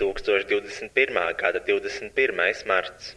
2021. gada 21. marts.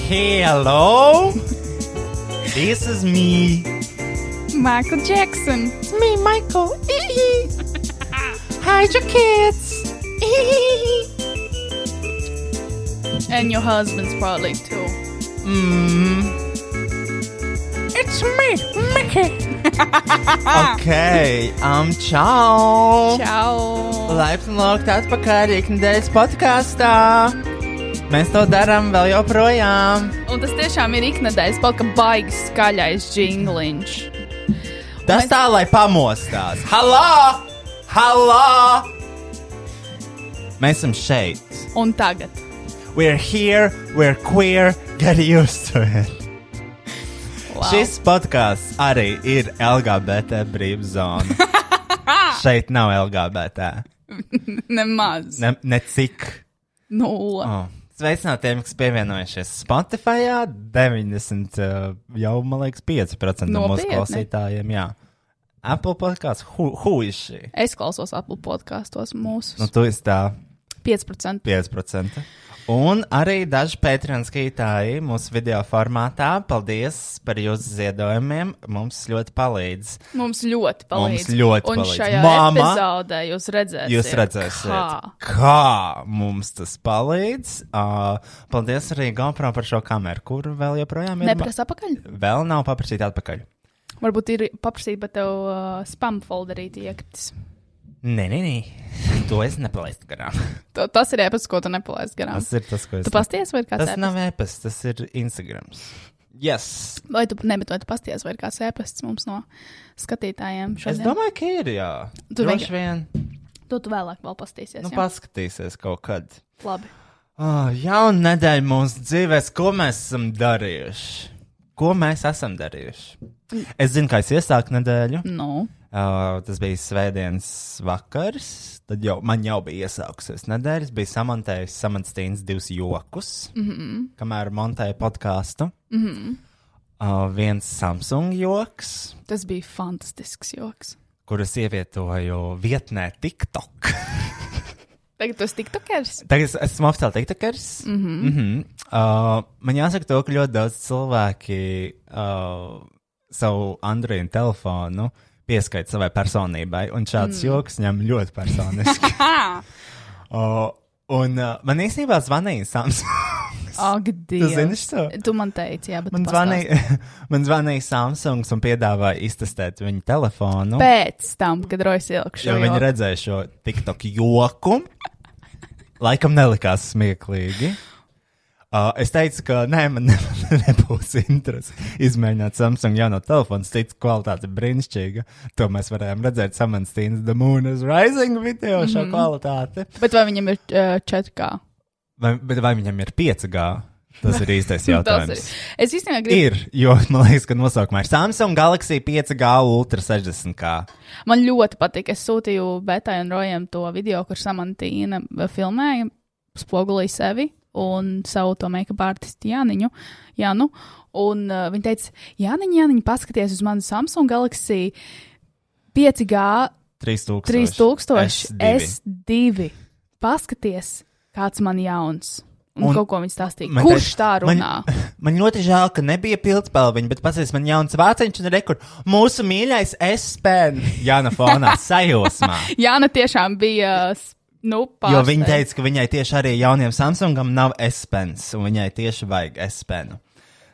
Hello! This is me! Michael Jackson! It's me, Michael! Hide your kids! And your husband's probably too. mm. It's me, Mickey! Ok, um, čau! Čau! Laipni lūgt atpakaļ ikdienas podkāstā! Mēs to darām vēl joprojām! Un tas tiešām ir iknedēļas kaut kā baigs skaļais jingliņš. Tas tā, lai pamostās. Halā! Halā! Mēs esam šeit. Un tagad. We're here, we're queer, get used to it. Wow. Wow. Šis podkāsts arī ir LGBT brīvs zona. šeit nav LGBT. Nemaz. Nu, Ne. Ne, ne cik. Nulle. Oh. Sveicināti tiem, kas pievienojušies Spotify. 90, uh, jau man liekas, 5% no mūsu Nopietni? klausītājiem. Jā. Apple podkāsts, huīši. Es klausos Apple podkāstos mūsu Nu, tu esi tā 5%. 5%. Un arī daži Patreon skatītāji mūsu video formātā. Paldies par jūsu ziedojumiem. Mums ļoti palīdz. Mums ļoti palīdz. Mums ļoti Un palīdz. šajā Mamma! epizodē jūs redzēsiet, Jūs redzēsiet, kā. kā mums tas palīdz. Uh, paldies arī GoPro par šo kameru, kur vēl joprojām ir. Neprasa apakaļ. Vēl nav paprasīta atpakaļ. Varbūt ir paprasība tev uh, spam folderīti iekritis. Nē, nē, nē. To es nepalaistu garām. To, tas ir ēpas, ko tu nepalaist garām. Tas Tas... ir tas, ko es. Tu pasties vai ir kāds tas ēpas? nav ēpas, tas ir Instagrams. Yes. Vai tu nemet, vai tu pasties vai ir kāds ēpasts mums no skatītājiem Es šodien? domāju, ka ir jā. Tu Droši vienkār- vien. To tu vēlāk vēl pastīsies. Nu, jā? paskatīsies kaut kad. Labi. Oh, jauna nedēļa mūsu dzīvēm, ko mēs esam darījuši. Ko mēs esam darījuši? Es zinu, kā es iesāku nedēļu. Nu, Uh, tas bija svētdienas vakars. Tad jau man jau bija iesākusies nedēļa. Es biju samantējis samantīns divus jokus, mm -hmm. kamēr montēju podkāstu. Mm -hmm. uh, viens Samsung joks, tas bija fantastisks joks. kurus ievietoju vietnē TikTok. Tagad tu esi tiktokers. Tagad es esmu oficiāli tiktokers. Mm -hmm. mm -hmm. uh, man jāsaka, to, ka ļoti daudz cilvēki uh, savu Android telefonu pieskaita savai personībai, un šāds mm. joks ņem ļoti personiski. Ha! uh, un uh, man īstenībā zvanīja Samsung. Ak, Tu Dievs. zini šo? Tu man teici, jā, bet Man tu pastāsti. zvanīja, man zvanīja Samsungs un piedāvāja iztestēt viņu telefonu. pēc tam, kad Rojas ielika šo Jo viņi joku. redzēja šo TikTok joku, laikam nelikās smieklīgi. Uh, es teicu, ka nē, man ne, nebūs interesi izmēģināt Samsung jauno telefonu. Es teicu, kvalitāte ir brīnišķīga. To mēs varējām redzēt Samanstīnas The Moon is Rising video šo mm -hmm. kvalitāti. Bet vai viņam ir uh, 4K? Vai, bet vai viņam ir 5G? Tas ir īstais Tas ir. jautājums. Es īstenībā gribu. Ir, jo man liekas, ka nosaukumā ir Samsung Galaxy 5G Ultra 60K. Man ļoti patīk. Es sūtīju Betai un Rojam to video, kur Samantīna filmēja, spogulīja sevi un savu to make-up artistu Jāniņu. Jānu, un uh, viņa teica, Jāniņ, Jāniņ, paskaties uz manu Samsung Galaxy 5G 3000. 3000 S2. S2. Paskaties, kāds man jauns. Un, un Un kaut ko viņš stāstīja. Man Kurš teic- tā runā? Man... Man, man ļoti žēl, ka nebija pildspēliņa, bet paskatieties, man jauns vāciņš un rekord. Mūsu mīļais S-pen. Jā, no fonā sajūsmā. Jāna tiešām bija, s- nu, pārsteigta. Jo viņa teica, ka viņai tieši arī jauniem Samsungam nav S-pens, un viņai tieši vajag S-penu.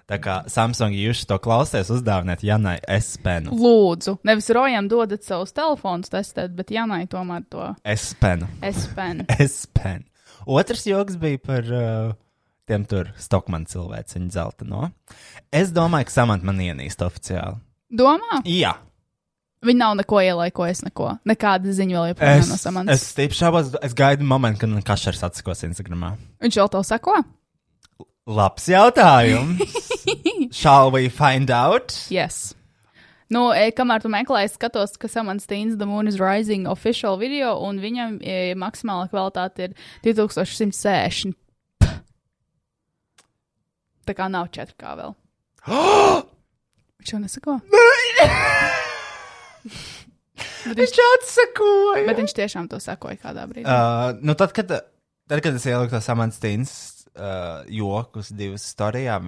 Tā kā Samsung jūs to klausties, uzdāviniet Janai S-penu. Lūdzu, nevis rojām dodat savus telefonus testēt, bet Janai tomēr to S-penu. SPN. S-pen. Otrs joks bija par uh, tiem tur Stokman cilvēciņu zelta no. Es domāju, ka Samant man ienīst oficiāli. Domā, Jā. viņi nav neko ielaikojusi, neko. Nekāda ziņa vēl joprojām nav no Es, samanas. es stipri šaubos, es gaidu momentu, kad man kašers atsikos Instagramā. Viņš vēl to sako? Labs jautājums. Shall we find out? Yes. Nu, e, kamēr tu meklē, es skatos, ka Samants Steins The Moon is Rising official video, un viņam e, maksimāla kvalitāte ir 2160. Tā kā nav 4K vēl. Viņš jau nesako. Bet viņš, atsakoja. bet viņš tiešām to sakoja kādā brīdī. Uh, nu tad, kad, tad, kad es ieliku to samantīnas uh, jokus divas storijā,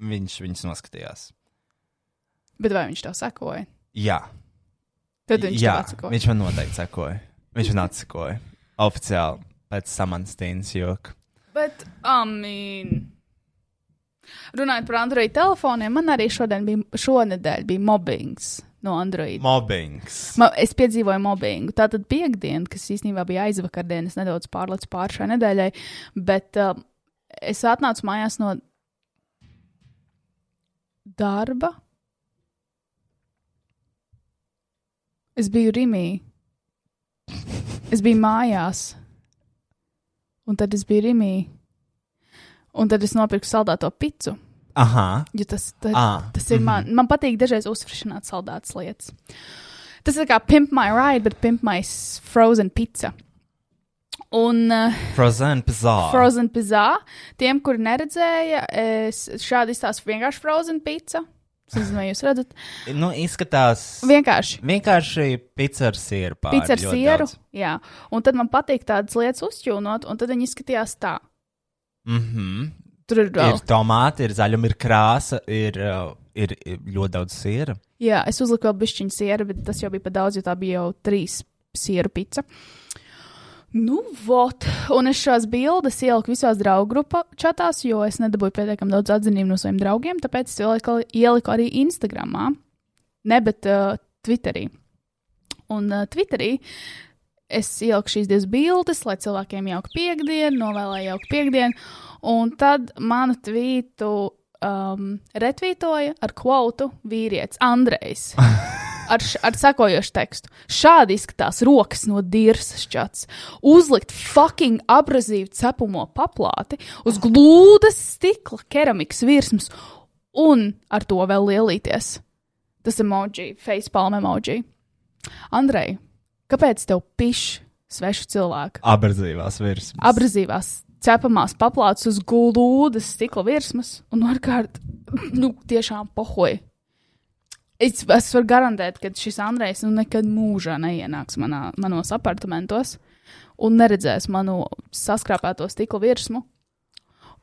viņš viņus noskatījās. Bet vai viņš to sakoja? Jā, Tad viņš Jā to atsakoja. viņš man noteikti sakoja. Viņš man atsakoja. Oficiāli pēc samantīnas joku. Bet, amīn. Runājot par Android telefoniem, man arī šodien bija, šonedēļ bija mobbings no Android. Mobbings. Ma, es piedzīvoju mobbingu. Tā tad piekdiena, kas īstenībā bija aizvakardiena, es nedaudz pārlecu pāri šai nedēļai, bet uh, es atnācu mājās no darba. Es biju Rimī. Es biju mājās. Un tad es biju Rimī. Un tad es nopirku saldēto pitu. Aha. Jo tas, tas, Ah, tas ir man. Man patīk dažreiz uzfrišināt saldētas lietas. Tas ir kā pimp my ride, bet pimp my s- frozen pizza. Un uh, Frozen Pizarre. frozen pizza, tiem, kuri neredzēja, es šādi izstāstu vienkārši frozen pizza. Es nezinu, vai jūs redzat. Nu, izskatās. Vienkārši. Vienkārši pizza ar sieru. pāri Pits ar Ah, ļoti sieru. daudz. Jā. Un tad man patīk tādas lietas uzķūnot, un tad viņi izskatījās tā. Mhm. Tur ir Ir vēl. tomāti, ir zaļumi, ir krāsa, ir, uh, ir ir ļoti daudz siera. Jā, es uzliku vēl pišķiņu sieru, bet tas jau bija par daudz, jo tā bija jau trīs sieru pica. Nu, vot. Un es šās bildes ieliku visās draugu grupā čatās, jo es nedabūju pietiekami daudz atzinību no saviem draugiem, tāpēc es ieliku, ieliku arī Instagramā, ne, bet uh, Twitterī. Un uh, Twitterī es ieliku šīs divas bildes, lai cilvēkiem jauka piekdiena, novēlēju jauku piekdienu, un tad manu tvītu um, retvītoja ar kvotu vīrietis Andrejs. Ar, š- ar sekojošu tekstu. Šādi izskatās rokas no dirzas čats. Uzlikt fucking abrazīvu cepumo paplāti uz glūdas stikla keramikas virsmas un ar to vēl lielīties. Tas ir emoji, facepalm emoji. Andrej, kāpēc tev pišķi svešu cilvēku? Abrazīvās virsmas. Abrazīvās, cepamās paplātes uz glūdas stikla virsmas un ārkārt, nu, tiešām pohoja. Es, es varu garantēt, ka šis Andrejs nu, nekad mūžā neienāks manā, manos apartamentos. un neredzēs manu saskrāpēto stikla virsmu.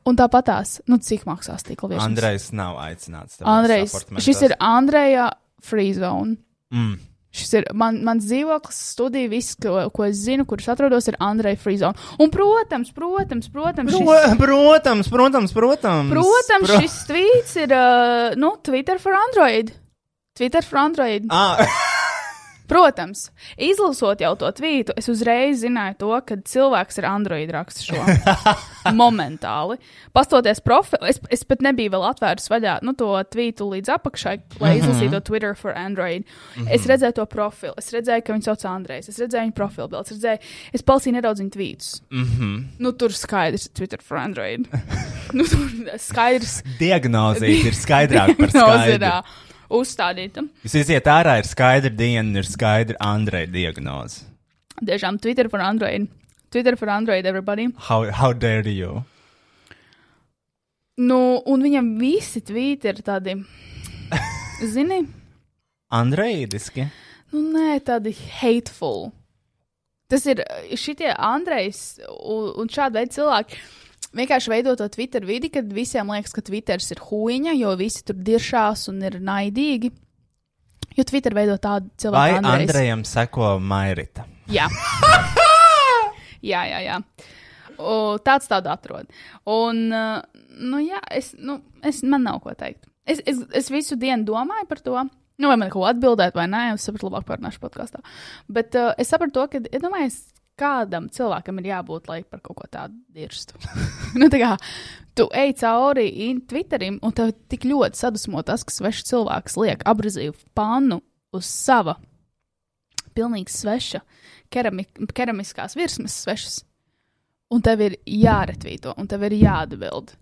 Un tāpat tās, nu, cik maksā stikla virsma? Andrejs nav aicināts. tavos Andrejs. apartamentos. Šis ir Andreja Free Zone. Mm. Šis ir man, mans dzīvoklis, studija, viss, ko, ko es zinu, kurš atrodos, ir Andreja Free Zone. Un, protams, protams, protams, Pro, šis, protams, protams, protams. protams šis tweets ir, uh, nu, Twitter for Android. Twitter for Android. Ah, Protams, izlasot jau to tvītu, es uzreiz zināju to, ka cilvēks ir Android raksts šo. Momentāli. Pastoties profilu, es, es pat nebiju vēl atvēris vaļā nu, to tvītu līdz apakšai, lai Mhm. izlasītu to Twitter for Android. Es redzēju to profilu, es redzēju, ka viņu sauc Andrejs, es redzēju viņa profilu bildes, es redzēju, es palasīju nedaudz viņa tvītus. Mm -hmm. mhm. Nu, tur skaidrs ir Twitter for Android. nu, tur skaidrs. diagnozīt ir skaidrāk par skaidru. Diagnoze uzstādīta. Jūs iziet ārā, ir skaidra diena, un ir skaidra Andreja diagnoze. Tiešām Twitter for Android. Twitter for Android, everybody. How, how dare you? Nu, un viņam visi tvīti ir tādi, zini, Andrejidiski? nu, nē, tādi hateful. Tas ir eh, šitie Andrejs u- un šāda veida cilvēki. Vienkārši veidot to Twitter vidi, kad visiem liekas, ka Twitter ir huīņa, jo visi tur diršās un ir naidīgi. Jo Twitter veido tādu Vai cilvēku, kā Andrejs. Andrejam seko Mairita? Jā, jā, jā. jā. O, tāds tādu atrod. Un, eh, nu, jā, es, nu, es man nav ko teikt. Es, es, es visu dienu domāju par to. Nu, vai man ko atbildēt, vai nē, es sapratu, labāk parunāšu podkāstā. Bet uh, es sapratu, to, ka, ja domājies, kādam cilvēkam ir jābūt, lai par kaut ko tādu dirstu. nu, tā kā tu ej cauri in- Twitterim, un tev tik ļoti sadusmo tas, ka svešs cilvēks liek abrazīvu pannu uz sava pilnīgi sveša kerami, keramiskās virsmas svešas. Un tev ir jāretvīto, un tev ir jāatbild.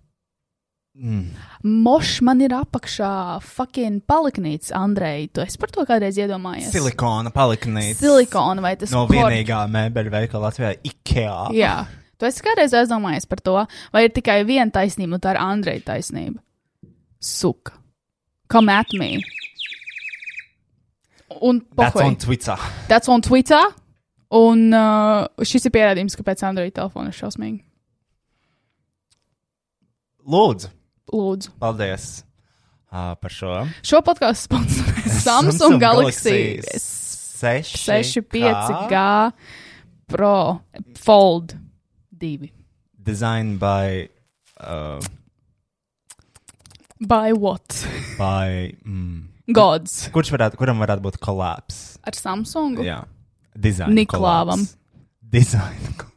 Mm. Ah, Mošs man ir apakšā, fucking paliknīts, Andrej. Tu esi par to kādreiz iedomājies? Silikona paliknīca. Silikona vai tas No kork- vienīgā mēbeļu veikala Latvijā - IKEA. Jā. Tu esi kādreiz aizdomājies par to, vai ir tikai viena taisnība, un tā ir Andreja taisnība. Suka. Come at me. Un That's pohoj. on Twitter. That's on Twitter. Un uh, šis ir pierādījums, kāpēc Andreja telefona ir šausmīga. Lūdzu, Lūdzu. paldies uh, par šo. Šo podkāstu sponsorē Samsung Galaxy S- 6, 5, 65G. G, Pro, Fold 2. Designed by, uh, By what? by mm, Gods. kurš varētu, kuram varētu būt kolaps? Ar Samsungu? Jā, dizaina. Niklāvam. kolaps. Dizaina. ko-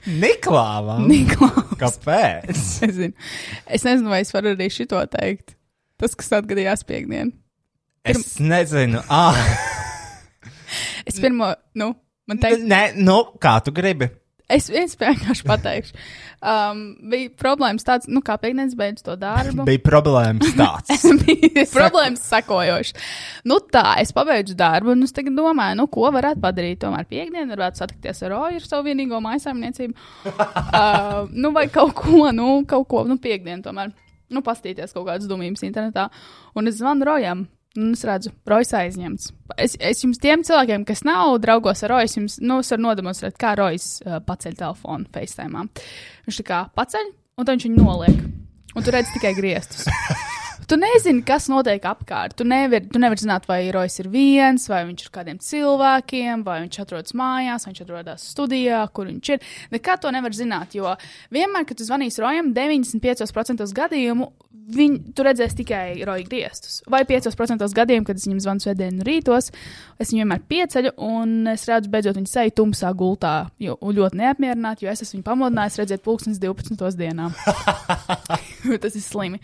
Niklāvam? Niklaus. Kāpēc? Es nezinu. es nezinu, vai es varu arī šito teikt. Tas, kas atgadījās piekdien. Es nezinu. Ah, Es pirmo, nu, man teikt, nē, nu, kā tu gribi? es, es vienkārši pateikšu. Um, bija problēmas tāds, nu, kā piekdienas beidz to darbu. Bija problēmas tāds. bija problēmas sekojošas. Nu, tā, es pabeidzu darbu, un es tagad domāju, nu, ko varētu padarīt. Tomēr piekdienā varētu satikties ar Roju, ar savu vienīgo maisaimniecību. uh, nu, vai kaut ko, nu, kaut ko, nu, piekdienā tomēr. Nu, pastīties kaut kādas dumības internetā. Un es zvanu Rojam. Un es redzu, Rojas aizņemts. Es, es jums, tiem cilvēkiem, kas nav draugos ar Roju, es jums nu, es varu nodemonstrēt, kā Rojas uh, paceļ telefonu FaceTime. Viņš tā kā paceļ, un tad viņš viņu noliek. Un tu redz tikai griestus. Tu nezini, kas notiek apkārt. Tu nevari, tu nevari zināt, vai Rojas ir viens, vai viņš ir kādiem cilvēkiem, vai viņš atrodas mājās, vai viņš atrodas studijā, kur viņš ir. Nekā to nevar zināt, jo vienmēr, kad tu zvanīsi Rojam, 95% gadījumu viņ, tu redzēsi tikai Roja griestus. Vai 5% gadījumu, kad es viņam zvanu svētdienu rītos, es viņu vienmēr pieceļu un es redzu beidzot viņu seju tumsā gultā, jo un ļoti neapmierināti, jo es esmu viņu pamodinājis redzēt pulkstens 12. dienā. tas ir slimi.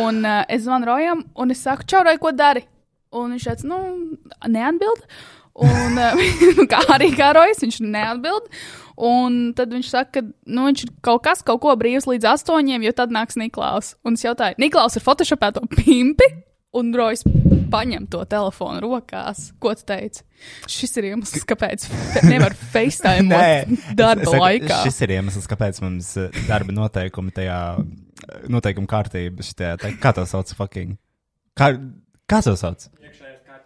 Un uh, es zvanu Rojam, un es saku, čau, Roj, ko dari? Un viņš tāds, nu, neatbild. Un uh, kā arī kā Rojas, viņš neatbild. Un tad viņš saka, ka nu, viņš ir kaut kas, kaut ko brīvs līdz astoņiem, jo tad nāks Niklaus. Un es jautāju, Niklaus ir photoshopēto pimpi, un Rojas paņem to telefonu rokās. Ko tu teici? Šis ir iemesls, kāpēc fe- nevar FaceTime darba es saku, laikā. Šis ir iemesls, kāpēc mums eh, darba noteikumi tajā, eh, noteikuma kārtībā, šitajā, tā, kā to sauc, fucking. Kā, kā to sauc?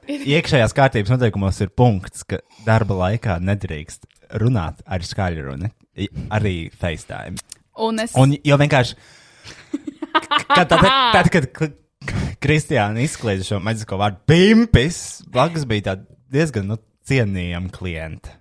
Iekšējās kārtības noteikumos ir punkts, ka darba laikā nedrīkst runāt ar skaļruni, i- arī FaceTime. Un es Un jau vienkārši. Kad, tad, tad, kad K- Kristiāna izkliedza šo maģisko vārdu pimpis, blakus bija tāda diezgan nu, cienījama klienta.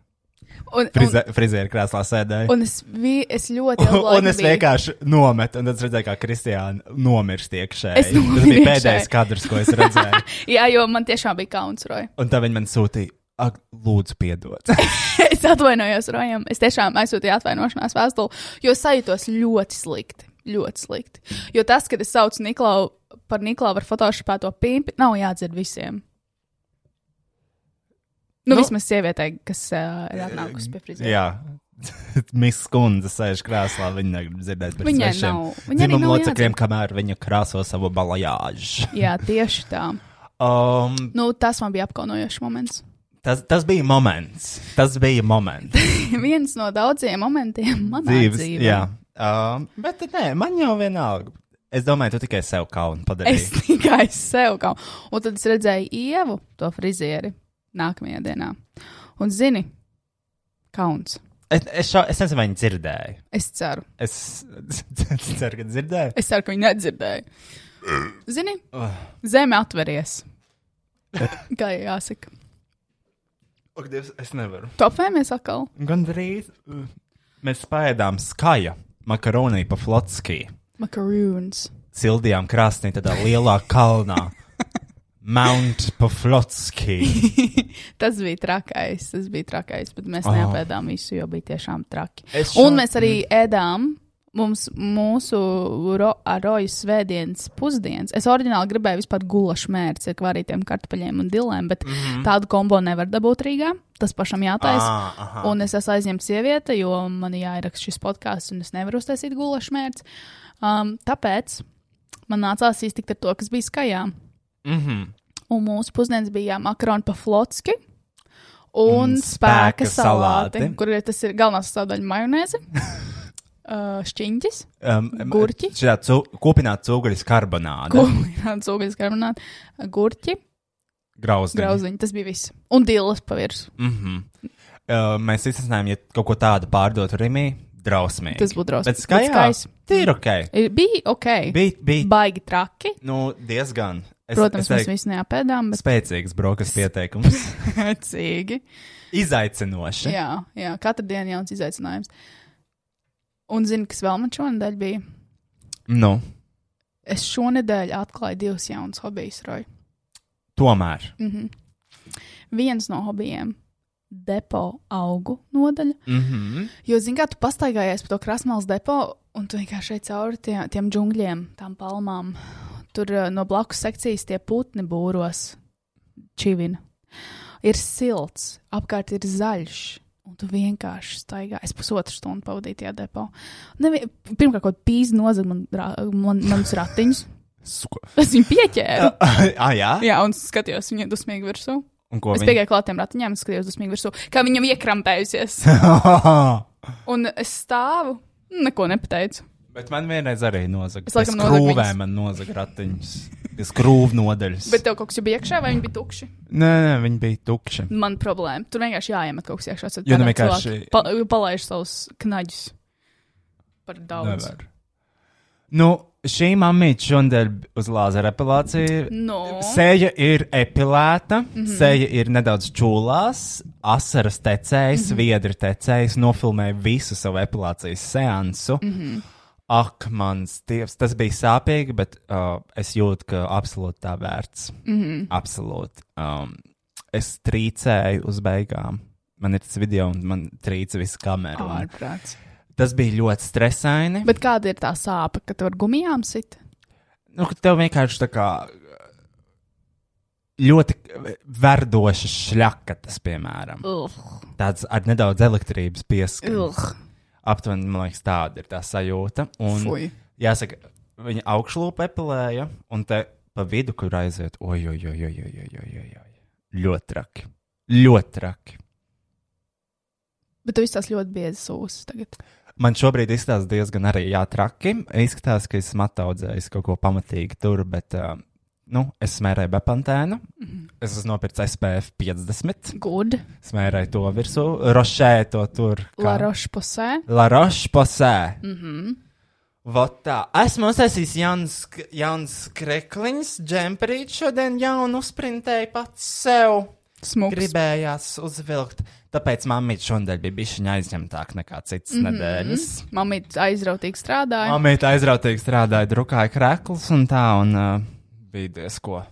un, un, Frize, Frizēra krēslā sēdēja. un es, vi, es ļoti Un, ilgi un es biju- vienkārši nometu, un tad es redzēju, kā Kristiāna nomirst iekšā. Es Tas nomiru bija pēdējais iekšēji. kadrs, ko es redzēju. Jā, jo man tiešām bija kauns, Roja. Un tā viņa man sūtīja, ak, lūdzu, piedod. es atvainojos Rojam. Es tiešām aizsūtīju atvainošanās vēstuli, jo sajūtos ļoti slikti. Ļoti slikti. Jo tas, kad es saucu Niklau par Niklau ar Photoshopā to pimpi, nav jādzird visiem. Nu, Nu. nu, vismaz sievietei, kas uh, ir atnākusi pie friziera. Jā, Miss Kundze sēž krēslā, viņa negrib dzirdēt par Viņai svešiem nav- viņai arī dzimumu nav locekļiem, kamēr viņa krāso savu balajāžu. Jā, tieši tā. Um, Nu, tas man bija apkaunojošs moments. tas, tas bija moments. Tas bija moments. Viens no daudziem momentiem manā dzīves, Dzīves. dzīvē. Jā, um, bet nē, man jau vienalga. Es domāju, tu tikai sev kaunu Es padarīji. tikai sev kaut kā. Un tad es redzēju ievu, to frizieri, nākamajā dienā. Un zini, kauns. Es, es, šo, es nezinu, vai viņi dzirdēja. Es ceru. Es ceru, ka dzirdēju. Es ceru, ka viņi nedzirdēja. Zini, Oh. zeme atveries. Kā jāsaka. Ak, Dievs, es nevaru. Topēmies atkal. Gan drīz uh, mēs spēļām skaļu makaroni pa flotskiju. Macaroons. cildījām krāsnī, tādā lielā kalnā. Mount Paflotski. Tas bija trakais. Tas bija trakais, bet mēs Ah. oh. neapēdām visu, jo bija tiešām traki. Es Un šo- mēs arī ēdām. Mums, mūsu ro, roju svētdienas pusdienas. Es oriģināli gribēju vispār gulašu mērci ar kvarītiem kartupeļiem un dilēm, bet mm -hmm. tādu kombo nevar dabūt Rīgā. Tas pašam jātaisa. Ah, aha. Un es esmu aizņemta sieviete, jo man ir jāieraksta šis podkāsts, un es nevaru uztaisīt gulašu mērķi. Um, tāpēc man nācās iztikt ar to, kas bija skaļā. Mm -hmm. Un mūsu pusdienas bija makaroni pa flotski. Un Un spēka spēka salāti, salāti. kur ir tas ir galvenā sastāvdaļa majonēze, uh, šķiņķis, um, Gurķi? Šāda cu, kopināta cūgaļas karbonāde. Ko? kūrināts ogļu karbonāti, gurķi, Grauziņi. grauziņi, tas bija viss. Un dīles pavirs. Mm -hmm. uh, mēs izsmeļām, ja kaut ko tādu pārdotu Rimī, drausmīgi. Tas būtu drausmīgi. Bet Bet skaisti. skaļā. Tīri ok. Ir- Bija ok, bija, Bija, bija baigi traki. nu, diezgan. Es, Protams, es mēs teiktu, visu neapēdām, bet Spēcīgs brokastu pieteikums. pēcīgi. Izaicinoši. Jā, jā, katra diena jauns izaicinājums. Un zini, kas vēl man šonadēļ bija? Nu, Es šonadēļ atklāju divus jaunus hobijus, Roja. tomēr. Mm -hmm. Viens no hobijiem - depo augu nodaļa. Mm -hmm. Jo, zini, kā tu pastaigājies pa to krāsmālas depo, un tu vienkārši ej cauri tiem, tiem džungļiem, tām palmām. Tur eh, no blakus sekcijas tie putni būros čivina. Ir silts, apkārt ir zaļš. Un tu vienkārši staigā. Es pusotru stundu pavadīju tajā depo. Nevi, pirmkārt, kaut kā pīzi nozaga man, ra- man, manus ratiņus. Sko... Es viņu pieķēru. ah, jā. Jā, un skatījos viņu dusmīgi virsū. Un ko Es viņi- piegāju klāt tiem ratiņiem, un skatījos dusmīgi virsū, kā viņam iekrampējusies. Un es stāvu, neko nepateicu. Bet man vienreiz arī nozaga. Es Pie laikam nozagu skrūvē viņas. man nozaga ratiņus. Pie Skrūvu nodaļas. Bet tev kaut kas jau bija iekšā, vai viņi bija tukši? Nē, nē, viņi bija tukši. Man problēma. Tur vienkārši jāiemet kaut kas iekšā. tad Jo nu tādā vienkārši- cilvēki Pa, palaiž savus knaģus par daudz. Nevar. Nu, šī mamīte šodien uz lāzera epilāciju. No. Sēja ir epilēta, mm -hmm. sēja ir nedaudz čūlās, asaras tecējas, mm -hmm. viedri tecējas, nofilmēja visu savu epilācijas seansu. Mm -hmm. Ak, mans dievs, tas bija sāpīgi, bet uh, es jūtu, ka absolūti tā vērts. Mm -hmm. Absolūti. Um, es trīcēju uz beigām. Man ir tas video, un man trīca visu kameru. Oh. un Ārprāts. Tas bija ļoti stresaini. Bet kāda ir tā sāpe, ka tu ar gumijām sit? Nu, ka tev vienkārši tā kā uh, ļoti verdoša šļakatas, piemēram, Ugh, tāds ar nedaudz elektrības pieskaņu. ugh, Aptuveni, man liekas, tāda ir tā sajūta. Un, fuj. jāsaka, viņa augšlūpa epilēja, un te pa vidu, kur aiziet, ojoj, ojoj, ojoj, ojoj, ojoj. Ļoti traki. Ļoti traki. Bet tu izstāsti ļoti biezas ūsas tagad. Man šobrīd izstāsta diezgan arī jā, traki. Izskatās, ka Mhm. esmu attaudzējis kaut ko pamatīgi tur, bet, uh, nu, es smērēju bepantēnu, Es esmu nopircis SPF 50, Good. smērēju to virsū, rošēju to tur. kā- Laroša pusē. La Roche-Posē. Mm -hmm. Mhm. Votā. Esmu uztaisījis jauns, jauns krekliņš, džemperīt šodien jaunu sprintēju pats sev. Smūgs. Gribējās uzvilkt, tāpēc mammīte šodien bija bišķiņa aizņemtāka nekā citas mm -hmm. nedēļas. Mamīt aizrautīgi strādāja. Mammīte aizrautīgi strādāja, drukāja kreklus un tā, un uh, bija diezko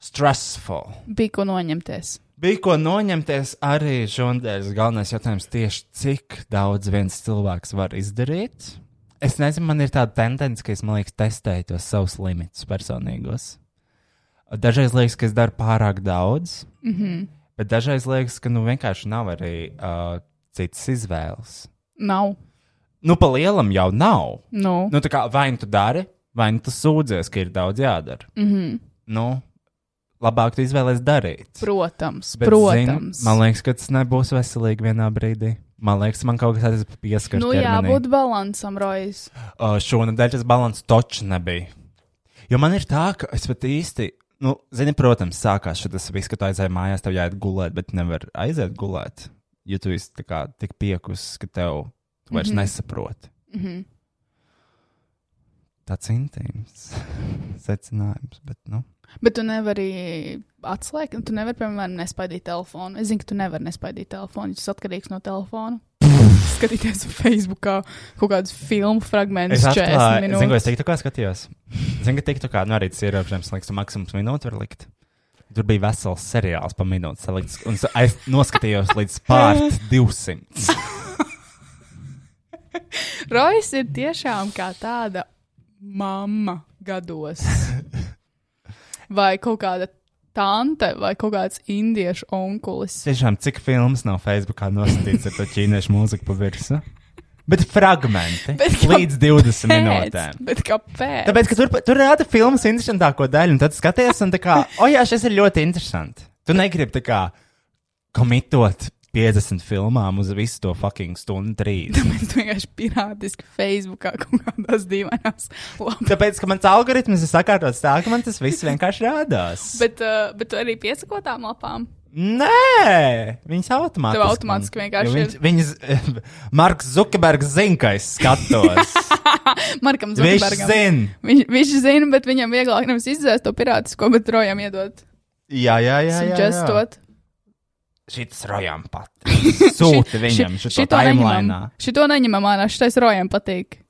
stressful. Bija ko noņemties. Bija ko noņemties arī šodienas galvenais jautājums, tieši cik daudz viens cilvēks var izdarīt. Es nezinu, man ir tāda tendence, ka es, man liekas, testēju tos savus limitus personīgos. Dažreiz liekas, ka es daru pārāk daudz, mm -hmm. bet dažreiz liekas, ka nu vienkārši nav arī uh, citas izvēles. Nav. Nu, pa lielam jau nav. Nu. Nu, tā kā vai nu tu dari, vai nu tu sūdzies, ka ir daudz jādara. Mm -hmm. Nu, labāk tu izvēlēsies darīt. Protams, Bet, protams. Zinu, man liekas, ka tas nebūs veselīgi vienā brīdī. Man liekas, man kaut kas tāds pieskaņots. nu, jābūt līdzsvaram, Rojas. Uh, šonadēļ tas balans točs nebija. Jo man ir tā, ka es pat īsti, nu, zini, protams, sākās šis viss, ka tu aizēji mājās, tev jāiet gulēt, bet nevar aiziet gulēt. Jo tu esi tā kā tik piekusis, ka tev tu Mhm. vairs mm -hmm. nesaproti. Mm -hmm. Tāds intīms secinājums, bet, nu. Bet tu nevari atslēgt, tu nevari, piemēram, nespaidīt telefonu. Es zinu, ka tu nevari nespaidīt telefonu, jo tas atkarīgs no telefona. Skatīties Facebook, kaut kādus filmu fragmentus, Es atklāju, 40 zinu, ko es minūtes. teiktu, kā skatījos. Zinu, ka teiktu, kā nu, arī tas ierobežojums, liekas, tu maksimums minūti var likt. Tur bija vesels seriāls par minūti, salikts, un sa- es noskatījos līdz pārt 200. Rojas ir tiešām kā tāda mamma gados. vai kaut kāda tante, vai kaut kāds indiešu onkulis. Tiešām, cik filmas nav Facebookā noskatīts ar to ķīniešu mūziku pa virsmu? Bet fragmenti Bet bet kāpēc? līdz 20 Pēc, minūtēm. bet kāpēc? Tāpēc, ka tur, pa- tur rāda filmas interesantāko daļu, un tad skaties, un tā kā, o jā, šis ir ļoti interesants. Tu negribi tā kā komitot 50 filmām uz visu to fucking stundu trīs. Mēs vienkārši pirātiski Facebookā kaut kādās dīvainās lapās. Tāpēc, ka mans algoritms ir sakārtots tā, ka man tas viss vienkārši rādās. Bet, uh, bet tu arī piesakotām lapām. Nē, viņas automātiski. Tev automātiski vienkārši Viņas, viņas eh, Marks Zukerbergs zina, ka es skatos. Markam Viņš Zvaigznājam. zina. Viņš, viņš zina, bet viņam vieglāk nevis izdzēst to pirātisko, bet rojam iedot. Jā, jā, jā. jā, jā. Suggestot. Šitas rojām pat. Sūti viņam, Ši- šito timelānā. Šito neņemam ārā, šitais rojam patīk.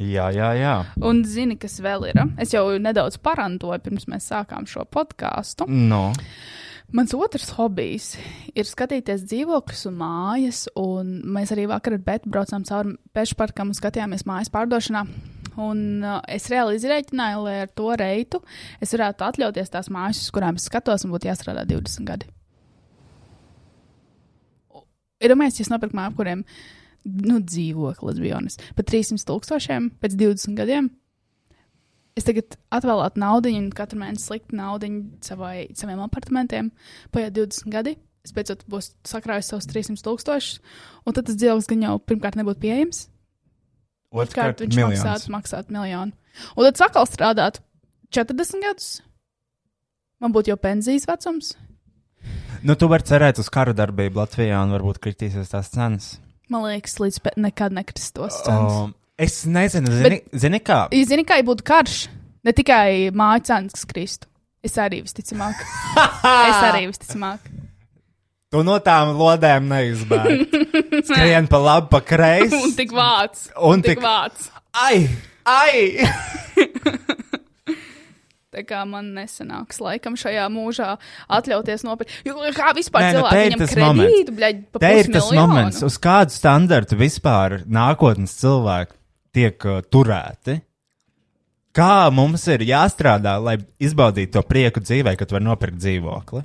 Jā, jā, jā. Un zini, kas vēl ir? hm? Es jau nedaudz parantoju pirms mēs sākām šo podkāstu. Nu, Mans otrs hobijs ir skatīties dzīvokļus un mājas. Un mēs arī vakar ar Bētu braucām cauri pēšu parkam un skatījāmies mājas pārdošanā. Un uh, es reāli izreikināju, lai ar to reitu es varētu atļauties tās mājas, uz kurām es skatos, un būtu jāstrādā 20 gadi. Ir domājis, ja es nopirku māju, kuriem nu, dzīvoklis bija jonas, par 300 tūkstošiem pēc 20 gadiem. Es tagad atvēlētu naudu, un katru mēnesi sliktu naudu savai, saviem apartamentiem. Paiet 20 gadi, es pēc tam būšu sakrājis savus 300 tūkstošus, un tad tas dzīvoklis gan jau pirmkārt nebūtu pieejams. otrkārt, Pirmkārt, viņš miljons. maksātu, maksātu miljonu. Un tad sakal strādāt 40 gadus. Man būtu jau pensijas vecums. Nu, tu vari cerēt uz karu darbību Latvijā un varbūt kritīsies tās cenas. Man liekas, līdz pe- nekad nekristos cenas. Um, es nezinu, zini, zini kā. Jūs zināt, kā ja būtu karš, ne tikai māju cenas, kas kristu. Es arī visticamāk. es arī visticamāk. Tu no tām lodēm neizbēgi. Skrien pa labi, pa kreisi. Un tik vāc. Un tik tik- vāc. Ai! Ai! Tā kā man nesanāks laikam šajā mūžā atļauties nopirkt. Jo Kā vispār Nē, nu, te ir cilvēkiem nu, tas kredītu, bļaļ, pa Te ir tas pusmiljonu? Nu, moments, uz kādu standartu vispār nākotnes cilvēki tiek uh, turēti. Kā mums ir jāstrādā, lai izbaudītu to prieku dzīvē, kad var nopirkt dzīvokli?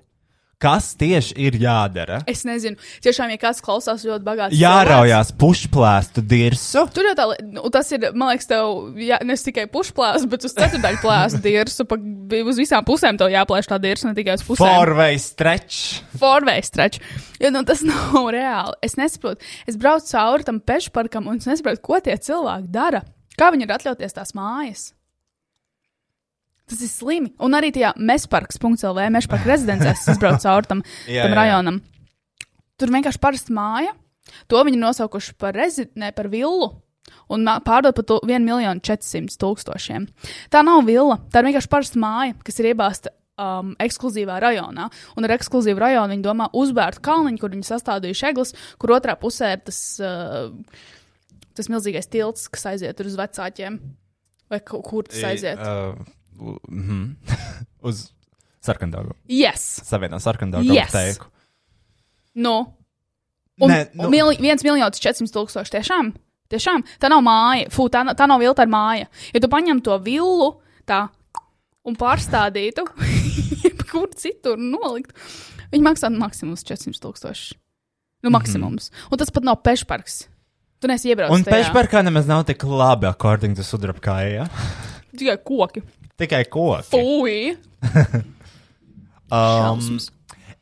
Kas tieši ir jādara? Es nezinu. Tiešām, ja kāds klausās ļoti bagāts. cilvēks, Jāraujās pušplēstu dirsu. Tur jau tā, li- nu, tas ir, man liekas, tev jā, ne tikai pušplāns, bet uz ceturdaļu plāns dirsu. Pa, uz visām pusēm tev jāplēš tā dirsu, ne tikai uz pusēm. Forvei stretch. Forvēs traču. Jo, nu, tas nav reāli. Es nesaprotu. Es braucu cauri tam pešu parkam un es nesaprotu, ko tie cilvēki dara. Kā viņi ir atļauties tās mājas? Tas ir slimi. Un arī tajā mesparks.lv, mešparka rezidencēs, es braucu caur tam, Jā, jā, tam jā. rajonam. Tur vienkārši parasta māja. To viņi ir nosaukuši par rezidenci, par villu. Un mā- pārdod par to 1 miljonu 400 tūkstošiem. Tā nav villa, tā ir vienkārši parasta māja, kas ir iebāzta um, ekskluzīvā rajonā. Un ar ekskluzīvu rajonu viņi domā uzbērtu kalniņu, kur viņi sastādījuši eglis, kur otrā pusē ir tas, uh, tas milzīgais tilts, kas aiziet tur uz vecākiem. Vai ku- kur tas aiziet? Uh, mm, uz sarkandaugu. Yes! Savienot sarkandaugu Yes. yes. teiku. Nu, un, Nē, Nē, nu- nu... Mil, viens miljonus četrsimt tūkstoši. Tiešām, tiešām, tā nav māja. Fū, tā, nav- tā nav vilta ar māju. Ja tu paņem to villu tā, un pārstādītu, kur citur nolikt, viņi maksā maksimums 400 tūkstoši. Nu, maksimums. Mm -hmm. Un tas pat nav pešparks. Tu neesi iebraucis. Mhm. Un tajā. pešparkā nemaz nav tik labi, according to sudrabkājai. Ja? Tikai koki. Tikai koki. Fūj! Um, šausmas.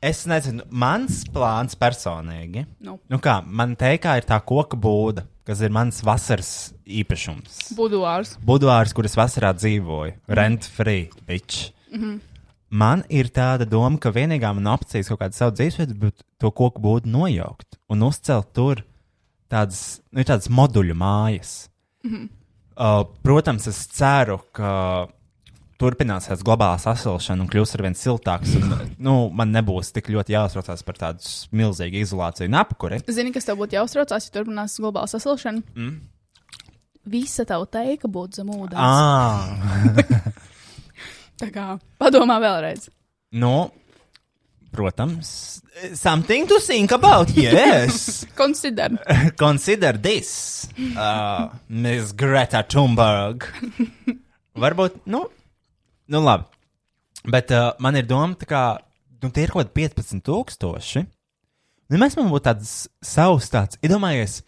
es nezinu, mans plāns personīgi. Nu, Nu kā, man teikā ir tā koka būda, kas ir mans vasaras īpašums. Buduārs. Budvārs, kuras vasarā dzīvoju, rent free, bitch. Man ir tāda doma, ka vienīgā man opcija kaut kāda savu dzīvesvietu, bet to koku būtu nojaukt un uzcelt tur tādas, nu, ir tādas moduļu mājas. Uh, protams, es ceru, ka turpināsies globālā sasilšana un kļūs ar vien siltāks. Un, nu, man nebūs tik ļoti jāuztraucās par tādu milzīgu izolāciju un apkuri. Zini, kas tev būtu jāuztraucās, ja turpinās globāla sasilšana? Mm. Visa tava teika būtu zem ūdens. Ah. Tā kā padomā vēlreiz. Nu, protams, something to think about, yes. Consider. Consider this, uh, Miss Greta Thunberg. Varbūt, nu, nu labi. Bet uh, man ir doma, tā kā, nu, tie ir kaut kādi 15,000. Nu, mēs man būtu tāds savs, tāds, iedomājies,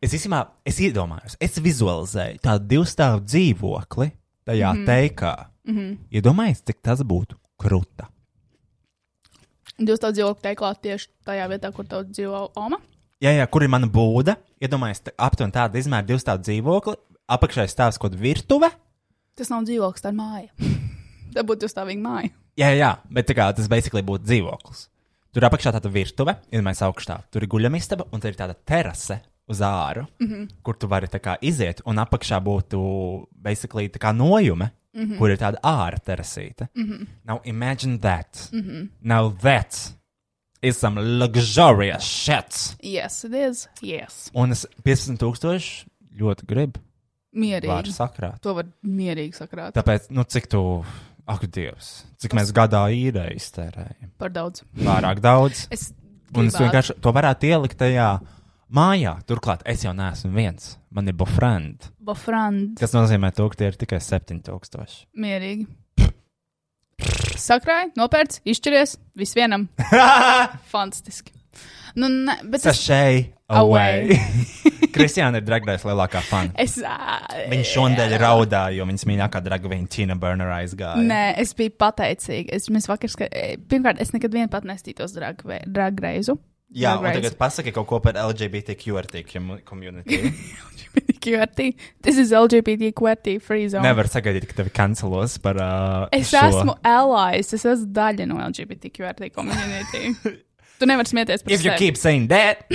es īstenībā, es iedomājos, es vizualizēju tādu divstāvu dzīvokli tajā mm -hmm. teikā. Mm -hmm. Iedomājies, cik tas būtu kruta. Jūs tā dzīvojat teiklā tieši tajā vietā, kur tev dzīvo Oma. Jā, jā, kur ir mana būda? Iedomājieties, tā- aptuveni tāda izmēra, divas tādu dzīvokli, apakšā ir stāvs kaut kāda virtuve. Tas nav dzīvoklis, tā ir māja. tā būtu jūs tā viņa māja. Jā, jā, bet tā kā, tas basically būtu dzīvoklis. Tur apakšā tāda virtuve, iedomājieties, augšā. Tur ir guļamistaba un tur ir tāda terase uz āru, mm -hmm. kur tu vari tā kā iziet, un apakšā būtu basically tā kā nojume. Mm -hmm. Kur ir tāda ārā terasīta? Mm -hmm. Now imagine that. Mm -hmm. Now that is some luxurious shit. Yes, it is. Yes. Un es 15,000 ļoti gribu. Vārds Mierīgi. sakrāt. To var mierīgi sakrāt. Tā. Tāpēc, nu, cik tu, ak, Dievs, cik mēs gadā īrē iztērējam? Par daudz. Pārāk daudz. Es, Un es gribētu. vienkārši to varētu ielikt tajā mājā. Turklāt, es jau neesmu viens. Man ir bofriend. Bafrand. Tas nozīmē, to, ka tie ir tikai 7000. Mierīgi. Sakrāj, nopērts, izšķiries. Visvienam. Fantastiski. Nu, ne, bet es, Sashay away. Kristiāna ir dragdājas lielākā fana. es, ā, Viņa šodien Eh. raudāja, jo viņas mīļākā dragvīna Tina Burner aizgāja. Nē, es biju pateicīga. Es, mēs vakar, ska... eh, pirmkārt, es nekad vien pat nestītos dragreizu. Jā, un tagad pasaki kaut ko par LGBTQ ar tīkiem komunitī. QRT. Tas ir LGBT QRT free zone. Nevar sagaidīt, ka tevi kancelos par. Uh, Es šo. esmu allies, es esmu daļa no LGBT QRT komunitī. tu nevari smieties par If you sevi. keep saying that,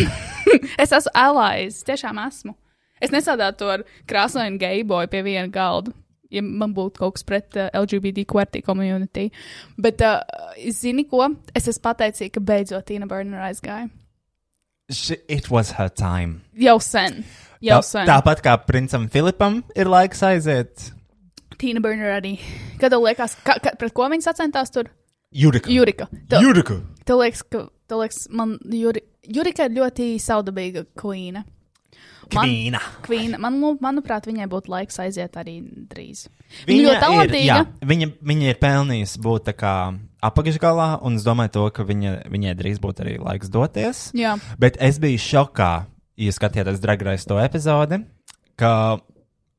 Es esmu allies, tiešām esmu. Es nesādātu ar krāsainu gejboju pie viena galda. Ja man būtu kaut kas pret uh, LGBT QRT komunitī. Bet, uh, zini ko? Es esmu pateicīga, ka beidzot Tīna Burner aizgāja. she, it was her time. Jau sen. Jau sen. tāpat kā princam Filipam ir laiks aiziet. Tīna Burner arī. Kad tev liekas, ka, ka, pret ko viņi sacentās tur? Jurika. Jurika. Tev, Jurika. tev liekas, ka tev liekas, man Juri, Jurika ir ļoti saudabīga kvīna. Man- Kvīna. Kvīna. Man, lu- manuprāt, viņai būtu laiks aiziet arī drīz. Viņa, Viņa viņa ļoti ir, jā, talantīga. viņa, viņa ir pelnījusi būt tā kā apakšgalā, un es domāju, to, ka viņa, viņai drīz būtu arī laiks doties. Jā. Bet es biju šokā, ja skatījāties Dragrājas to epizodi, ka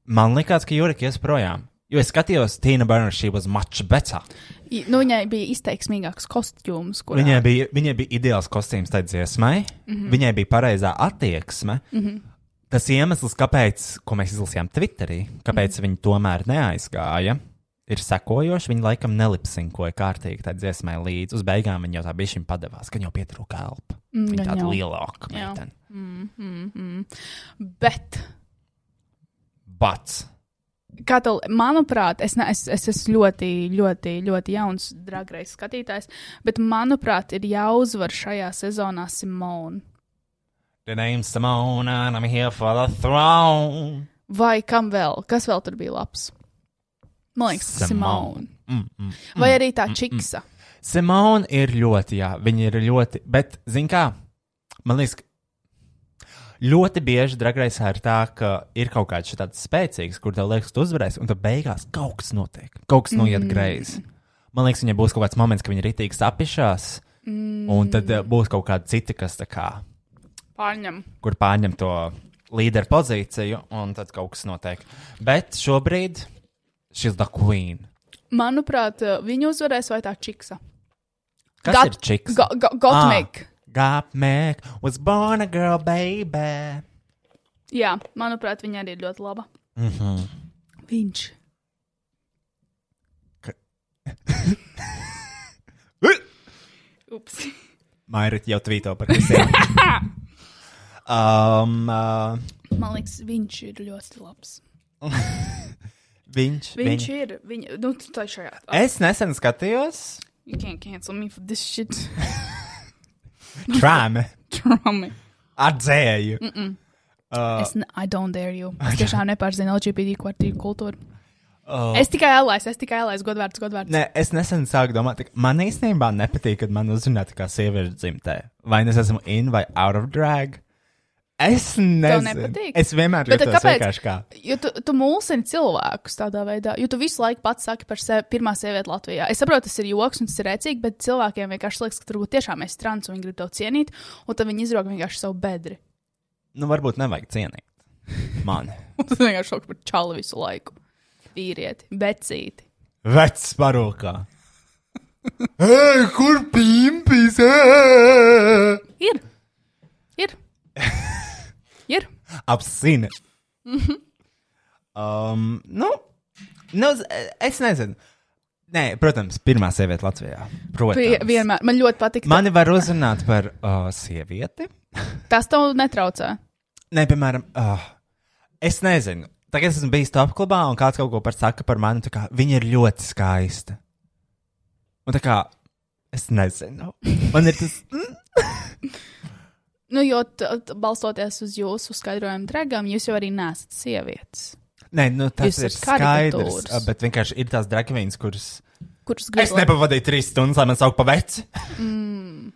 man likās, ka Jurika ies projām. Jo es skatījos, Tīna Berners, šī bija much better. I- Nu, viņai bija izteiksmīgāks kostīms, kurš Viņai bija, viņai bija ideāls kostīms tai dziesmai, mm Mhm. -hmm. viņai bija pareizā attieksme. Mm -hmm. Mhm. Tas iemesls, kāpēc, ko mēs izlasījām Twitterī, kāpēc mm -hmm. viņi tomēr neaizgāja, ir sekojoši. Viņa laikam nelipsinkoja kārtīgi tā dziesmai līdzi. Uz beigām viņa jau tā bija šim padevās, ka viņa jau pietrūka elpa. Mm, Viņa gan tāda jau. lielāka Jā. meitene. Mm, mm, mm. Bet, Bats. kā tev, manuprāt, es, ne, es, es esmu ļoti, ļoti, ļoti jauns dragreizes skatītājs, bet, manuprāt, ir jāuzvar šajā sezonā Simona. The name's Simone and I'm here for the throne. Vai kam vēl? Kas vēl tur bija labs? Man liekas, Simona. Simone. Mm, mm. Vai arī tā čiksa. Simona ir ļoti, jā, viņa ir ļoti, bet, zin kā, man liekas, ka ļoti bieži dragraisā ir tā, ka ir kaut kāds tāds spēcīgs, kur tev liekas, tu uzvarēsi, un tad beigās kaut kas notiek, kaut kas noiet mm. greizi. Man liekas, viņai būs kaut kāds moments, kad viņa ritīgi sapišās, mm. un tad eh, būs kaut kāda cita, kas tā kā, Pārņem. kur pārņem to līderu pozīciju, un tad kaut kas notiek. Bet šobrīd šis da queen. Manuprāt, eh, viņa uzvarēs vai tā čiksa. Kas Got- ir čiks? Go- go- Ah. Gottmik. Gapmek was born a girl, baby. Jā, manuprāt, viņa arī ir ļoti laba. Mhm. Mm -hmm. Viņš. Ups. Mairīt jau tvīto par visiem. um, uh, Man liekas, viņš ir ļoti labs. viņš. Viņš viņa- ir. Viņa, nu, tā ir šajā. Oh, Es nesen skatījos you can't cancel me for this shit. trāmi Trummy. ar dzēju. Mm. Ah. Es ne, I don't dare you. Es tiešām nepārzinu LGBT kvartīru kultūru. Oh. Es tikai alais, es tikai alais, godvārds, godvārds. Nē, es nesen sāku domāt, ka man īstenībā nepatīk, kad man uzzina, kā sieviete dzimtē. Vai nu es esmu in vai out of drag. Es nezinu. nepatīk? Es vienmēr Bet tad jutos kāpēc? vienkārši kā. Jo tu, tu mulsini cilvēkus tādā veidā, jo tu visu laiku pats saki par sevi, pirmā sieviete Latvijā. Es saprotu, tas ir joks un tas ir rēcīgi, bet cilvēkiem vienkārši liekas, ka tur tiešām esi trans un viņi grib tevi cienīt, un tad viņi izrauga vienkārši savu bedri. Nu, varbūt nevajag cienīt. Man. Un tas vienkārši šok par čalu visu laiku. Vīrieti, becīti. Vecs parūkā. Ei, kur pimpis? Ei! Ir. Ir. ir. Apsini. um, nu, nu, es- es nezinu. Nē, protams, pirmā sieviete Latvijā. Pie, Protams. vienmēr. Man ļoti patīk. Man... Mani var uzrunāt par uh, sievieti. Tas tev netraucē. Nē, piemēram, uh, es nezinu. Tagad es esmu bijis top klubā, un kāds kaut ko par saka par mani. tā Kā, viņa ir ļoti skaista. Un tā kā es nezinu. Man ir tas. Nu, jo t, t, balstoties uz jūsu skaidrojumu dragām, jūs jau arī nesat sievietes, Nē, nu, tas Visas ir skaidrs. karikatūras. a, Bet vienkārši ir tās drakvīnas, kuras. kuras Es gribētu nepavadīju trīs stundas, lai man sauktu pa veci. Mm.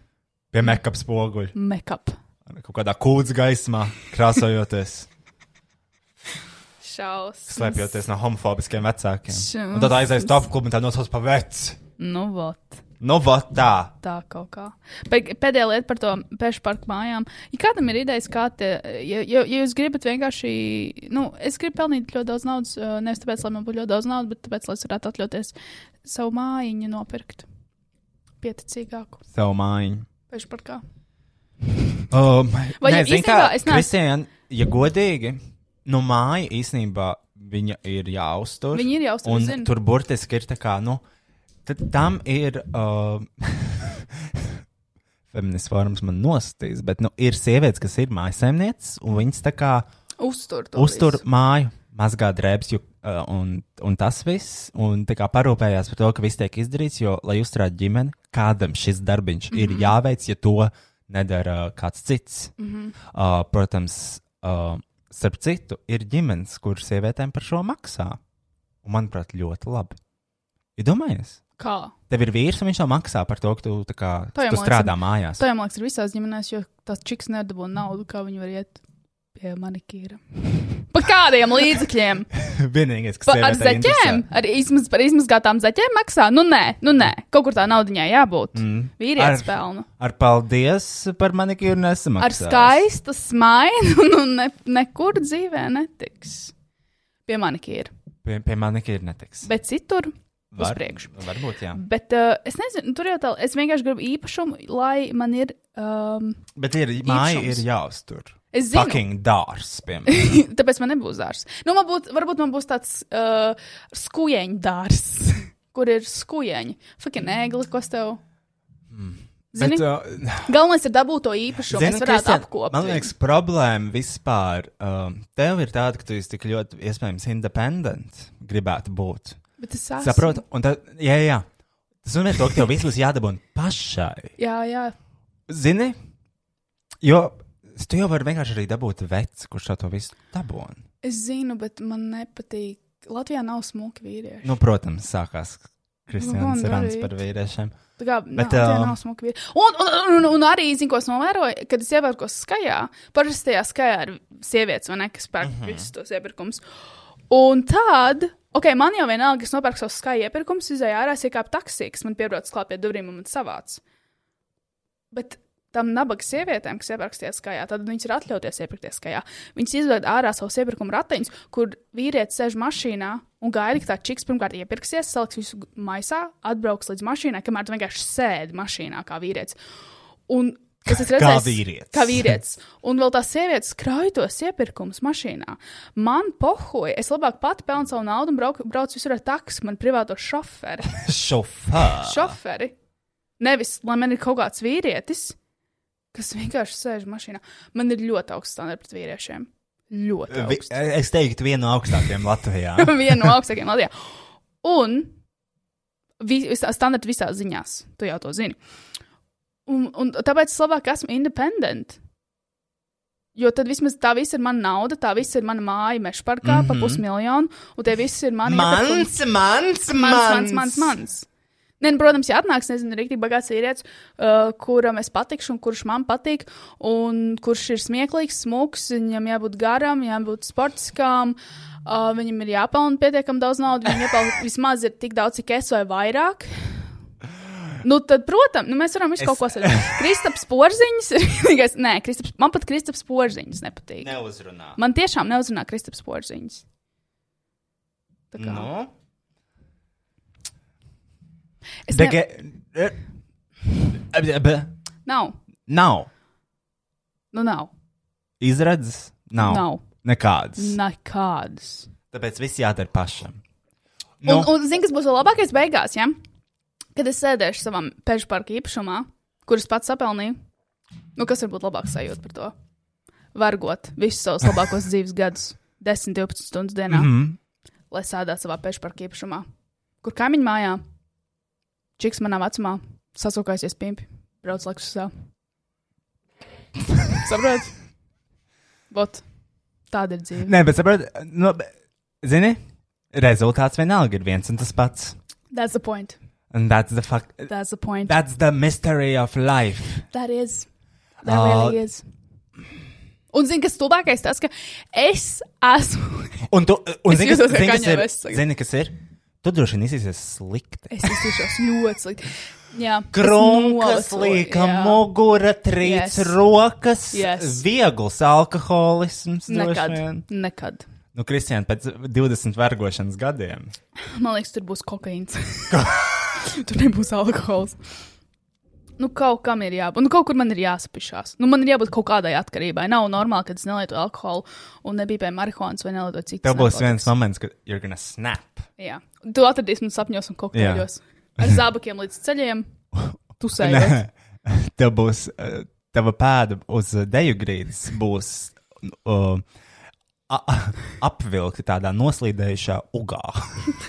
Pie make-up spoguļa. make-up. Kaut kādā kūdas gaismā, krāsojoties, Šausmas. slēpjoties no homofobiskiem vecākiem. Šausmas. Un tad aizies top klubu un tā nosauc pa veci. Nu, vot, Nu, vat tā. tā kaut kā. Pe- Pēdējā lieta par to pešu parku mājām. Ja kādam ir idejas, kā te, ja, ja, ja jūs gribat vienkārši, nu, es gribu pelnīt ļoti daudz naudas, eh, nevis tāpēc, lai man būtu ļoti daudz naudas, bet tāpēc, lai es varētu atļauties savu mājiņu nopirkt pieticīgāku Savu mājiņu. pešu parkā. Um, Vai, nē, ja zini īstenībā kā, es neesmu- Kristian, ja godīgi, nu, māja īstenībā viņa ir jāuztur. Viņa ir jāuztur, Un es zinu. tur burtiski ir tā kā, nu, tad tam ir. Uh, Feminists forums man nostīs, bet nu, ir sievietes, kas ir mājsaimnieces, un viņas tā kā Uztur to. uztur visu. māju, mazgā drēbes, uh, un, un tas viss, un tā kā parūpējās par to, ka viss tiek izdarīts, jo, lai uzturētu ģimeni, kādam šis darbiņš mm -hmm. Mhm. ir jāveic, ja to nedara uh, kāds cits. Mm Mhm. -hmm. uh, protams, uh, starp citu, ir ģimenes, kuras sievietēm par šo maksā. Un, manuprāt, ļoti labi. Iedomājies, Kā? tev ir vīrs, un viņš tev maksā par to, ka tu, tā kā, Tā jau tu man strādā mājās. Tā jau man liekas, ir visās ģimenēs, jo tas čiks nedabū naudu, kā viņi var iet pie manikīra. Pa kādiem līdzekļiem? Vienīgais, kas Pa, tev ar zeķēm, ar, izmaz, ar izmazgātām zeķēm maksā. Nu, nē, nu, nē. kaut kur tā naudai jābūt. Mm. Vīrietis Ar- pelna. Ar paldies par manikīru nesamaksā. Ar skaistu smaidu, nu, ne, nekur dzīvē netiks. Pie manikīra. Pie, pie manikīra netiks. Bet citur. Var- priekšu. Varbūt, jā. Bet uh, es nezinu, tur jau tā, es vienkārši gribu īpašumu, lai man ir. Um, Bet ir, māja Īpašums. ir jāuztur. Es zinu, Fucking dārs, piemēram. tāpēc man nebūs dārsts. Nu, man būt, varbūt man būs tāds uh, skūjeņu dārsts, kur ir skūjeņi. Fucking ēgli, kas tev. Zini? Bet, uh, Galvenais ir dabūt to īpašumu, Zini, kas varētu Kristian, apkopot. Man liekas, problēma vispār um, tev ir tāda, ka tu esi tik ļoti, iespējams, independents gribētu būt. bet es esmu. Saprotu, un tad, jā, jā. Tas nozīmē, to, ka tev viss būs jādabūna pašai. Jā, jā. Zini, jo s- tu jau vari vienkārši arī dabūt vecu, kurš tev to visu dabūna. Es zinu, bet man nepatīk. Latvijā nav smuki vīrieši. Nu, protams, sākās Kristians Nu, man Rans arī. par vīriešiem. Tā kā Bet, bet, nav, um, um... nav smuki vīrieši. Un, un, un, un arī, zinu, ko es novēroju, kad es iepērkos skajā. Parasti tajā skajā ir sievietes, vai ne, kas pērk Mhm. uh -huh. visus tos iepirkumus. Un tad, ok, man jau vienalga, es nopērku savus skaju iepirkumus, izēju ārā, iekāpu taksī, kas man piebrauc klāt pie durvīm un man savāc. Bet tam nabaga sievietēm, kas iepirkties skajā, tad viņas ir atļauties iepirkties skajā. Viņas izved ārā savus iepirkuma ratiņus, kur vīrietis sēž mašīnā un gaida, ka tā čiks pirmkārt iepirksies, saliks visu maisā, atbrauks līdz mašīnai, kamēr tu vienkārši sēdi mašīnā kā vīrietis. Un kas es redzēju? vīrietis. Kā vīrietis. Un vēl tās sievietes krāj tos iepirkumus mašīnā. Man pohoja, es labāk pati pelnu savu naudu un braucu, braucu visur ar taksi, man privāto šoferi Šofā. šoferi. Nevis, lai man ir kaut kāds vīrietis, kas vienkārši sēž mašīnā. Man ir ļoti augsts standarts pret vīriešiem. Ļoti Vi, augsts. es teiktu, viena no augstākajām Latvijā. Viena no augstākajām Latvijā. Un vi, visā- standarti visā ziņās, tu jau to zini. Un, un tāpēc es labāk esmu independent. Jo tad vismaz tā viss ir mana nauda, tā viss ir mana māja, meža parkā, mm -hmm. pa pusmiljonu, un tie visi ir mani. iepirkumi. Mans, mans, mans, mans, mans. mans. Nē, nu, protams, ja atnāks, nezinu, rīktīgi bagāts vīrietis, uh, kuram es patikšu, un kurš man patīk, un kurš ir smieklīgs, smūgs, viņam jābūt garam, jābūt sportiskām, uh, viņam ir jāpelnā pietiekami daudz naudas, viņam jāpelnā vismaz ir tik daudz, cik es vai vairāk. Nu, tad, protams, nu, mēs varam visu es... kaut ko sasprāstīt. Kristaps Porziņš ir vienīgais. Nē, Kristaps, man pat Kristaps Porziņš nepatīk. Ne. Neuzrunā. Man tiešām neuzrunā Kristaps Porziņš. Tā kā. Nu? Es ne- Dege... e, e, be- Nav. Nav. Nu, nav. Izredzes nav. Nav. Nekādas. Nekādas. Tāpēc viss jādara pašam. Nu. Un, un zini, kas būs vēl labākais beigās, ja? Kad es sēdēšu savā peļu parka īpašumā, kuras pats sapelnīju, nu kas var būt labāks sajūta par to? Vargot visus savus labākos dzīves gadus, 10, 12 stundas dienā, mm -hmm. Mm. lai sēdētu savā peļu parka īpašumā, kur kaimiņu mājā čiks manā vecumā sasaukaisies pimpi, brauc laikus uz sev. Saprotiet? Vot, tāda ir dzīve. Nē, bet saproti, nu, be- zini, rezultāts vienalga ir viens un tas pats. That's the point. And that's the fuck. That's the point. That's the mystery of life. That is. That Ā. uh, really is. Un zini, kas tuvākais tas, ka es esmu. Un tu, un Es zini, kas, jūtos kā zini, kas Kanye ir? West tagad. Zini, kas ir? Tu droši vien izsies slikti. es izturos ļoti slikti. Jā, es Krunkas, novecoju, līka, jā. mugura, trīc, Yes. rokas, Yes. viegls alkoholisms. droši Nekad. vien. Nekad. Nu, Kristian, pēc 20 vergošanas gadiem. Man liekas, tur būs kokaīns. tur nebūs alkohols. Nu, kaut kam ir jābūt. Nu, kaut kur man ir jāsapišās. Nu, man ir jābūt kaut kādai atkarībai. Nav normāli, kad es nelietoju alkoholu un nebija pie marihuānas vai nelietoju citas. Tev būs narkotikas. viens moments, kad you're gonna snap. Jā, tu atradīsi man sapņos un kokteļos. Ar zābakiem līdz ceļiem. Tu sēdi. Tev būs, uh, tava pēda uz uh, deju grīdas būs uh, a- apvilkta tādā noslīdējušā ugā.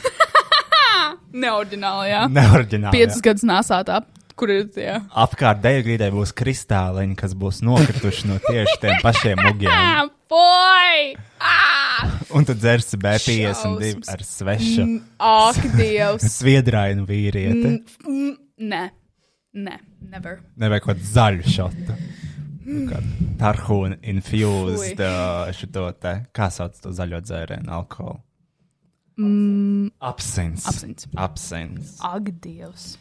Neordināli, jā. Neorģināli. Piecas gadus nesātā, kur ir tie. Apkārt deju grīdai būs kristāliņi, kas būs nokrituši no tieši tiem pašiem ugiem. Ah, boy! Ah! Un tu dzersi B52 Šausmas. ar svešu, Ak, Dievs! sviedrāinu vīrieti, Mm, Nē, nē, never. nevajag kaut kādu zaļu šotu. Tarhūna infused Mm. Fui. uh, šito te, kā sauc to zaļo dzērienu, alkoholu. Mm. Absins. Absints. Absins. Ak, Dievs!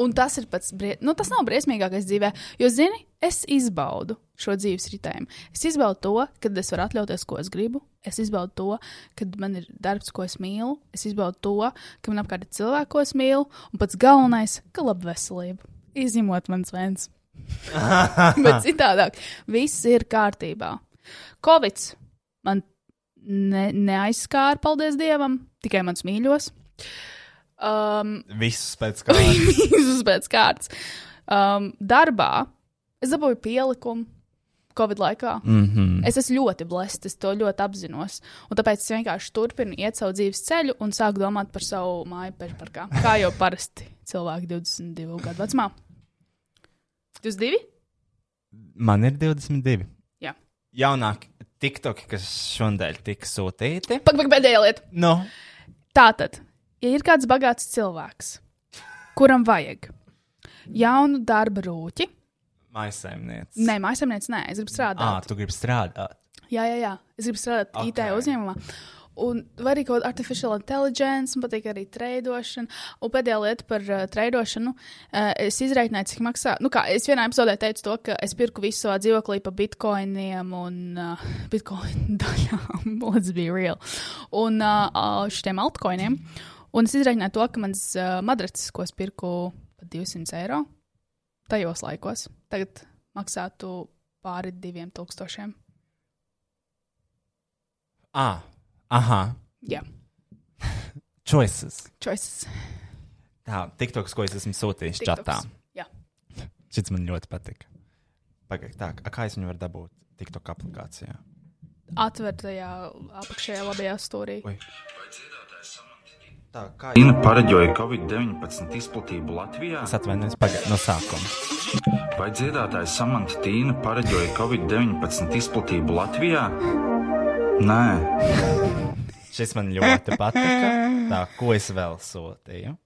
Un tas ir pats, brie... nu, tas nav briesmīgākais dzīvē, jo, zini, es izbaudu šo dzīves ritējumu. Es izbaudu to, kad es varu atļauties, ko es gribu. Es izbaudu to, kad man ir darbs, ko es mīlu. Es izbaudu to, ka man apkārt ir cilvēki, ko es mīlu. Un pats galvenais, ka laba veselība. Izņemot mans vēns. Bet citādāk, viss ir kārtībā. Covid man ne, neaizskāra, paldies Dievam, tikai mans mīļos. Um, Visus pēc kā. Visus pēc kārtas. Um, darbā es dabūju pielikumu Covid laikā. mm -hmm. Es esmu ļoti blēsts, es to ļoti apzinos. Un tāpēc es vienkārši turpinu iet savu dzīves ceļu un sāku domāt par savu māju pērkā. Kā jau parasti cilvēki 22 gadu vecumā. 22? Man ir 22. Jā. Jaunākie tiktoki, kas šodien tika sūtīti. Pag, pag, pēdējā lieta. Nu, Tātad, ja ir kāds bagāts cilvēks, kuram vajag jaunu darba rūķi, maisaimniece. nē, mājasemnieks, nē, es gribu À, strādāt. tu gribi strādāt. Jā, jā, jā. Es gribu strādāt okay. IT Ok. uzņēmumā. Un vai arī kaut kāda artificial intelligence, man patīk arī trēdošana. Un pēdējā lieta par uh, trēdošanu. Uh, es izreikināju, cik maksā. Nu, kā es vienā epizodē teicu, to, ka es pirku visu savā dzīvoklī par bitkoiniem un uh, bitkoinu daļām. Let's be real. Un uh, uh, šiem altkoiniem. Un es izreikināju to, ka mans uh, madracis, ko es pirku par 200 eiro, tajos laikos, tagad maksātu pāri 2000. Ah, aha. Jā. Choices. Choices. Tā, tiktoks, ko es esmu sūtījis TikToks. čatā. Jā. Šis man ļoti patika. Pagaid, tā, a kā es viņu varu dabūt tiktok aplikācijā? Atvērtajā apakšējā labajā stūrī. Oi. Tā, kā Ina pareģoja Covid-19 izplatību Latvijā, es atvainojos pagaid, no sākuma. vai dziedātāja Samants Tīna pareģoja Covid-19 izplatību Latvijā? Nē, Šis man ļoti patika. Tā, ko es vēl sūtīju?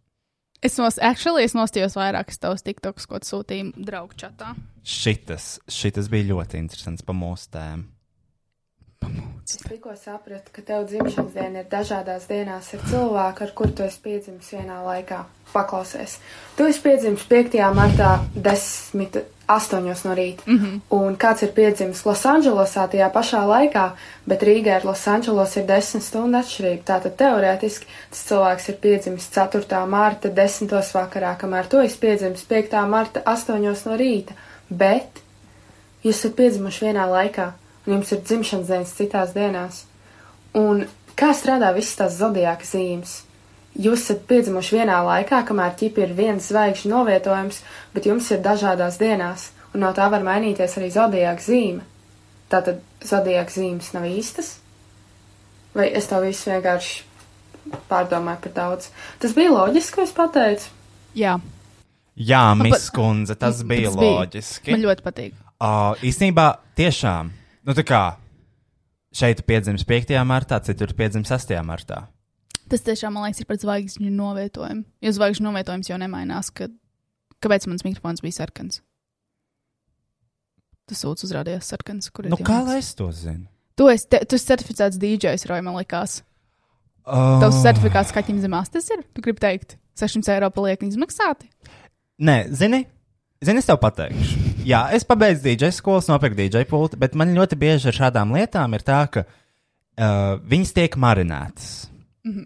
Es nos, actually, es nostījos vairākas tavas tiktoks, ko tu sūtīji draugu čatā. Šitas, šitas bija ļoti interesants par mūsu tēmu. Es tikko sapratu, ka tev dzimšanas diena ir dažādās dienās ar cilvēku, ar kuru tu esi piedzimis vienā laikā. Paklausies. Tu esi piedzimis 5. martā, 10. 8. no rīta. Mm -hmm. Un kāds ir piedzimis Losandželosā tajā pašā laikā, bet Rīgā ar Losandželos ir 10 stundu atšķirība. Tātad teorētiski tas cilvēks ir piedzimis 4. marta, 10. vakarā, kamēr tu esi piedzimis 5. marta, 8. no rīta. Bet Jūs esat piedzimuši vienā laikā, un jums ir dzimšanas dienas citās dienās. Un kā strādā visas tās zodiāka zīmes? Jūs esat piedzimuši vienā laikā, kamēr ķipi ir viens zvaigžņu novietojums, bet jums ir dažādās dienās, un no tā var mainīties arī zodiāka zīme. Tātad zodiāka zīmes nav īstas? Vai es to visu vienkārši pārdomāju par daudz? Tas bija loģiski, ko es pateicu. Jā, Jā, Nu, Miss bet- Kundze, tas bija tas loģiski. Man ļoti patīk. Uh, īstenībā, tiešām, nu tā kā šeit ir piedzimis 5. martā, citur piedzimis 6. martā. Tas tiešām man liekas ir par zvaigžņu novietojumu. Jo zvaigžņu novietojums jau nemainās, kad... kāpēc mans mikrofons bija sarkans. Tas sūds uzrādījās sarkans, kur ir. Nu, kā lai diamants. es to zinu? Tu esi, te, tu esi certificēts DJs, Roja, man liekas. Uh, Tavs certifikāts kaķim zemās tas ir. Tu gribi teikt, 600 eiro paliek izmaksāti. Nē, zini, zini, es tev pateikšu. Jā, es pabeidzu DJ skolas, nopirku DJ pultu, bet man ļoti bieži ar šādām lietām ir tā, ka uh, viņas tiek marinētas.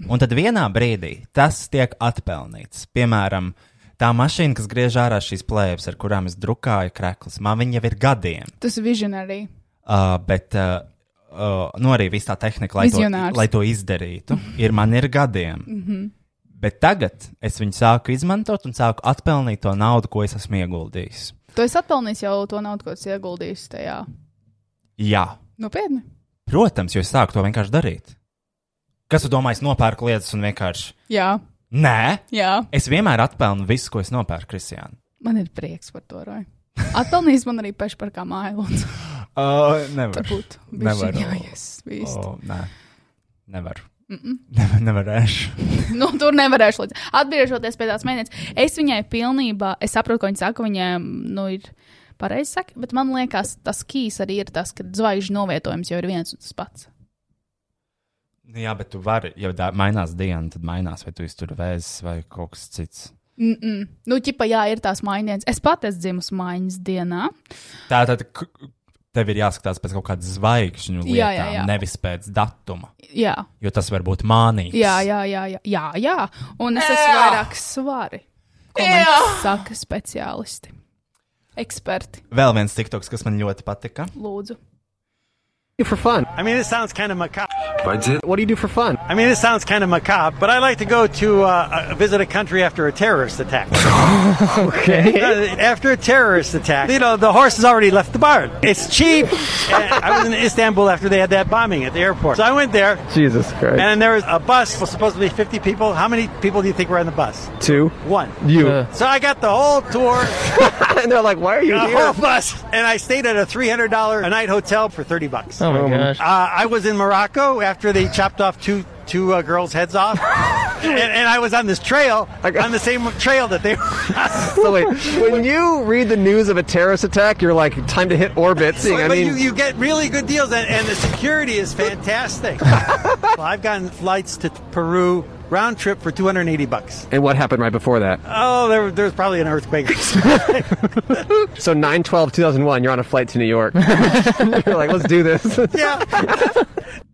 Un tad vienā brīdī tas tiek atpelnīts. Piemēram, tā mašīna, kas griež ārā šīs plēves, ar kurām es drukāju krāklus, man viņa jau ir gadiem. Tas ir visionārī. Uh, bet uh, uh, nu arī viss tā tehnika, lai to, Vizionārs. Mhm. lai to izdarītu, ir man ir gadiem. Bet tagad es viņu sāku izmantot un sāku atpelnīt to naudu, ko es esmu ieguldījis. Tu esi atpelnījis jau to naudu, ko esi ieguldījis tajā. Jā, Nopietni. protams, jo es sāku to vienkārši darīt. Kas tu domā, es nopērku lietas un vienkārši. Jā, Nē, jā. es vienmēr atpelnu visu, ko es nopērku, Kristiāna. Man ir prieks par to, Roja. Atpelnījis man arī peši par kā māju. Lūdzu, Uh, nevar. varbūt. Nevaru. Bišķiņ, Jā, yes, viss. Oh, nē, nevaru. Nevar, nevarēšu. nu, tur nevarēšu līdz. Atgriežoties pie tās mēnesis, es viņai pilnībā, es saprotu, ko viņa saka, viņai nu, ir pareizi saka, bet man liekas, tas kīs arī ir tas, ka zvaigžņu novietojums jau ir viens un tas pats. Nu, jā, bet tu vari, ja tā mainās diena, tad mainās, vai tu iztur vēzis vai kaut kas cits. Mm -mm. Nu, ķipa, jā, ir tās maiņas. Es pat esmu dzimusi maiņas dienā. Tā tad k- tev ir jāskatās pēc kaut kādas zvaigžņu lietām, Jā, jā, jā. nevis pēc datuma, Jā, jo tas var būt mānīgs. Jā, jā, jā, jā, jā, jā. un es esmu vairāk svari. Ko man saka speciālisti? Eksperti, Vēl viens tiktoks, kas man ļoti patika. lūdzu. do for fun? I mean, this sounds kind of macabre. Vai dzied- What do you do for fun? I mean, this sounds kind of macabre, but I like to go to uh, uh, visit a country after a terrorist attack. Uh, Okay. after a terrorist attack, you know, the horse has already left the barn. It's cheap. And I was in Istanbul after they had that bombing at the airport. So I went there, Jesus Christ. and there was a bus with supposedly 50 people. How many people do you think were on the bus? Two. One. You. So I got the whole tour, and they're like, why are you the here? whole bus, and I stayed at a $300 a night hotel for 30 bucks. Oh my Um, gosh. Uh, I was in Morocco after they chopped off two two uh, girls' heads off, and, and I was on this trail I got- on the same trail that they were. on. So wait, when you read the news of a terrorist attack, you're like, time to hit orbit. Seeing, I but you, mean, you get really good deals, and, and the security is fantastic. well, I've gotten flights to Peru round trip for 280 bucks. and what happened right before that? Oh, there, there was probably an earthquake. or something. So 9-12-2001, you're on a flight to New York. you're like, let's do this. yeah,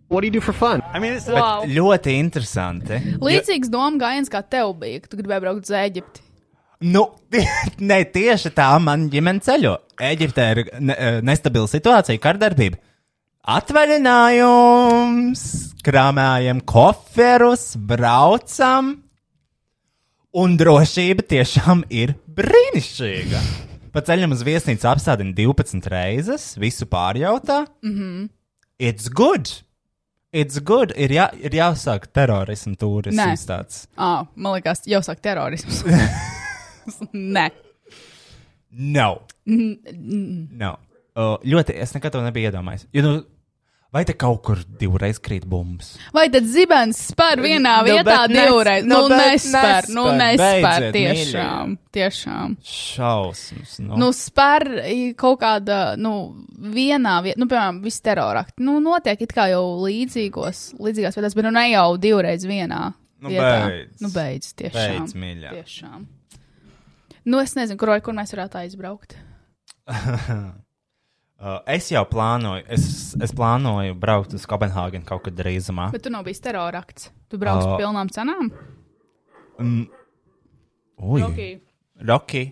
what do you do for fun? I mean, it's Wow. Ļoti interesanti. Līdzīgs doma gājiens kā tev bija, kad tu gribēji braukt uz Eģipti. Nu, ne tieši tā man ģimene ceļo. Eģiptē ir ne, eh, nestabila situācija, kārdarbība. Atvaļinājums, krāmējam koferus, braucam, un drošība tiešām ir brīnišķīga. Pa ceļam uz viesnīcu apstādina 12 reizes, visu pārjautā. Mm -hmm. It's good! It's good! Ir, jā, ir jāsāk terorismu turisms Nē. tāds. Ah, man liekas, jau sāk terorisms. Nē, Nav. Mm-hmm. Nav. Uh, ļoti, es nekad to nebiju iedomājies. Jo, nu, vai te kaut kur divreiz krīt bumbas? vai tad zibens spēr vienā Nu, vietā bet nec- divreiz? nu, Nu, bet nespēr, nu, nespēr. nespēr, Beidziet, tiešām, tiešām. Šausmas. Nu. Nu, spēr i- kaut kāda, nu, vienā vietā, nu, piemēram, viss terorakti. Nu, notiek it kā jau līdzīgos, līdzīgās vietās, bet nu ne jau divreiz vienā. Nu, vietā. beidz. Nu, beidz, tiešām. Beidz, mīļā. Tiešām. Nu, es nezinu, kur, kur mēs varētu aizbraukt. Uh, es jau plānoju, es, es plānoju braukt uz Kopenhāgenu kaut kad drīzumā. Bet tu nav bijis terorakts. Tu brauc Ā. par pilnām cenām? Ui, Okay. Roki.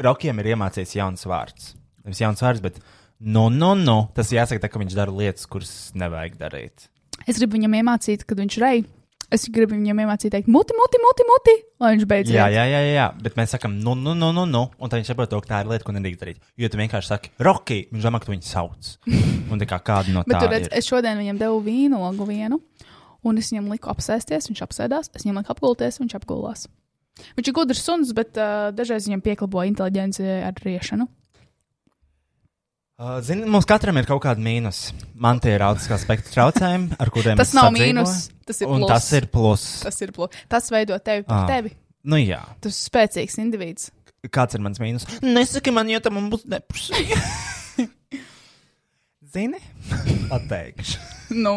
Rokiem ir iemācījies jauns vārds. Nevis jauns vārds, bet no, no, no. Tas jāsaka, tā, ka viņš dara lietas, kuras nevajag darīt. Es gribu viņam iemācīt, kad viņš rei. Es gribu viņam iemācīt, teikt, muti, muti, muti, muti lai viņš beidzas. Jā, jā, jā, jā, jā, bet mēs sakām, nu, nu, nu, nu, nu. un tā viņš saprot, to, ka tā ir lieta, ko nedrīkst darīt. Jo tu vienkārši saki, roki, viņš domā, ka tu viņu sauc. Un tā kā kādu no Bet tām tur redz, es šodien viņam devu vīnogu vienu, un es viņam liku apsēsties, viņš apsēdās, es viņam liku apgulties, viņš apgulās. Viņš ir gudrs suns, bet uh, dažreiz viņam pieklabo inteliģence ar riešanu. Uh, zini, mums katram ir kaut kāda mīnus. Man tie ir autiskā spektra traucējumi, ar kuriem Tas es nav sadzīvoju. mīnus, tas ir un plus. tas ir pluss. Tas ir plūks. Tas veido tevi Ā. par tevi. Nu, jā, Tu esi spēcīgs individs. kāds ir mans mīnus? Nesaki man, jo tam man būs neprasīgi. zini, pateikšu. Nu,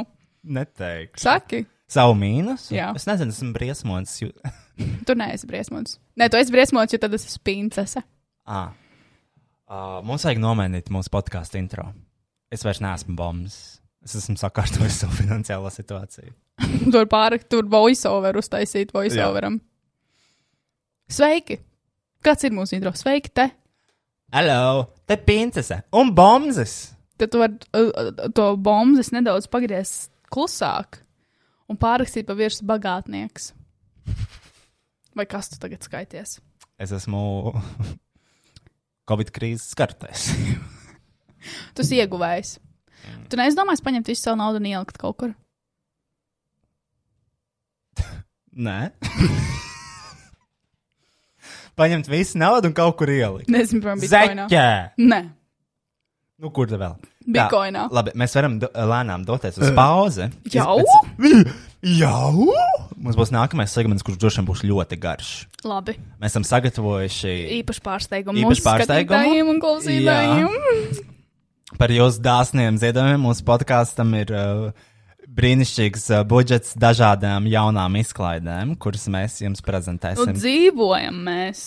Neteikšu. saki, Savu mīnusu? Jā. Es nezinu, esmu briesmonis. Jū... tu neesi briesmots. Nē, tu esi briesmots, jo tad es esmu princese. Ah. Uh, mums vajag nomainīt mūsu podkāstu intro. Es vairs neesmu bombs. Es esmu sakārtojis savu finansiālo situāciju. Tur pārāk tur voiceover uztaisīt voiceoveram. Sveiki! Kāds ir mūsu intro? Sveiki! Te. Hello! Te princese un bombzes! Tad tu vari uh, uh, to bombu nedaudz pagriezt klusāk un pārrakstīt pa virsmu bagātnieks. Vai kas tu tagad skaities? Es esmu Covid krīzes skartais. Tu esi ieguvējis. Tu neizdomājies paņemt visu savu naudu un ielikt kaut kur. Nē. Paņemt visu naudu un kaut kur ielikt. Nezinu, piemēram, bitkoinā. Zeķē! Nē, Nu, kur tad vēl? Tā, bitkoinā. Labi, mēs varam do, lēnām doties uz pauzi. Jau? Jau? Mums būs nākamais segments, kurš droši vien būs ļoti garš. Labi. Mēs esam sagatavojuši Īpaši pārsteigumu. Īpaši mūsu pārsteigumu? skatītājiem un klausītājiem. par jūsu dāsniem ziedojumiem. Mūsu podkāstam ir uh, brīnišķīgs uh, budžets dažādām jaunām izklaidēm, kuras mēs jums Nu, prezentēsim. dzīvojam mēs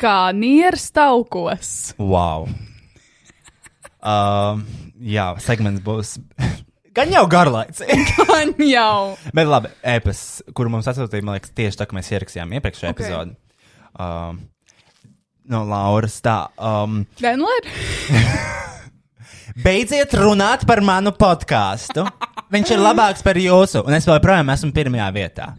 kā nieras taukos. Wow! Uh, jā, segments būs. Gan jau garlaicīgi. Man jau. Bet labi, epis, kuru mums atsūtīja, man liekas, tieši tā, kā mēs ierakstījām iepriekšējā Ok. okay. epizodē. nu, nu Um, no Lauras tā. Um, Denler? Beidziet runāt par manu podkāstu. Viņš ir labāks par jūsu, un es joprojām esmu pirmajā vietā.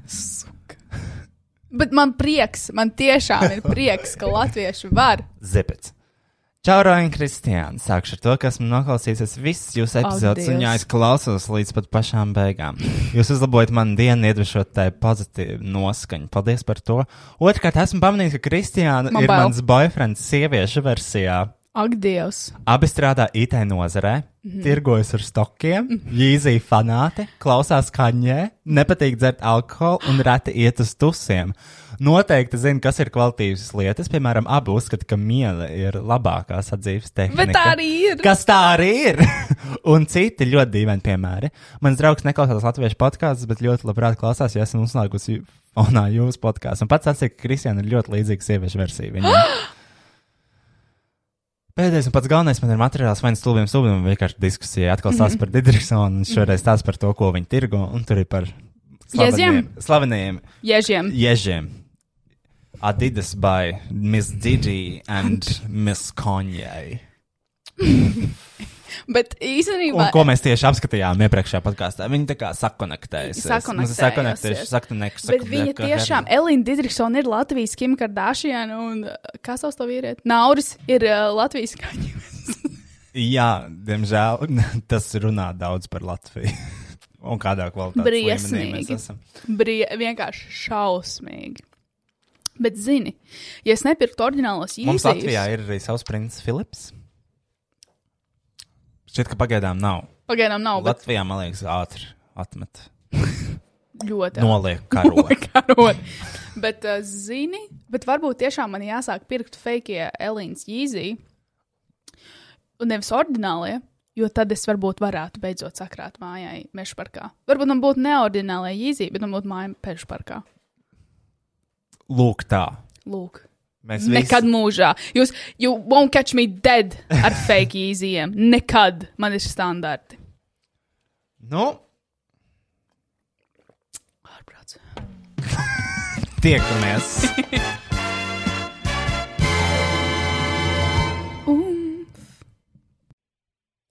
Bet man prieks, man tiešām ir prieks, ka latvieši var. Zipets. Čau, Roja Kristiāna. Sākšu ar to, ka esmu noklausījies visas jūsu epizodes, oh, un Dievs. jā, es klausos līdz pat pašām beigām. Jūs uzlabojat manu dienu, iedvešot tai pozitīvu noskaņu. Paldies par to. Otrkārt, esmu pamanījis, ka Kristiāna Man ir bail. mans boyfriends sieviešu versijā. Ak, Dievs! Abi strādā IT nozarē, Mhm. tirgojas ar stokiem, jūzija fanāti, klausās kaņē, nepatīk dzert alkoholu un reti iet uz tusiem. Noteikti zina, kas ir kvalitīvas lietas. Piemēram, abi uzskata, ka miela ir labākā sadzīves tehnika. Bet tā arī ir. Kas tā arī ir? un citi ļoti dīvaini piemēri. Mans draugs neklausās latviešu podkāstus, bet ļoti labprāt klausās, ja esmu uzslēgusi fonā jūsu podkāstu. Un pats atsaka, ka Kristiāna ir ļoti līdzīga sieviešu versija. viņai. Pēdējais un pats galvenais man ir materiāls, vai nu stulbiem stulbiem, vai vienkārši diskusija. Atkal stāsta par Digitrisonu, un šoreiz stāsta par to, ko viņi tirgo, un tur ir par Jeziem? slaveniem- slaveniem Ježiem! ježiem. Adidas by Miss Didi and Miss Kanye. Bet Un īstenībā. ko mēs tieši apskatījām iepriekšējā podkāstā? Viņi tā kā sakonektējas. nu, Sakonektējusies. sakonektējas. Bet viņa tiešām, Elīna Digitrisona ir Latvijas Kim Kardashian, un uh, kā savs to vīrieti? Nauris ir uh, Latvijas kaņģis. Jā, diemžēl tas runā daudz par Latviju. Un kādā kvalitātē mēs Briesmīgi. esam. Brie, vienkārši šausmīgi. Bet, zini, ja es nepirktu oriģinālos Mums Latvijā īstenībā, ir arī savs princis Filips. Šķiet, ka pagaidām nav. pagaidām nav bet Latvijā, man liekas, ātri atmet. ļoti Noliek karogu. karot. Bet, uh, zini, bet varbūt tiešām man jāsāk pirkt fake Elīnas īzī, un nevis ordinālie, jo tad es varbūt varētu beidzot sakrāt mājai meža parkā. Varbūt man būtu neordinālie īzī, bet man būtu māja meža parkā. Lūk, tā. Lūk. Mēs Nekad mūžā. Jūs, you won't catch me dead ar fake īzijiem. Nekad man ir standarti. Nu, Ārprāts. tiekamies. Um,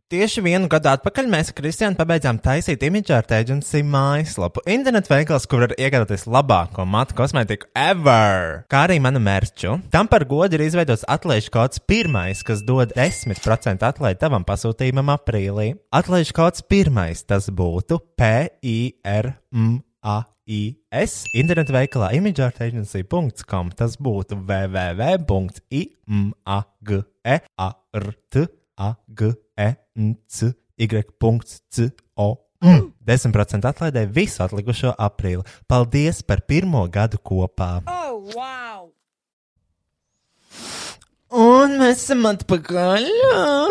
Tieši vienu gadu atpakaļ mēs ar Kristiānu pabeidzām taisīt imidžā ar tēģenci mājaslapu. Internet veikals, kur var iegādāties labāko matu kosmētiku ever, kā arī manu mērķu. Tam par godu ir izveidots atlaižu kods pirmais, kas dod 10% atlaidi tavam pasūtījumam aprīlī. Atlaižu kods pirmais tas būtu PIRMAIS internet veikalā imidžārtaģency.com. Tas būtu E www.imageart. E. A-G-E-N-C-Y.C-O. Mm. 10% atlaidē visu atlikušo aprīli. Paldies par pirmo gadu kopā! Oh, wow! Un mēs esam atpakaļ!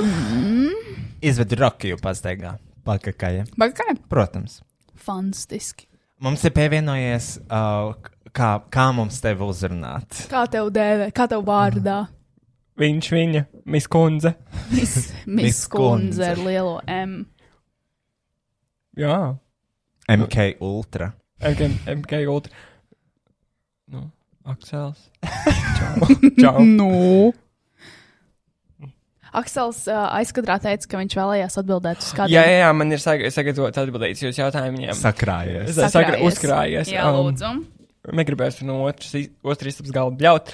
Mm. Izvedu Rukiju pastaigā. Pakaļ. Bagai. Protams. Fantastiski. Mums ir pievienojies, uh, k- kā, kā mums tevi uzrunāt. Kā tev dēvē, kā tev vārdā? Viņš viņa, miskundze. Miss, Miss Miss Kundze. Kundze ar lielo M. Jā, MK Ultra. MK, MK Ultra. Nu, Aksels. Čau. Čau. Nu. Aksels uh, aizkadrā teica, ka viņš vēlējās atbildēt uz kādu Jā, jā, jā, man ir sag- sagatavots atbildīgs jūsu jautājumiem. Sakrājies. Es saku, uzkrājies. Jā, um, lūdzu. Negribēs no otras, iz- otras istabas galda bļaut,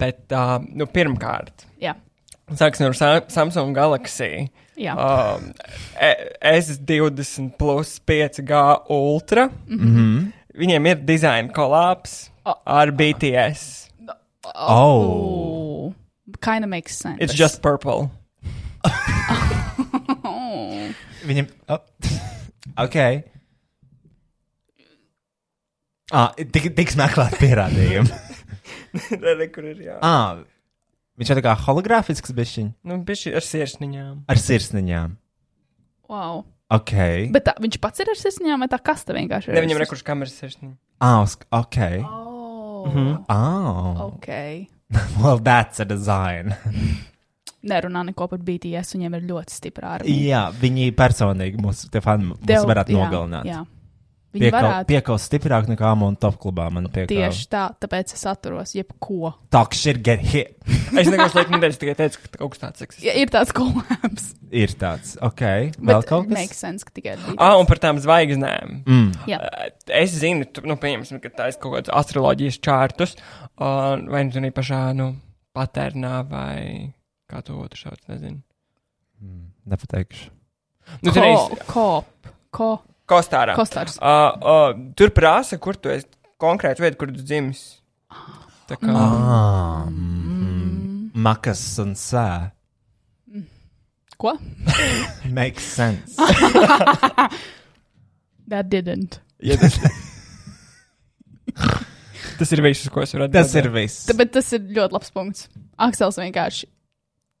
bet, uh, nu, pirmkārt, Jā, sāksim ar Sa- Samsung Galaxy. jā. Um, e- S20 plus 5G Ultra. Mm Mhm. -hmm. Viņiem ir dizaina kolāps ar BTS. Oh! Uh, Kinda makes sense. It's just purple. Oh. Viņam. Oh. ok. Ah, tik, tiks meklēt pierādījumi. Re, re, kur ir jā. ah, viņš ir tā kā hologrāfisks bišķiņš Nu, bišķi ar sirsniņām. ar sirsniņām. Wow. Ok. Bet... Bet tā, viņš pats ir ar sirsniņām, vai tā kasta vienkārši ir? Ne, viņam ir kurš kameras sirsniņa. Ah, uz, ok. Oh. Mm -hmm. Ah, Ok. well, that's a design. Nerunā neko par BTS, viņiem ir ļoti stipra armija. jā, viņi personīgi mūs, te fani, mūs varētu jā, nogalināt. Jā. Viņi Piekal, varētu piekal stiprāk nekā Amon top klubā. Man piekal. tieši tā, tāpēc es atturos jebko. Talk shit, get hit. Es neko sliktu nedēļu, tikai teicu, ka kaut kas tāds eksistē. Ja ir tāds kolēms. Ir tāds, ok. Vēl kaut kas. Makes sense, ka tikai ar Ah, dīdēm. un par tām zvaigznēm. Mm. Jā. Eh, Es zinu, tu, nu, pieņemsim, ka tā ir kaut kāda astroloģijas čārtus, un vai nu tur ir pašā, nu, patērnā vai kā to otru sauc, nezinu. Mm. Nepateikšu. Nu, tur ir ko, ko, kostārā. kostārs. Uh, uh, tur prasa, kur tu esi konkrēti vieta, kur tu dzimis. Tā kā. Ah, Mm-hmm. mm. Makas un sē. Ko? Makes sense. That didn't. ja tas, Tas ir viss, uz ko es varu atbildēt. tas ir viss. Ta- Bet tas ir ļoti labs punkts. Aksels vienkārši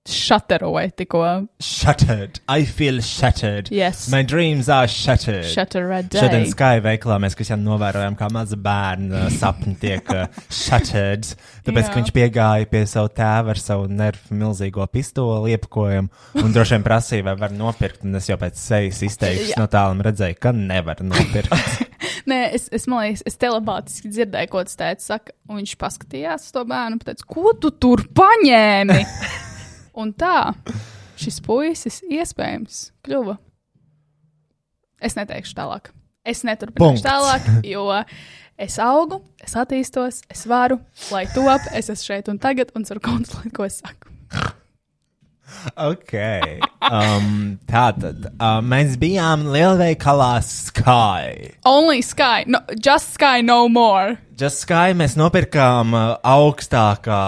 šateroja tikko. Shattered. I feel shattered. Yes. My dreams are shattered. Shattered Šodien day. Sky veiklā mēs visiem novērojām, kā maza bērna sapņi tiek uh, shattered. Tāpēc, Jā. ka viņš piegāja pie sava tēva ar savu nervu milzīgo pistoli, iepakojumu un droši vien prasīja, vai var nopirkt. Un es jau pēc sejas izteiksmes Jā. no tālum redzēju, ka nevar nopirkt. Nē, es, es man liekas, es telepātiski dzirdēju, ko tas teica. Saka, un viņš paskatījās uz to bērnu un teica, ko tu tur paņēmi? un tā šis puisis iespējams kļuva. Es neteikšu tālāk. Es neturpināšu Punkts. tālāk, jo es augu, es attīstos, es varu, lai top, es esmu šeit un tagad un ceru kontrolēt, ko es saku. ok. Um, Tātad uh, mēs bijām lielveikalā Sky. Only sky, no, just sky, no more. Just Sky mēs nopirkām uh, augstākā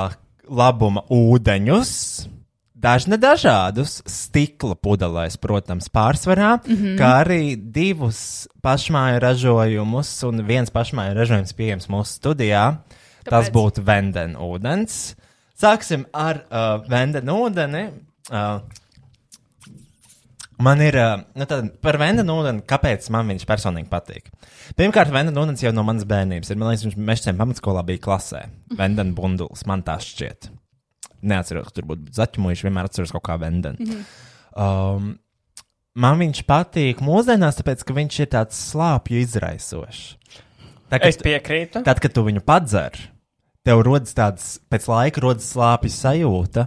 labuma ūdeņus. Dažne dažādus stikla pudelēs, protams, pārsvarā, mm -hmm. kā arī divus pašmāju ražojumus, un viens pašmāju ražojums pieejams mūsu studijā. Tāpēc? Tas Kāpēc? būtu vendena ūdens. Sāksim ar uh, vendena ūdeni. Uh, Man ir ā, nu, tad, par vendenu ūdeni, kāpēc man viņš personīgi patīk. Pirmkārt, vendenu ūdens jau no manas bērnības ir. Man liekas, viņš mežcēm pamatskolā bija klasē. Vendenu bundulis, man tā šķiet. Neatceros, ka tur būtu zaķumuši, vienmēr atceros kaut kā vendenu. Mm -hmm. um, man viņš patīk mūsdienās, tāpēc, ka viņš ir tāds slāpju izraisošs. Tā, kad Es piekrītu. Tad, kad tu viņu padzer, tev rodas tāds pēc laika rodas slāpju sajūta.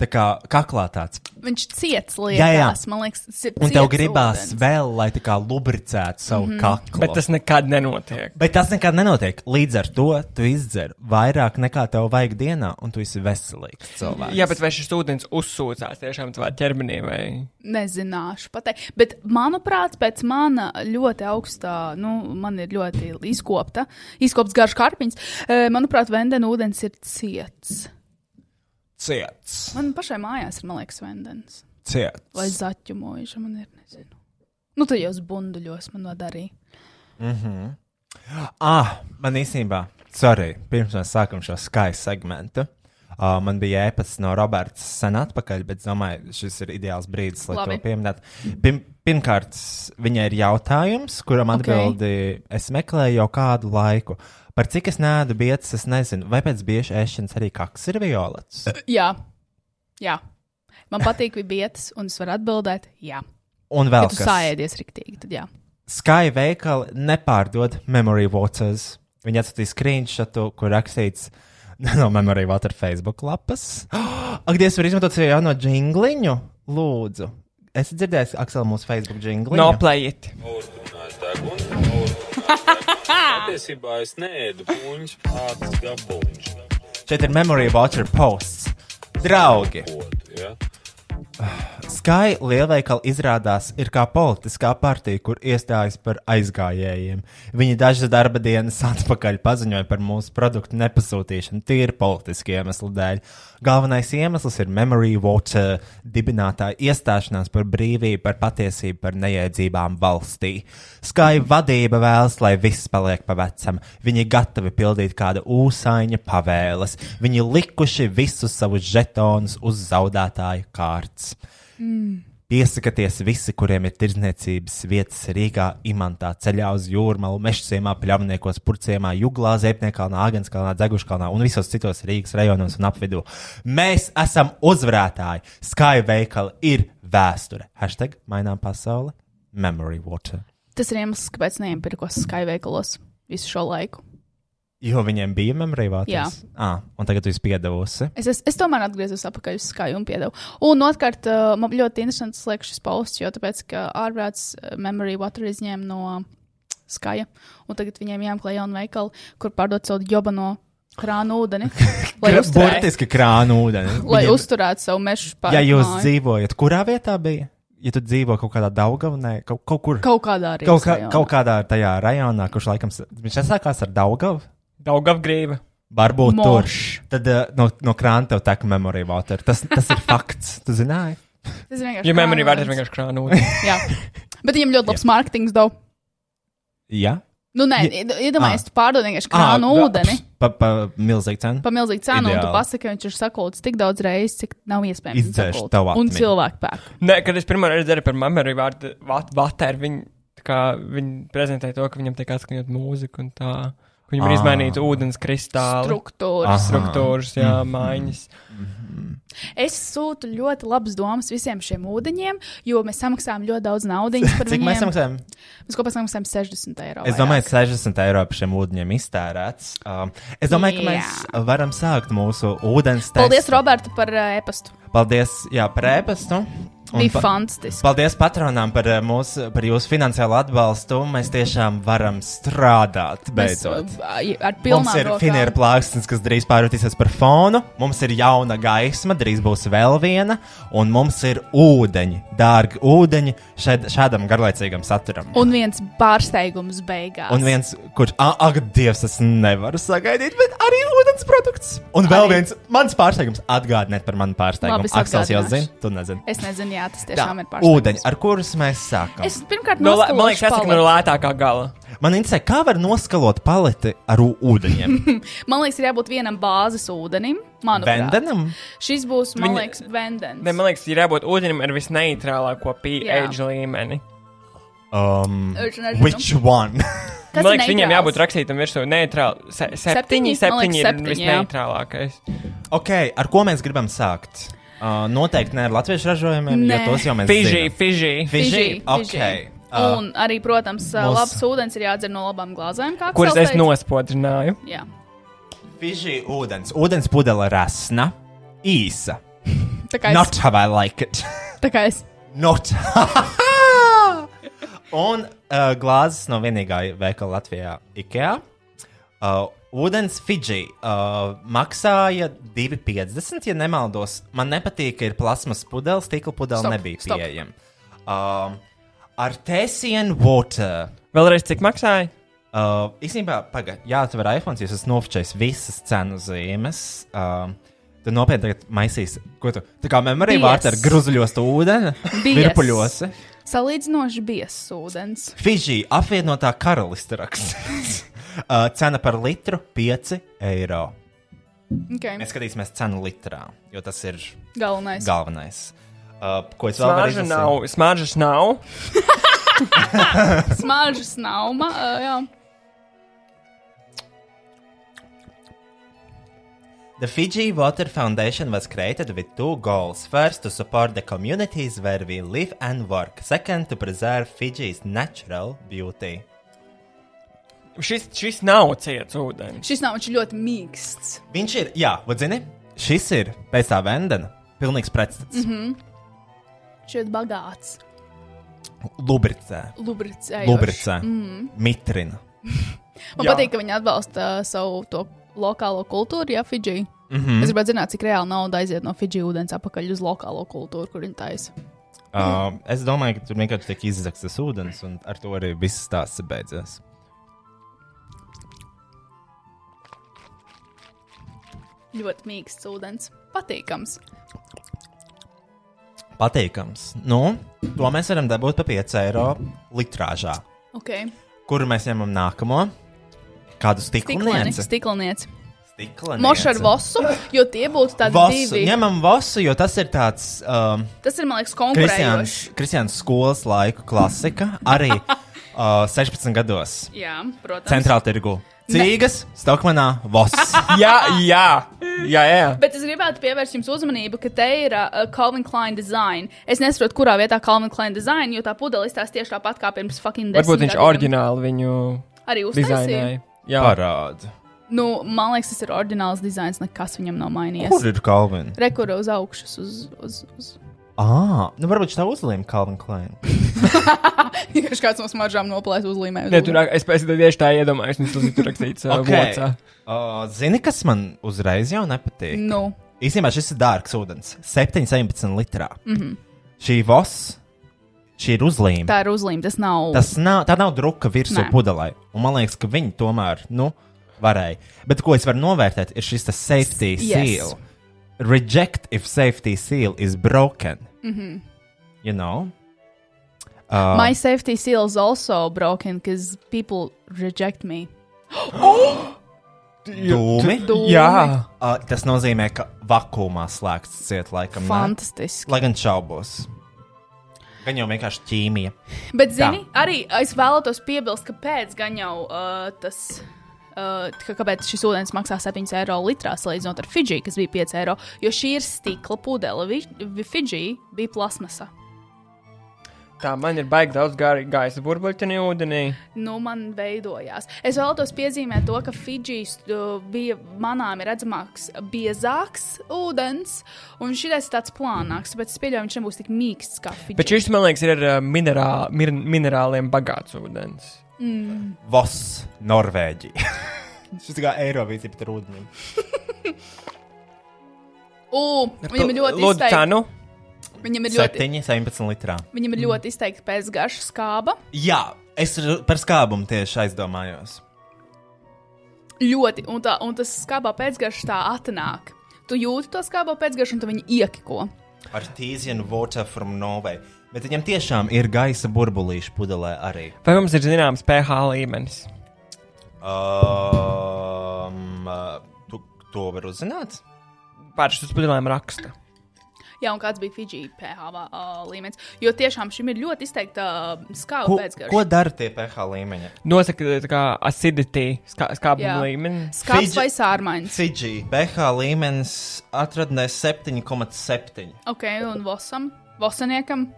Tā kā kaklā tāds Viņš ciets lietas, jā, Jā, jā. jā. man liekas, tas ir. Un tev ciets gribās ūdens. vēl, lai tā kā lubricētu savu mm -hmm. kaklu. Bet tas nekad nenotiek. Bet tas nekad nenotiek. Līdz ar to tu izdzer vairāk nekā tev vajag dienā, un tu esi veselīgs cilvēks. Jā, bet vai šis ūdens uzsūcās tiešām tavā ķermenī vai? Nezināšu pateikt, bet manuprāt, pēc mana ļoti augstā, nu, man ir ļoti izkopta, izkopts garš karpiņš. eh, Manuprāt, vendena ūdens ir ciets. ciets. Man pašai mājās ir, man liekas, vendens. ciets. Vai zaķumojuši, man ir, nezinu. Nu, tu jau uz bunduļos man vada arī. Ah, man īstenībā, sorry, pirms mēs sākam šo skaistu segmentu. Uh, man bija ēpasts no Roberta sen atpakaļ, bet es domāju, šis ir ideāls brīdis, lai Labi. to pieminētu. Pirm, pirmkārt, viņai ir jautājums, kuram Ok. atbildi es meklēju jau kādu laiku. Par cik es nēdu bietas, es nezinu, vai pēc biežas ēšanas arī kaks ir violets. Jā, jā. Man patīk vibietas, un es varu atbildēt, jā. Un Ja vēl tu kas. sāēdies riktīgi, tad jā. Sky veikali nepārdod memory waters. Viņi atsūtīja screenshot, kur rakstīts no memory water Facebook lapas. Ak, Dievs, var izmantot savu jauno jingliņu? Lūdzu. Es dzirdēju, Aksel, mūsu Facebook jingliņu. Noplējiet. Patiesībā es neēdu puņus, ātras gabaliņš. Šeit ir memory water posts. Draugi, Ja? Sky lielveikala izrādās ir kā politiskā partija, kur iestājas par aizgājējiem. Viņi dažas darba dienas atpakaļ paziņoja par mūsu produktu nepasūtīšanu tīri politiski iemeslu dēļ. Galvenais iemesls ir Memory Watcher dibinātāja iestāšanās par brīvību, par patiesību, par neiedzībām valstī. Sky vadība vēlas, lai viss paliek pa vecam. Viņi gatavi pildīt kāda ūsāņa pavēles. Viņi likuši visus savus žetonus uz zaudētāju kārtas. Piesakieties visi, kuriem ir tirdzniecības vietas Rīgā, Imantā, ceļā uz jūrmālu, mežciemā, pļāvniekos, purciemā, juglā, zēpniekalnā, Agenskalnā, Dzeguškalnā un visos citos Rīgas rajonos un apvidū. Mēs esam uzvarētāji! Sky veikali ir vēsture. Hashtag mainām pasauli. Memory water. Tas ir iemesls, kāpēc neiepirkos Sky veikalos visu šo laiku. Jo viņiem bija memory vārds. Jā. Ah, un tagad tu esi piedevusi. Es, es, es tomēr atgriezos atpakaļ uz skaju un piedevu. Un otrkārt, uh, man ļoti interesants liekas šis posts, jo tāpēc, ka ārprāts uh, Memory Water izņēma no skaja, un tagad viņiem jāmeklē jauna veikala, kur pārdot savu jobano krānu ūdeni, lai, uzturētu, Burtiski krānu ūdeni. lai Viņiem- uzturētu savu mežu pāri. Ja jūs dzīvojat, kurā vietā bija? Ja tu dzīvo kaut kādā Daugavā, kaut, kaut kur. kaut kādā arī Kaut, kā, kaut kādā tajā rajonā, kurš laikam s- viņš sākās ar Daugavu. Daugavgrība. Varbūt tur. Moš. Tad uh, no, no krāna tev tā kā memory water. Tas, tas ir fakts. Tu zināji? Tas ir vienkārši. Ja memory krānu vārds ir ūdens. vienkārši krānūda. Jā. Bet viņam ļoti labs mārketings daudz. Jā. Nu, nē, Ah. iedomājieties, tu pārdod vienkārši krānu Ā, ūdeni. pst, Pa, pa milzīgu cenu. pa milzīgu cenu, un tu Ideāli. pasaki, ka viņš ir sakots tik daudz reizes, cik nav iespējams. Izdzēš sakolt. tavu Un atmiņu. cilvēku pērk. Nē, kad es pirmo reizi dzirdēju par memory vārdu vat- Water, viņi, tā kā viņi prezentēja to, ka viņam tiek atskaņot mūzika un tā. ka Viņam ir Ah. izmainīta ūdens kristāla. Struktūras. Aha. Struktūras, jā, Mhm. mājiņas. Es sūtu ļoti labas domas visiem šiem ūdeņiem, jo mēs samaksājam ļoti daudz naudas par Cik viņiem. Oh mēs samaksājam? Mēs kopā samaksājam 60 eiro. Es domāju, 60 eiro par šiem ūdeņiem iztērēts. Um, es domāju, ka mēs Jā. varam sākt mūsu ūdens testu. Paldies, Roberta, par ā, e-pastu. Paldies, jā, par ēpastu. Un Bija pa- fantastiski. Paldies patronām par, eh, mūsu, par jūsu finansiālo atbalstu. Mēs tiešām varam strādāt Mēs, beidzot. ā, eh, ar Mums pilnām ir rokām. finēra plāksnes, kas drīz pārvērtīsies par fonu. Mums ir jauna gaisma, drīz būs vēl viena. Un mums ir ūdeņi, dārgi ūdeņi šed, šādam garlaicīgam saturam. Un viens pārsteigums beigās. Un viens, kurš, ah, ak, Dievs, es nevaru sagaidīt, bet arī ūdens produkts. Un vēl Arī. arī. viens, mans pārsteigums, atgādiniet par manu pārsteigumu. Labi, es Aksels jau atgādināšu. zina, tu nezini. Es nezinu, jā, tas Tā, tiešām ir pārsteigums. ūdeņi, ar kurus mēs sākam. Es pirmkārt No, noskalošu lē- Nu, man liekas, tas ir no paleti. lētākā gala. Man interesē, kā var noskalot paleti ar ū- ūdeņiem? Man liekas, ir jābūt vienam bāzes ūdenim. Manuprāt. Vendenam? Šis būs, man Viņa- liekas, vendens. Ne, man liekas, ir jābūt ūdenim ar visneitrālāko Jā. pH līmeni. Um, Es nezinu. which one? Kas man ir liekas, viņam neitrāls? jābūt rakstītam virsū neitrāli. Se, septiņi, Septiņi? Man septiņi liekas, ir septiņi, jā. visneitrālākais. Ok, ar ko mēs gribam sākt? Uh, noteikti ne ar latviešu ražojumiem, Nē. jo tos jau mēs Fiji, zinām. Fiji. Fiji, Fiji, ok. Fiji. Uh, Un arī, protams, mūs- mūs... labs ūdens ir jādzer no labām glāzēm, kā Kuras Aksels es teica. nospodrināju? Jā. Fiji ūdens. Ūdens pudele rasna, īsa. Tā kā, Not es, how I like it. tā kā es. Not. Un uh, glāzes no vienīgā veikala Latvijā - IKEA. Uh, ūdens Fidži uh, maksāja 2,50, ja nemaldos. Man nepatīk, ka ir plasmas pudeles, stikla Stop, pudele nebija stop. pieejama. Um, ar Tēsienu Water. Vēlreiz, cik maksāja? Uh, īstenībā, pagaidi, jāatver iPhone, jo es nofčēju visas cenu zīmes. Uh, tu nopietni tagad maisīs, ko tu. Tā kā memory Bies. vārta ar gruzļos to ūdeni, Bies. virpuļos. Salīdzinoši biezs ūdens. Fidži, apvienotā karaliste raksts. uh, cena par litru - 5 eiro. Okay. Mēs skatīsimies cenu litrā, jo tas ir Galvenais. Gal... galvenais. Uh, ko es vēl varu Smāža nav. Smāžas nav. Smāžas nav. Ma, uh, jā. The Fiji Water Foundation was created with two goals. First, to support the communities where we live and work. Second, to preserve Fiji's natural beauty. Šis, šis nav ciets ūdens. Šis nav viņš ir ļoti mīksts. Viņš ir, jā, vadzini, šis ir pēc tā vendena pilnīgs pretstats. Mm -hmm. Viņš ir ļoti bagāts. Lubricē, Lubricējošs. lubricē, mm. mitrina. Man Jā. patīk, ka viņi atbalsta uh, savu to lokālo kultūru, ja Fidži. Mm Mhm. -hmm. Es gribētu zināt, cik reāli nauda aiziet no Fidži ūdens apakaļ uz lokālo kultūru, kur viņi taisa. Uh, es domāju, ka tur vienkārši tiek izzakts tas ūdens, un ar to arī viss stāsts ir beidzies. Ļoti mīksts ūdens. Patīkams. Patīkams. Nu, to mēs varam dabūt par 5 eiro litrāžā. Okay. Kuru mēs ņemam nākamo? Kādu stiklinieci? Stiklinieci. Stiklinieci. Moš ar vosu, jo tie būtu tādi Vosu. divi. Ņemam vosu, jo tas ir tāds um, Tas ir, man liekas, Kristians, konkurējošs. Kristians skolas laiku klasika. Arī uh, 16 gados Jā, protams. centrāla tirgu. Cīgas, Stokmanā, Voss. Jā, jā, jā, jā. Bet es gribētu pievērst jums uzmanību, ka te ir uh, Calvin Klein design. Es nesaprotu, kurā vietā Calvin Klein design, jo tā pudele izstāsta tieši tāpat kā pirms fucking desmit Varbūt viņš gadiem. oriģināli viņu arī uztaisīja. dizainēja. Jā, Parāda. Nu, man liekas, tas ir oriģināls dizains, nekas viņam nav mainījies. Kur ir Kalvin? Rekuru uz augšas, uz, uz, uz. Ah, nu varbūt viņš tā uzlīm Kalvin Klein. Vienkārši kāds no smaržām noplēs uzlīmē. Uz Nē, ūdeni. tur es pēc tam tieši tā iedomājos, un tas tur rakstīts uh, Okei. vocā. Uh, zini, kas man uzreiz jau nepatīk? Nu, Īstenībā šis ir dārgs ūdens. 7,17 litrā. Mm -hmm. Šī voss, šī ir uzlīme. Mhm. tā ir uzlīme, tas nav. Tas nav, tā nav druka virsū Nē. pudelē. Un man liekas, ka viņi tomēr, nu, varēja. Bet ko es varu novērtēt, ir šis tas safety S- yes. seal. Reject if safety seal is broken. Mm -hmm. Mhm. You know? Uh, My safety seal is also broken because people reject me. dūmi. Jā, Uh, tas nozīmē, ka vakumā slēgts ciet laikam. nē? Fantastiski. Lai gan šaubos. Gan jau vienkārši ķīmija. Bet, zini, arī es vēlētos piebilst, ka pēc gan jau uh, tas. Uh, ka- kāpēc šis ūdens maksā 7 eiro litrā, salīdzinot ar Fidži, kas bija 5 eiro? Jo šī ir stikla pudele. Vi- vi- Fidži bija plasmasa. tā man ir baigi daudz gari- gaisa burbuļtiņu ūdenī. Nu, man veidojās. Es vēlētos piezīmēt to, ka Fidžijas uh, bija manām redzamāks, biezāks ūdens, un šis ir tāds plānāks. Tāpēc es pieļauju, viņš nebūs tik mīksts kā Fidži. Bet šis, man liekas, ir ar minerā, mir, minerāliem bagāts ūdens. Vos, Norvēģija. Šis tā kā Eirovīzija pat rūdnī. U, viņam ir ļoti Lūdzu, tā izteikti. nu. Viņam ir ļoti, 7, 17 litrā. viņam ir ļoti izteikti pēcgaša skāba. Jā, es r- par skābumu tieši aizdomājos. Ļoti, un, tā, un tas skābā pēcgaršs tā atnāk. Tu jūti to skābā pēcgaršu, un tu viņu iekiko. Artesian water from Norway. Bet viņam tiešām ir gaisa burbulīša pudelē arī. Vai mums ir zināms pH līmenis? Um, uh, tu to var uzzināt? Pārši uz pudelēm raksta. Jā, un kāds bija Fidži pH vā- ā, līmenis. Jo tiešām šim ir ļoti izteikta ā, skāba Ko, ko pēcgarša. dara tie pH līmeņi? Nosaka tā kā acidity, skā, skābuma Jā. līmeni. Skābs Fidži- vai sārmains? Fidži pH līmenis atradnē 7,7. Ok, un Vosam, Vosaniekam.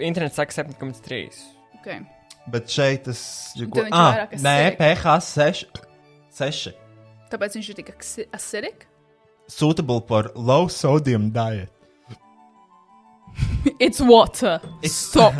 Internets saka 7,3. Okay. Bet šeit tas ir viņš vairāk acidic. nē, pH 6. 6. Tāpēc viņš ir tik asidik. Suitable for low sodium diet. It's water. Stop.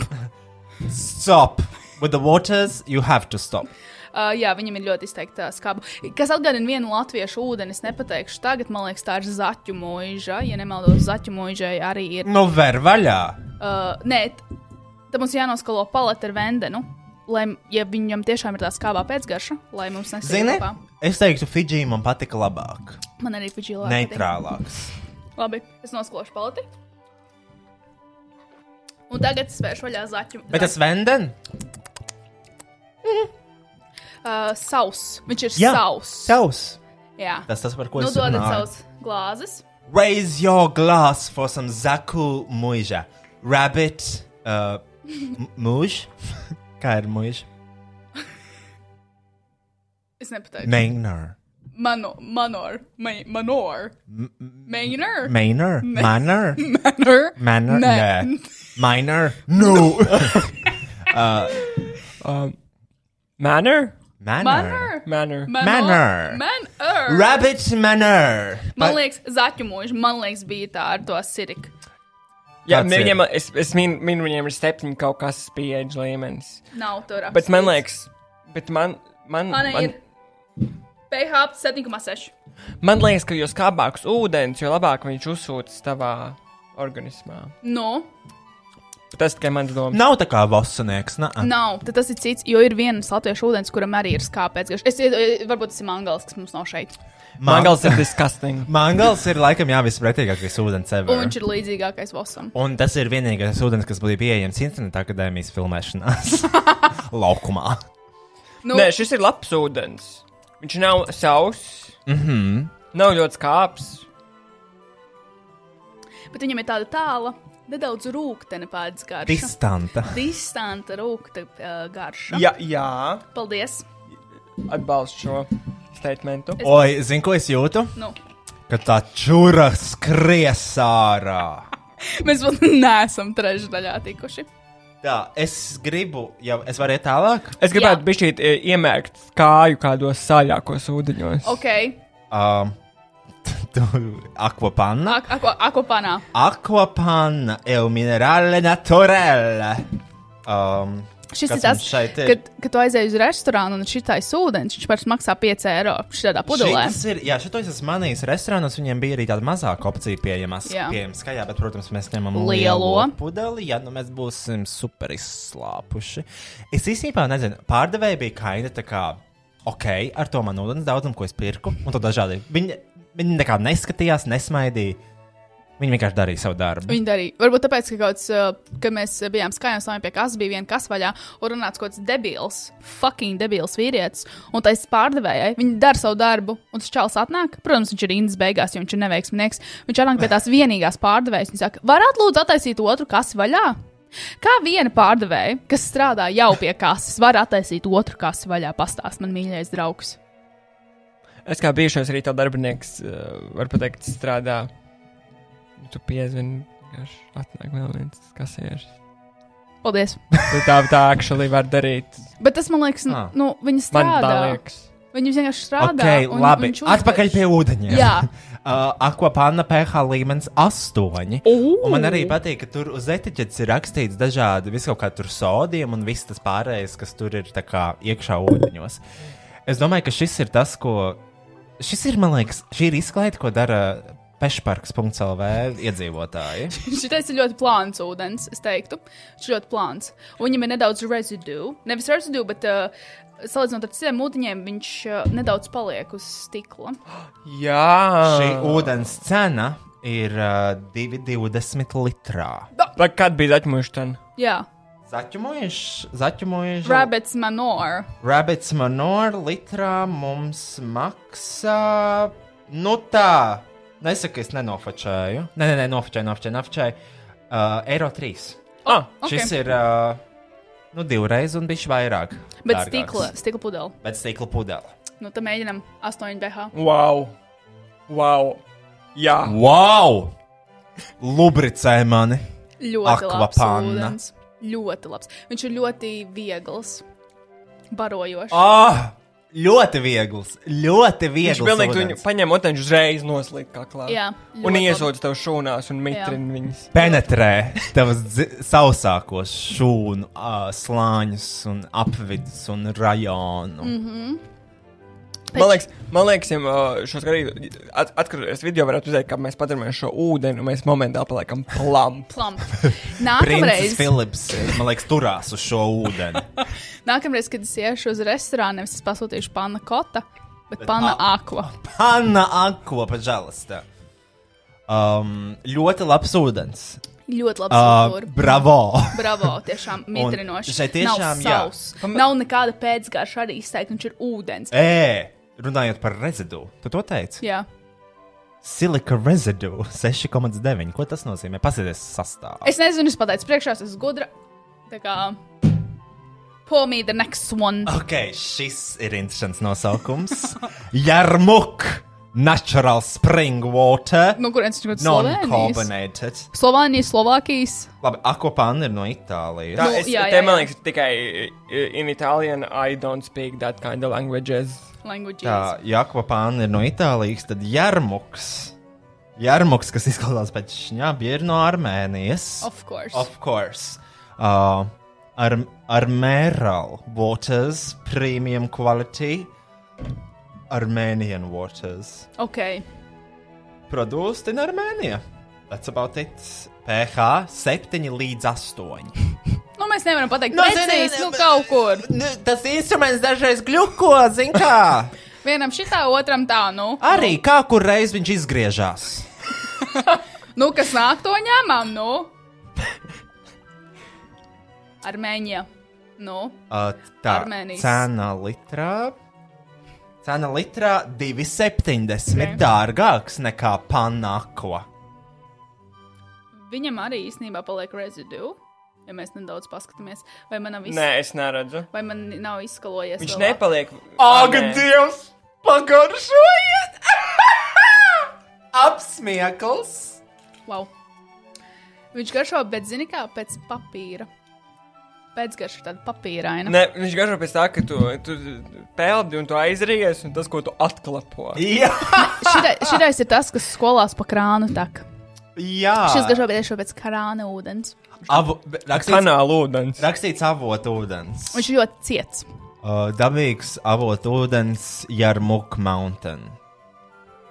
stop. With the waters, you have to stop. Uh, jā, viņam ir ļoti izteikta skaba. Kas atgādina vienu latviešu ūdeni, es nepateikšu tagad, man liekas, tā ir zaķu mūža. Ja nemaldos, zaķu mūžai arī ir. Nu, ver vaļā! Uh, nē, t- tad mums jānoskalo palete ar vendenu, lai, m- ja viņam tiešām ir tā skābā pēcgarša, lai mums Zini, nesaistītu. es teiktu, Fidži man patika labāk, Man arī bija žilā. neitrālāks. Labi, es noskalošu paleti. Un tagad es vēršu vaļā zaķu. Bet tas venden? uh, sauss. Viņš ir Jā, sauss. Savs. Jā, Tas tas, par ko nu es dodat runāju. savus glāzes. Raise your glass for some zaku muža. Rabbit, uh, m- muž? Kā ir muž? Es nepateikšu. Manor. Mano, manor, ma- manor, Manor? manor, Manor? manor, Manor? Nē. Nē. Minor? No! Manor? Manor? manor, Manor. Manor. manor. Rabbit manor! Man liekas, zaķu mūža, man liekas, bija tā ar to siriku. Jā, Kāds ne, ir? viņiem, es, es minu, min, viņiem ir septiņi kaut kas pieeja līmenis. Nav to rakstīts. Bet man liekas, bet man, man, man man, ir pH 7,6. man liekas, ka jo skābāks ūdens, jo labāk viņš uzsūcas tavā organismā. Nu, Tas tikai mans domas. Nav tā kā vasanieks, nē. nav, tad tas ir cits, jo ir viens latviešu ūdens, kuram arī ir skāpēc. Es, iedo- varbūt tas ir mangals, kas mums nav šeit. Mangals ir disgusting. Mangals ir laikam jā, vispretīgākais ūdens ever. Un viņš ir līdzīgākais Vosam. Un tas ir vienīgais ūdens, kas bija pieejams internetā, akadēmijas filmēšanās. Laukumā. Nu, Nē, šis ir labs ūdens. Viņš nav sauss. Mm -hmm. Nav ļoti skāps. bet viņam ir tāda tāla, nedaudz rūkta pēc garša. Distanta. Distanta rūkta uh, garša. Jā, jā. Paldies! atbalstu šo statementu. Oi, zini, ko es jūtu? Nu, Ka tā čūra skries ārā. mēs vēl neesam trešdaļā tikuši. Tā, es gribu, jau es varu iet tālāk. Es gribētu būt šeit iemērkt kāju kādos sāļākos ūdeņos. Ok, Um, Akvapanna. ak ako- akopanā. Akvapanna el minerale naturelle. Um, Šis kas ir tas, mums šeit ir? kad, kad tu aizēji uz restorānu un šitais ūdens, viņš pēc maksā 5 eiro šādā pudelē. Šis ir, jā, šito es esmu manījis restorānos, viņiem bija arī tāda mazāka opcija pieejama. Jā. Pieejams, ka jā, bet, protams, mēs ņemam Lielo. lielo pudeli, ja nu mēs būsim super E izslāpuši. Es īstenībā nezinu, pārdevēja bija kaina tā kā, ok, ar to man ūdens daudzumu, ko es pirku, un to dažādi. Viņi, viņi nekā neskatījās, nesmaidīja. Viņi vienkārši darīja savu darbu. Viņi darīja. Varbūt tāpēc, ka kaut kas, uh, kad mēs uh, bijām skaņā stāvā pie kases, bija viena kas vaļā, un runāts kaut kāds debils, fucking debils vīrietis, un tais pārdevējai, viņi dara savu darbu, un tas čels atnāk, protams, viņš ir rindas beigās, jo viņš ir neveiksminieks, viņš atnāk pie tās vienīgās pārdevējas, viņš saka, varat lūdzu attaisīt otru kasi vaļā? Kā viena pārdevēja, kas strādā jau pie kases, var attaisīt otru kasi vaļā, pastāst man mīļais draugs. Es kā bijušais rīta darbinieks, eh, varu pateikt, strādā. Tu piezvani, vienkārši atnāk vēl viens kasieris. Paldies. Tu tā tā akšalī var darīt. Bet tas man liekas, nu, Ah. nu viņi Man strādā. tā liekas. Viņi vienkārši strādā. okay, un labi. viņš uzvež. Atpakaļ pie ūdeņiem. Jā. uh, akvapanna pH līmenis 8. Ooh. Un man arī patīk, ka tur uz etiķetes ir rakstīts dažādi viskaut kā tur sodiem un viss tas pārējais, kas tur ir tā kā iekšā ūdeņos. Es domāju, ka šis ir tas, ko. Šis ir, man liekas, šī ir izklaide, ko dara pešparks.lv iedzīvotāji. Šitais ir ļoti plāns ūdens, es teiktu. Viņš ir ļoti plāns. Un Viņam ir nedaudz residue. Nevis residue, bet uh, salīdzinot ar citiem ūdeņiem, viņš uh, nedaudz paliek uz stikla. Šī Ah. Jā, ūdens cena ir uh, 2,20 litrā. Vai kad bija atmušana? Jā, Zaķumojuši, zaķumojuši. rabbits manor. Rabbits manor litrā mums maksā. Nu tā, nesaka, es nenofačēju. Nē, nē, nē nofačēju, nofačēju, nofačēju. Uh, eiro 3. Ah, Oh, Ok. Okay. Šis ir uh, nu, divreiz un bišķi vairāk. Bet dārgāks. stikla, stikla pudele. Bet stikla pudele. Nu, tad mēģinam 8 BH. wow! Wow! Jā! Wow! Lubricē mani! Ļoti labs Akvapanna. ūdens. Ļoti labs. Viņš ir ļoti viegls, barojošs. Ah! Ļoti viegls! Ļoti Viņš viegls! pilnīgi tu viņu ūdens. paņem otenžu uzreiz noslīd kaklā. Jā, Un ļoti iesūdz tev šūnās un mitrina viņas. penetrē tavas dzi- sausākos šūnu uh, slāņus un apvidus un rajonu. Mm Mhm. -hmm. Man liekas, man liekas, ja uh, šo skatīju, at, atskatoties video, varētu redzēt, kā mēs padarām šo ūdeni, un mēs momentā paliekam plampi. Plump. Princis Nākamreiz, Filips, man liekas, turās uz šo ūdeni. nākamreiz, kad es iešu uz restorānu, nevis es pasūtīšu pana kota, bet pana akva. Hanna Anko, pažalastā. Um, ļoti labs ūdens. Ļoti labi Uh, saprotu. bravo! Bravo, tiešām mitrinoši. šeit nav tiešām, jā. savs. Nav nekāda pēcgarša arī izteikta, viņš ir ūdens. E- Ē, runājot par rezidu, tu to teici? Jā, Silika rezidu 6,9. Ko tas nozīmē? Pasēdies sastāvā. es nezinu, es pateicu priekšā, es esmu gudra. Tā kā. Pull me the next one. Ok, šis ir interesants nosaukums. Jarmuk! Natural spring water. No kurienes viņš ir? Slovākijas. Non-carbonated. Slovānijas, Slovākijas. Labi, akopāna ir no Itālijas. Tā Nu, es, jā, jā, jā, jā, jā. man liekas, tikai uh, in Italian I don't speak that kind of languages. Languages. Tā, ja akopāna ir no Itālijas, tad jarmuks. Jarmuks, kas izklausās pēc šņābi, ir no Armēnijas. Of course. Of course. Uh, ar, Armeral waters, premium quality. Armenian waters. Ok. produced in Armēnija. That's about it. PH 7 līdz 8. Nu, mēs nevaram pateikt, Nu, no, zini, precīzi, zini, nu, bet- kaut kur. Nu, tas instruments dažreiz gluko, zin kā. Vienam šitā, otram tā, nu. Arī kā kur reiz viņš izgriežās. Nu, kas nāk, to ņemam, nu. Armēņa. Nu, Uh, tā Armēnijas. cena litrā. Cena litrā 2,70 Ok. okay. dārgāks nekā panāko. viņam arī īstenībā paliek residue. ja mēs nedaudz paskatāmies, vai manam viss Nē, es neredzu. Vai man nav izskalojies? Viņš vēl nepaliek. Ak, Nē. Dievs! Pagaršojiet! Apsmiekls! Wow. Viņš garšo, bet zini kā pēc papīra. Pēcgarša tāda papīraina. Nē, viņš garšo pēc tā, ka tu, tu peldi un tu aizries, un tas, ko tu atklapo. Jā! Šitai- Šitais ir tas, kas skolās pa krānu tak. Jā! Ah. Šis garšo tieši pēc krāna ūdens. Avu, be- rakstīts, Kanāla ūdens. rakstīts avotu ūdens. Viņš ir ļoti ciets. Uh, dabīgs avotu ūdens Jarmuk Mountain.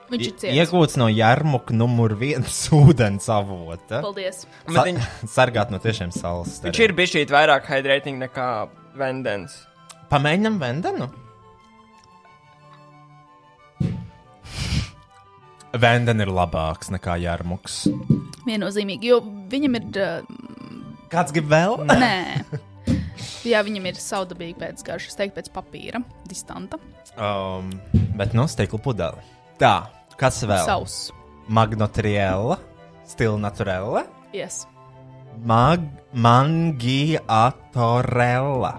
Viņš ir ciets. Iegūts no Jarmuk numur viens ūdens avota. Paldies. Sa Bet viņ- sargāt no tiešām salas. Viņš ir bijis šeit vairāk hidrētīgi nekā vendens. Pamēģinam vendenu. Venden ir labāks nekā Jarmuks. Viennozīmīgi, jo viņam ir. Uh, Kāds grib vēl? nē. Jā, viņam ir saudabīgi pēcgarša. Es teiktu, pēc papīra, distanta, Um, bet no stikla pudele. Tā, kas vēl? sauss. Magnotriela, stila naturela, Yes. mag mangiatorella,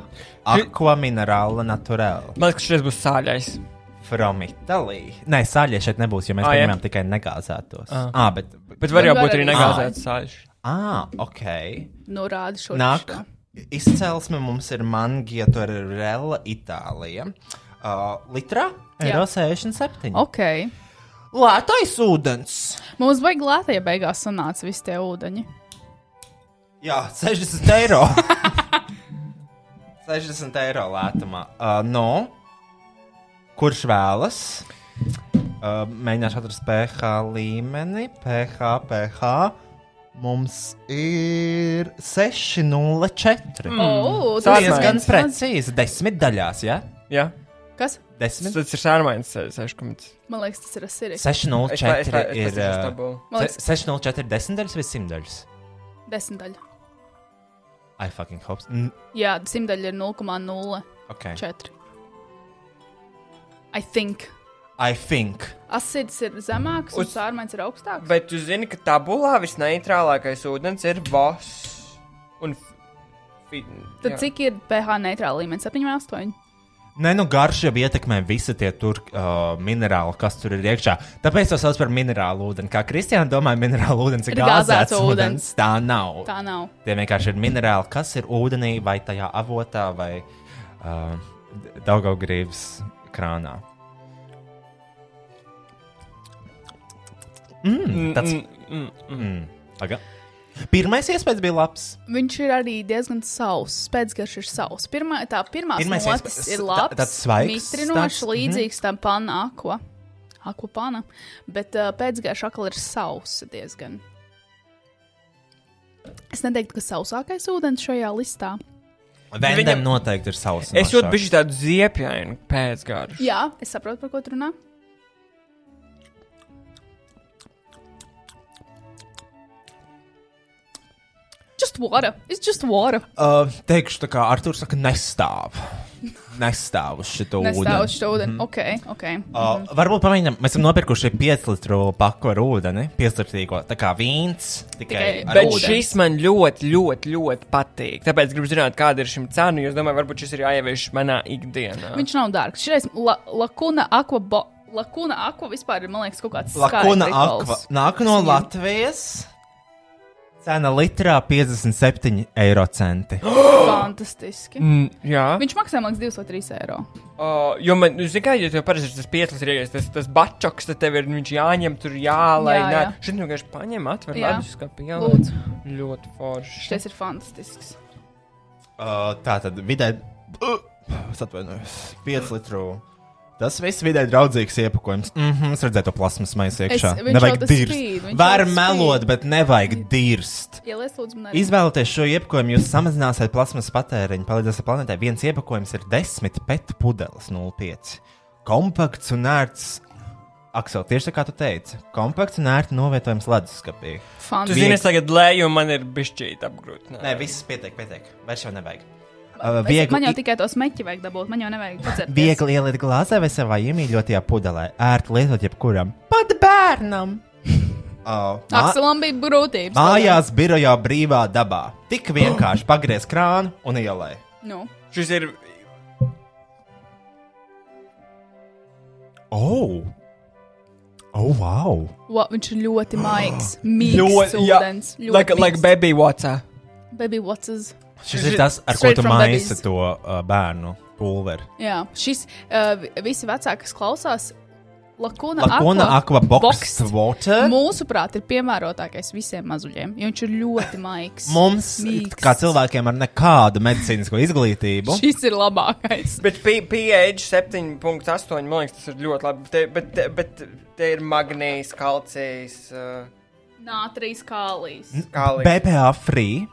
aqua minerāla naturela. Man liekas, šis būs sāļais. From Italy. Nē, sāļie šeit nebūs, jo mēs Ā, jā. paņemam tikai negāzētos. Ah, bet. Bet var jau Bet var būt arī arī negāzēts sāļš. Ah, ok. Norāda šo Nāk, izcelsme mums ir Mangiatorella, Itālija. Uh, litrā Jā. eiro 67. Ok. Lētais ūdens! Mums vajag lētie beigās sanāca visi tie ūdeņi. Mm. Jā, 60 eiro! 60 eiro lētumā. Uh, no, kurš vēlas? Uh, mēģināšu atrast pH līmeni. pH, pH. Mums ir 604. Mm. Oh, Tas ir Diezgan mans- precīzi. Desmit daļās, jā? Ja? Jā, Kas? Desmit tas ir sārmains eh, seškumts. Man liekas, tas ir asiris. 604 Nu, ir. eh, ā, Nē, Man se- liekas, 604 ir desmitdaļas vai simtdaļas? desmitaļa. I fucking hope. so. Mm, Jā, simtaļa ir 0,04. ok. I think. I think. Asids ir zemāks, un Uz- sārmains ir augstāks. bet tu zini, ka tabulā visneitrālākais ūdens ir voss. Un. f- fi- Tad jā. cik ir pH neitrāla līmenis? 7,8. Nē, nu garš jau ietekmē visi tie tur uh, minerāli, kas tur ir iekšā. Tāpēc to sauc par minerālu ūdeni. Kā Kristiāna domāja, minerālu ūdens ir Ir gāzēts gāzēts ūdens. Tā nav. Tā nav. Tie vienkārši ir minerāli, kas ir ūdenī vai tajā avotā vai uh, Daugaugrības krānā. Mm, tāds Mm, mm, mm. Aga. Pirmais iespējas bija labs. Viņš ir arī diezgan sauss. Pēcgarš ir sauss. Pirmā, tā pirmā Pirmais notis iespējas- ir tā- labs. tāds svaigs Mhm. Mitrinošs, tāds, līdzīgs tam pana aqua. Aqua pana. Bet uh, pēcgarš atkal ir sauss diezgan. Es neteiktu, ka sausākais ūdens šajā listā. Vendam Viņam- Viņam... noteikti ir savs. Es jūtu bišķi tādu ziepjainu pēcgāru. Jā, es saprotu, par ko tu runā. Just water. It's just water. Uh, teikšu, tā kā Arthurs saka, nestāv. Nestāv uz šito Nestāv uz ūdeni. Mhm. šo ūdeni. Ok, ok. Uh, varbūt pamēģinām, mēs esam nopirkuši 5 litru paku ar ūdeni, 5 litru tā kā vīns. Tikai, Tikai ar Bet ūdeni. šis man ļoti, ļoti, ļoti patīk. Tāpēc gribu zināt, kāda ir šim cena. Jo es domāju, varbūt šis ir jāievieš manā ikdienā. Viņš nav dārgs. Šis la, lakuna aqua. Bo, lakuna aqua vispār ir, man liekas, kaut kāds Lakuna skaidrs akva rituāls. nāk no Kas Latvijas. Cena litrā 57 eiro centi. Fantastiski. Mm, jā, Viņš maksā, man liekas, 2 vai 3 eiro. uh, jo man, zini, kā jau tev parasti ir tas pieclis rīks, tas, tas bačoks, tad tev ir nu, viņš jāņem tur jālai. Jā, Jā, jā. jā. Šit vienkārši paņem, atver Jā. leduskapi, jā. Lūdzu. Ļoti forši. Šis ir fantastisks. Uh, tā tad vidē. Uh, es atvainojos, 5 litru. Tas viss vidē draudzīgs iepakojums. Mhm, mm es redzēju to plasmas maisu Es- iekšā. viņš jau tas spīd, viņš jau Var tas melot, spīd. bet nevajag dirst. Ielies, lūdzu, man arī. Izvēloties šo iepakojumu, jūs samazināsiet plasmas patēriņu, palīdzēsiet planētai. Viens iepakojums ir 10 pet pudeles 0,5. Kompakts un ērts. Aksel, tieši tā kā tu teici, kompakts un ērti novietojams leduskapī. Tu Fantastiski. zini, es tagad lēju, un man ir bišķīt apgrūtinājums. Nē, viss pietiek, pietiek. Vairs jau nevajag. Uh, Es, viegli man jau i- tikai to smēķi vajag dabūt. Man jau nevajag pacelt. Viegli ielikt glāzē vai savā iemīļotajā pudelē. Ērti lietot jebkuram. Pat bērnam! Oh, mā- Akselam bija grūtības. Mājās, birojā, brīvā dabā. Tik vienkārši pagriez krānu un ielai. Nu, Šis ir Oh! Oh, wow! wa, viņš ir ļoti maigs. ļoti. Mīgs jā, ūdens. Like, like baby water. baby watches. Šis ir tas, ar ko Straight tu from maisi babies. to uh, bērnu pulveri. Jā, šis uh, vi- visi vecāki, kas klausās, Lakuna, Lakona aqua boxed Nu, boxed. water. Mūsuprāt, ir piemērotākais visiem mazuļiem, jo viņš ir ļoti maigs. Mums, uh, mīgs. kā cilvēkiem ar nekādu medicīnisko izglītību, šis ir labākais. Bet P- pH 7.8 man liekas, tas ir ļoti labi. Te, bet, te, bet te ir magnējs, kalcijs, uh, Nātrīs kālīs. kālijas. BPA free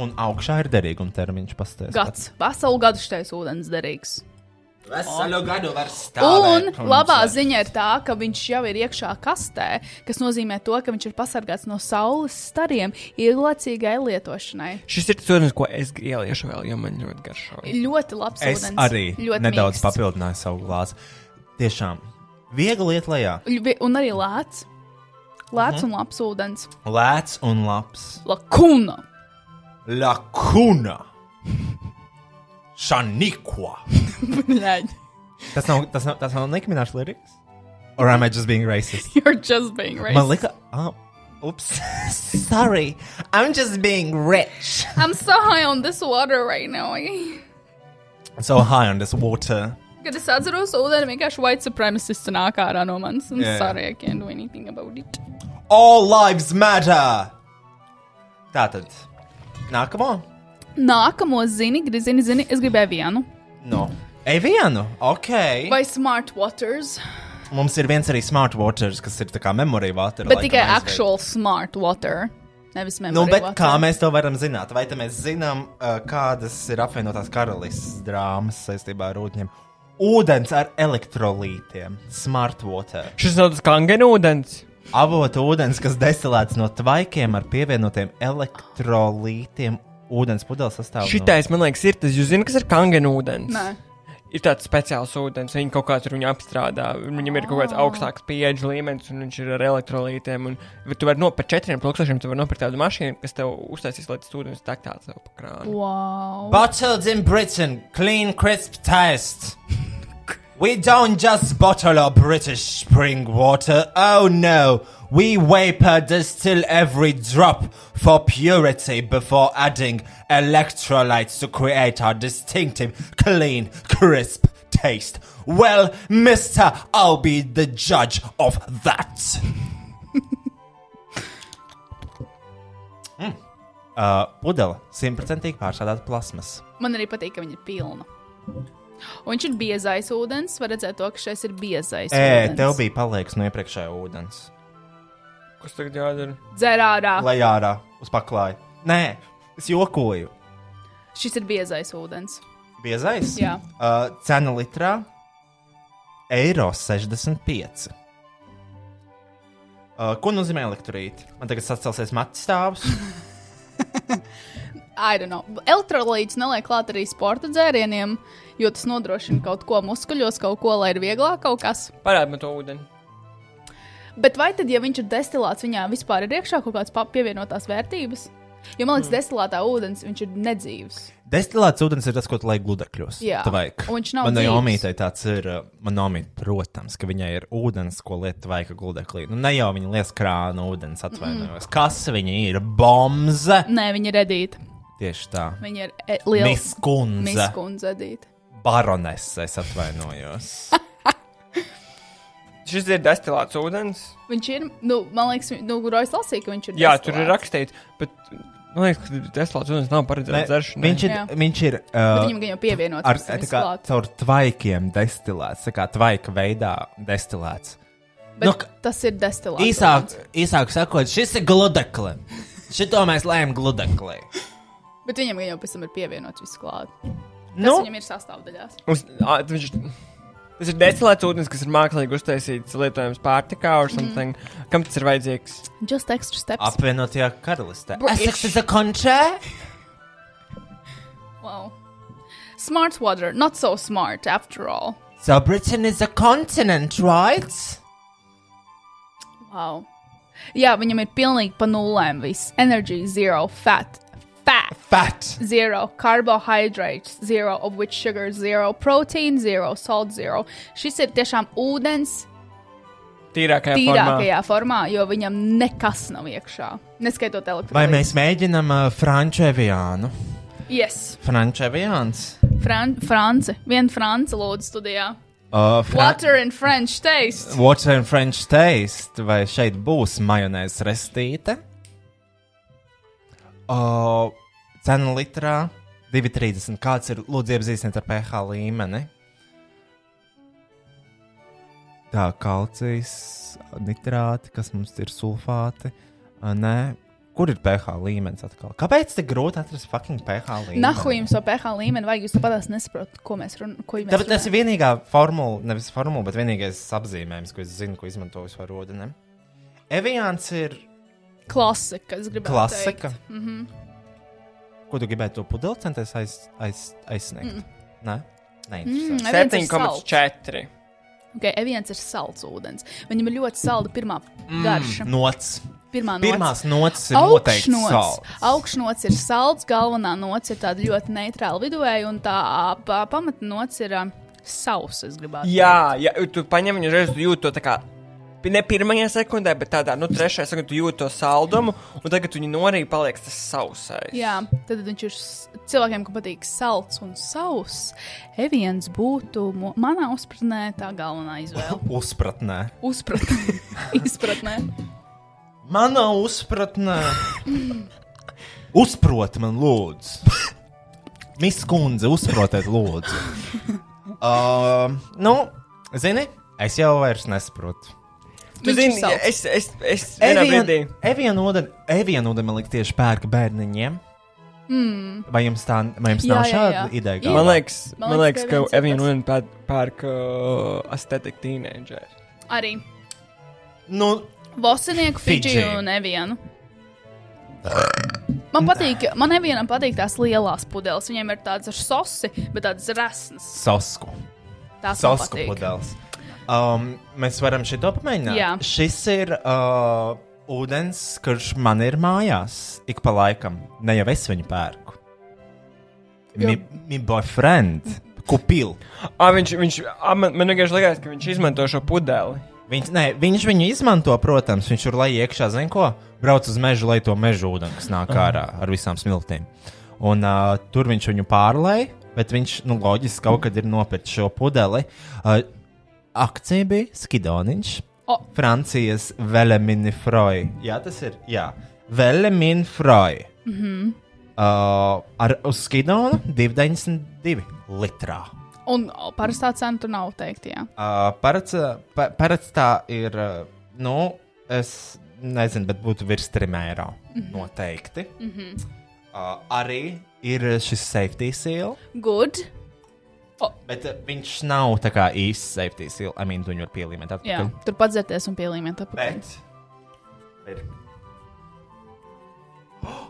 un augšā ir derīguma termiņš pastāstīt. Gads. Veselu gadu šitais ūdens derīgs. Veselu gadu var stāvēt. Un labā ziņa ir tā, ka viņš jau ir iekšā kastē, kas nozīmē to, ka viņš ir pasargāts no saules stariem ilglaicīgai lietošanai. Šis ir tas ūdens, ko es ieliešu vēl, jo man ļoti garšo. Ļoti labs Es ūdens. arī ļoti nedaudz mīksts. papildināju savu glāzi. Tiešām, viegli iet lejā. Vi- Un arī lēts. Lēts Mhm. un labs ūdens. Lēts un labs. Lakuna. Lakuna. Šanikwa. Bļaļ. Tas nav, tas nav, tas nav nekmināšs liriks? Or am I just being racist? You're just being racist. Man lika, ah, ups. Sorry, I'm just being rich. I'm so high on this water right now. So high on this water. Kad es atceros ūdeni, vienkārši white supremacists nāk ārā no manis. I'm Jā, jā. sorry, I can't do anything about it. All lives matter! Tātad, nākamo? Nākamo zini, grizini, zini, es gribēju vienu. No. Evienu, ok. Vai... Vai smart waters? Mums ir viens arī smart waters, kas ir tā kā memory water. Bet laikam tikai aizveid. actual smart water. Nevis memory Nu, bet water. kā mēs to varam zināt? Vai te mēs zinām, uh, kādas ir apvienotās karalistes drāmas saistībā ar ūdeņiem? Ūdens ar elektrolītiem, smart water. Šis nav tas kangenūdens. Avotu ūdens, kas destilēts no tvaikiem ar pievienotiem elektrolītiem, ūdens pudeles sastāvā. Šitais, man liekas, ir tas. Jūs zināt, kas ir kangenūdens? Nē. Ir tāds speciāls ūdens, viņi kaut kādā veidā apstrādā. Viņam ir kaut kāds Ah. augstāks pieeja līmenis, un viņš ir ar elektrolītiem. Un, bet tu vari nopirkt par 4000, tu vari nopirkt tādu mašīnu, kas tev uztaisīs, lai tas ūdens tā kā tāds tev pa krānu. Wow. Bottled in Britain, clean, crisp taste. We don't just bottle our British spring water. Oh no, we vapor distill every drop for purity before adding electrolytes to create our distinctive, clean, crisp taste. Well, mister, I'll be the judge of that. Mm. Uh, pudele simtprocentīgi pārstrādāta plasmas. Man arī patīk, ka viņa ir pilna. Un viņš ir biezais ūdens. Var redzēt, to, ka šis ir biezais. Ē, ūdens. E, tev bija paliks no iepriekšējā ūdens. Kas tagad jādara? Dzer ārā. Lai... Lai ārā uz paklāja. Nē, es jokoju. Šis ir biezais ūdens. Biezais? Jā. Uh, cena litrā - eiro 65. Uh, ko nozīmē elektrīte? Man tagad sacelsies matus stāvus. I don't know. Elektrolīts neliek klāt arī sporta dzērieniem, jo tas nodrošina kaut ko muskuļos, kaut ko, lai ir vieglāk kaut kas. Parādi man to ūdeni. Bet vai tad, ja viņš ir destilēts, viņā vispār ir iekšā kaut kādas pa- pievienotās vērtības? Jo man liekas, mm. destilētā ūdens viņš ir nedzīvs. Destilēts ūdens ir tas, ko tu lai gludekļos. Jā. Tu vajag. Un viņš nav Manai dzīvs. omītei tāds ir. uh, Manai omītei, protams, ka viņai ir ūdens, ko lieta vajag gludeklī. Nu, ne jau viņa lies krāna ūdens, atvainojos. Mm. Kas viņa ir? Bomze! Nē, viņa ir redīta. Tieši tā. Viņa ir e, liela Miskundze. miskundze redīta. Baronese, es atvainojos. Šis ir destilēts ūdens. Viņš ir, nu, man liekas, vi- nu, Rojas lasīja, ka viņš ir. Jā, destilēts. tur ir rakstīts, bet man liekas, ka destilēts ūdens nav paredzēts dzeršanai. viņš ir. Jā. Viņš ir Bet uh, Viņam gan jau pievienots. ar, Ar, tā kā, caur tvaikiem destilēts, tā kā tvaika veidā destilēts. Bet nu, nu, k- tas ir destilēts. Īsāk, īsāk sakot, šis ir gludekli. Šito mēs lējam gludeklī. Bet viņam gan jau pēc tam ir pievienots viss klāt. Nu? Nu, Viņam ir sastāvdaļās. Uz, a, viņš, tas ir destilēts ūdens, kas ir mākslīgi uztaisīts lietojams pārtikā Mhm. vai something. Mm. Kam tas ir vajadzīgs? Just extra steps. Ap. apvienotajā karalistē. Bro, Essex is a country. Wow. Smart water, not so smart after all. So Britain is a continent, right? Wow. Jā, viņam ir pilnīgi pa nulēm viss. Energy, zero, fat, fat, Fat! zero, carbohydrates, zero, of which sugar, zero, protein, zero, salt, zero. Šis ir tiešām ūdens Tīrākajā, tīrākajā formā, jo viņam nekas nav iekšā. Neskaitot elektroniku. Vai mēs mēģinām uh, frančeviānu? Yes, Frančeviāns. Fran France. Viena France lūdzu studijā. Uh, fra- Water and French taste. Water and French taste, vai šeit būs majonēzes restīte? O, cena litrā 2,30. Kāds ir lūdzu iepazīstiniet ar pH līmeni? Tā, kalcijas, nitrāti, kas mums ir sulfāti. ā, Nē, kur ir pH līmenis atkal? Kāpēc tik grūti atrast fucking pH līmeni? Nahu jums to pH līmeni vajag, jūs tāpat nesaprotat, ko mēs Tāpēc tas runājam. ir vienīgā formula, nevis formula, bet vienīgais apzīmējums, ko es zinu, ko izmantoju savā rodinē. Evians ir Klasika, es gribētu klasika. teikt. Mm -hmm. Ko tu gribētu to pudeli centies aiz, aiz, aizsniegt? Mm. Nē, neinteresanti. Mm. Evians ir 7,4. Okay, Evians ir salds ūdens. Viņam ir ļoti salda pirmā garša. Nots. Pirmā nots. Mm, nu, Pirmās nots ir noteikti Augšnots. sāls. Augšnots ir salds, galvenā nots ir tāda ļoti neitrāla viduvēja, un tā pa- pamatnots ir um, sausa, es gribētu Jā, ja tu paņem viņu reizi, tu jūti to tā kā. pi- Ne pirmajā sekundē, bet tādā, nu, trešajā sekundē tu jūti to saldumu, un tagad viņi norīja paliek tas sausais. Jā, tad viņš ir s- cilvēkiem, kam patīk salds un sauss. Evians būtu mo- manā uzpratnē tā galvenā izvēle. Uzpratnē. Uzpratnē, izpratnē. Manā uzpratnē. Uzprot man, lūdzu. Miss Kundze, uzprotiet, lūdzu. Uh, nu, zini, es jau vairs nesaprotu. tu Viņš zini, ir salds. es, es, es, vienā brīdī. Evienūdeni man liekas, tieši pērka bērniņiem. Mm. Vai jums tā vai jums Hmm. Jā, nav jā, šāda jā. ideja? Ir. Man galvā? liekas, Man man liekas, liekas ka ka viens ir Eviņš un pērk uh, estētiku tīnēdžeri. Arī nu, Vosinieku, Fidži Fidži. un Evienu. Man patīk, man nevienam patīk tās lielās pudeles. Viņiem ir tādas ar sosi, bet tādas resnas. sasku. Tās man Sasku patīk. pudelis. Um, mēs varam šito pamēģināt. Jā. Šis ir uh, ūdens, kurš man ir mājās ik pa laikam. Ne jau es viņu pērku. Mi, mi boyfriend, kupil. Ah, viņš, viņš, ah, man, man vienkārši liekas, ka viņš izmanto šo pudeli. Viņš, nē, viņš viņu izmanto, protams, viņš tur lai iekšā, zina ko, brauc uz mežu, lai to mežu ūdeni, kas nāk ārā ar visām smiltīm. Un uh, tur viņš viņu pārlai, bet viņš, nu, loģiski kaut kad ir nopircis šo pudeli. Uh, akcija bija Skidoniņš, O. Francijas Velemini Froy. Jā, tas ir, jā, Velemin Froy. Mm -hmm. uh, ar uz Skidonu 2,92 litrā. Un o, parastā cena tur nav teikt, jā. Uh, parats, uh, pa- parats tā ir, uh, nu, es nezinu, bet būtu virs trim eiro. Mm -hmm. Noteikti. Mm -hmm. uh, arī ir šis safety seal, Good. bet uh, viņš nav tā kā īsts safety seal. I mean, tu viņu var pielīmēt Jā, atpakaļ. tur padzerties un pielīmēt apakaļ. Bet. ir- Oh!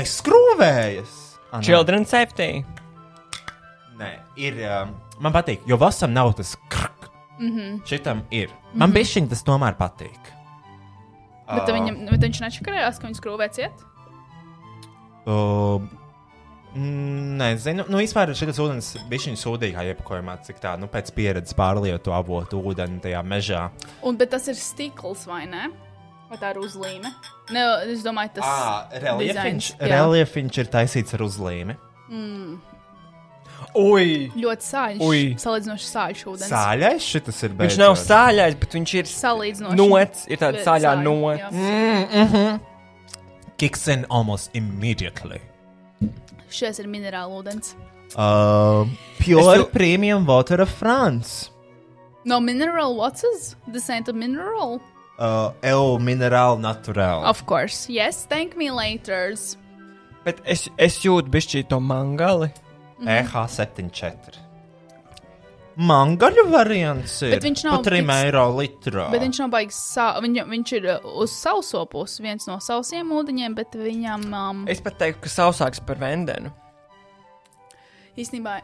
Neskrūvējas! Anā. Children safety. Ah, Nē, ir. Um, man patīk, jo vasam nav tas krk. Mm -hmm. Šitam ir. Man mm -hmm. bišķiņ tas tomēr patīk. Eh, Bet, Ā, viņam, bet viņš nečakarējās, ka viņš skrūvē ciet? Um, mm, Nezinu, nu, vispār šis ūdens bija sūdīgā iepakojumā, cik tā, nu, pēc pieredzes pārlietu avotu ūdeni tajā mežā. Un, bet tas ir stikls vai ne? Vai tā ir uzlīme? Ne, es domāju, tas Ā, reliefiņš, dizains, jā. reliefiņš ir taisīts ar uzlīmi. Ui! ļoti sāļš. Ui. Salīdzinoši sāļš ūdens. Sāļais šis ir Viņš beidzot. nav sāļais, bet viņš ir Salīdzinoši. nots, ir tāda Ļoti sāļā sāļi, nots. jā. Mhm. Kicks in almost immediately. Šis ir minerāla ūdens. Uh, pure tu- premium water of France. No mineral waters? This ain't a mineral. Uh, El mineral naturel. Of course. Yes, thank me later. Bet es, es jūtu bišķī to mangali. Mhm. EH74. Mangaļu variants ir Bet viņš nav pa 3 fiks- eiro litrā. Bet viņš nav baigs, sā... viņ, viņš ir uh, uz sauso pusi, viens no sausiem ūdeņiem, bet viņam um, Eh. Es pat teiktu, ka sausāks par vendenu. īstenībā,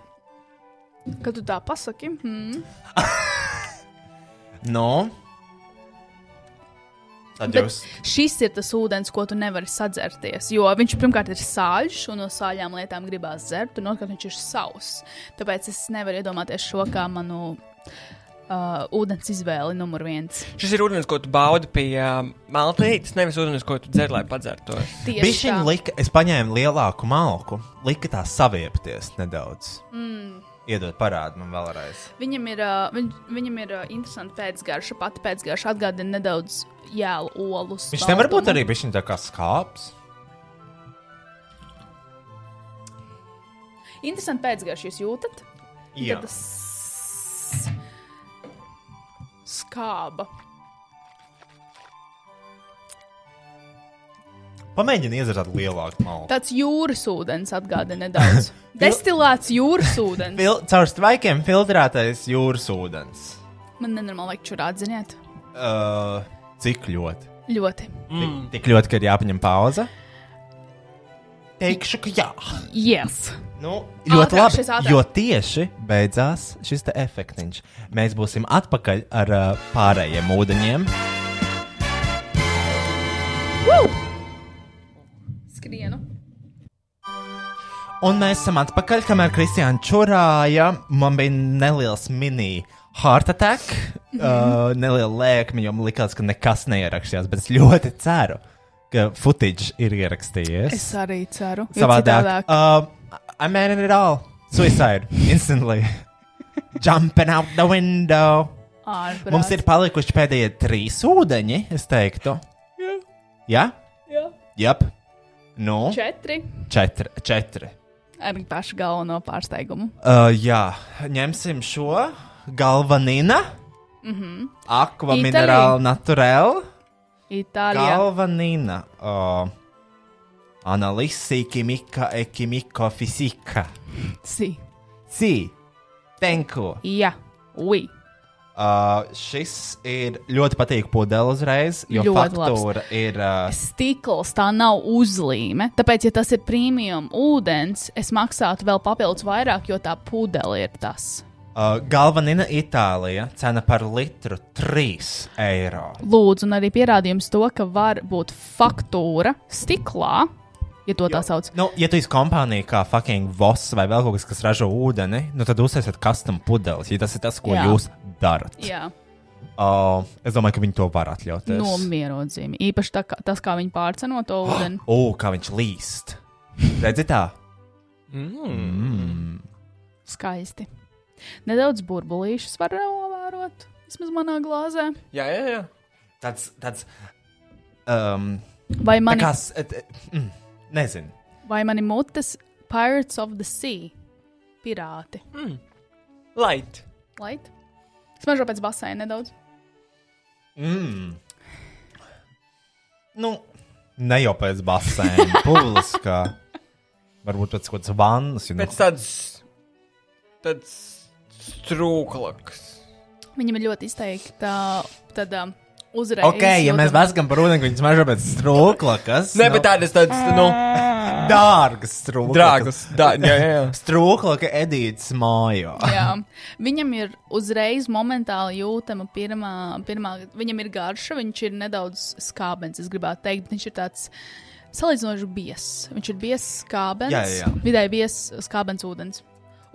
kad tu tā pasaki, hmm, No. Tad Bet jūs- Šis ir tas ūdens, ko tu nevari sadzerties. Jo viņš pirmkārt ir sāļš, un no sāļām lietām gribās dzert, un otrkārt viņš ir sauss. Tāpēc es nevaru iedomāties šo kā manu uh, ūdens izvēli numur viens. Šis ir ūdens, ko tu baudi pie um, maltītes, nevis ūdens, ko tu dzer, lai padzertos. Tieši Bišķiņ tā. lika, es paņēmu lielāku malku, lika tā saviepties nedaudz. Mm. Iedod parādu man vēlreiz. Viņam ir, uh, viņ, viņam ir uh, interesanti pēcgarša, pati pēcgarša atgādina nedaudz jēlu olus. Viņš nevar būt baltumu. arī bišķiņ tā kā skāps. Interesanti pēcgarša, jūs jūtat? Un Jā. tad tas Skāba. Pamēģini iedzert lielāku malku. Tāds jūras ūdens atgādina nedaudz. Destilēts jūras ūdens. Fil caur streikiem filtrētais jūras ūdens. Man nenormāli liekas, čurāt, ziniet. Uh, cik ļoti? Ļoti. Mm. Tik ļoti, ka ir jāpaņem pauze. Teikšu, ka jā. Yes. Nu, Ātrāk, Ļoti labi. šis ātrāk. Jo tieši beidzās šis te efektiņš. Mēs būsim atpakaļ ar uh, pārējiem ūdeņiem. Woo! Skrienu. Un mēs esam atpakaļ, kamēr Kristiāna čurāja. Man bija neliels mini heart attack, Mhm. mm -hmm. uh, neliela lēkme, jo man likās, ka nekas neierakstījās. Bet es ļoti ceru, ka footage ir ierakstījies. Es arī ceru. jo Savādāk. citādāk- Uh, I mean it all. Suicide. Instantly. Jumping out the window. Ārprāts. Ah, Mums ir palikuši pēdējie trīs ūdeņi, es teiktu. Jā? Jā. Jep. Nu? Četri. Četri. Četri. Ar pašu galveno pārsteigumu. Uh, jā, ņemsim šo galvenīnu, Mhm. akva Itālija. minerālu naturālu. Itālijā. Galvenīna. Uh, Analīze, ķīmija, ekimika, fizika. Si. Si, tenku. Jā, ui. Uh, šis ir ļoti patīkams pudelis uzreiz, jo Ļoti ļoti labs. faktūra labs. ir. Uh, Stikls tā nav uzlīme. Tāpēc, ja tas ir premium ūdens, es maksātu vēl papildus vairāk, jo tā pudele ir tas. uh, galvenīna Itālija cena par litru 3 eiro. Lūdzu, un arī pierādījums to, ka var būt faktūra stiklā, ja to tā sauc. Nu, ja tu esi kompānija kā fucking Voss vai vēl kaut kas, kas ražo ūdeni, nu tad uzsēsiet custom pudeles, ja tas ir tas, ko Jā. Jā. jūs darat. Jā, Uh, es domāju, ka viņi to var atļauties. Nu, nomierodzīme. Īpaši tā, kā, tas, kā viņi pārceno to Ah! ūdeni. O, kā viņš līst. Redzi tā? Hmm. Mm. Skaisti. Nedaudz burbulīšus var novērot, vismaz manā glāzē. Jā, jā, jā. Tāds, tāds. Um, Vai mani, tā kā s- et- et- mm, Nezinu. vai mani mutes Pirates of the Sea? Pirāti. Mm. Light. Lait? Smažo pēc basēna nedaudz. Mm. Nu, ne jau pēc basēna, publiskā. Varbūt pēc kaut kādas vannas. nu- You know. Pēc tādas. tāds strūklaks. Viņam ir ļoti izteikta tāda uzreiz. Ok, ja mēs vaskam par ūdeni, viņš mažo pēc strūklakas. Nē, bet tādas, tādas, nu, Dārgas strūklakas. drāgas. Dā, jā, jā, jā. Strūklaka edīts mājo. Jā, viņam ir uzreiz momentāli jūtama pirmā, pirmā, viņam ir garša, viņš ir nedaudz skābens, es gribētu teikt, bet viņš ir tāds salīdzinoši biess. Viņš ir biess skābens, Jā, jā, jā. vidēji biess skābens ūdens.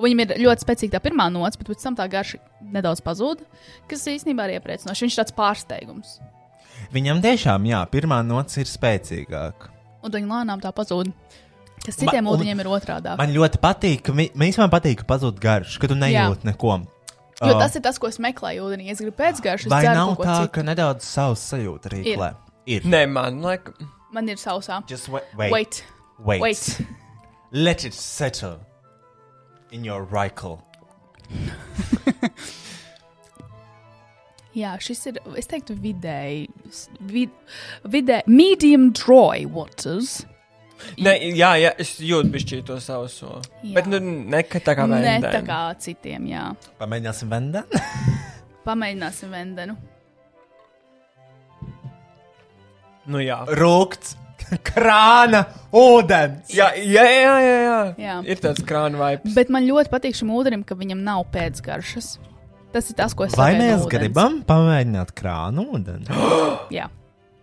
Un Viņam ir ļoti spēcīga tā pirmā nots, bet pēc tam tā garša nedaudz pazūd, kas īstenībā ir iepriecinoši. Viņš ir tāds pārsteigums, Viņam tiešām, jā, pirmā nots ir spēcīgāka. un viņi lēnām tā pazūd. Tas Ma- citiem un- ūdeņiem ir otrādāk. Man ļoti patīk, ka vi- man īstenībā patīk, ka pazūd garš, ka tu nejūti neko. Jo Uh, tas ir tas, ko es meklēju ūdenī. Es gribu pēcgājuši, es Vai ceru, nav kaut ko tā, citu. ka nedaudz savs sajūta Ir. rīklē? Ir. Nē, man liekas, Man ir sausā. Just wait, Wait, wait, wait. wait. wait. Let it settle in your rifle. Jā, šis ir, es teiktu, vidēji, s- vid, vidē, medium dry waters. nē, jā, jā, es jūtu bišķi to sauso. Jā. Bet, nu, ne ka tā kā Ne vēl. tā kā citiem, jā. Pamēģināsim vendā. Pamēģināsim vendenu. Nu, jā. Rūkts, krāna, ūdens. Jā, jā, jā, jā, jā. jā. Jā. Ir tāds krāna vibes. Bet man ļoti patīk šim ūdenim, ka viņam nav pēcgaršas. Tas ir tas, ko es Vai sagaidu no mēs ūdens. gribam pamēģināt krānu ūdeni? Jā,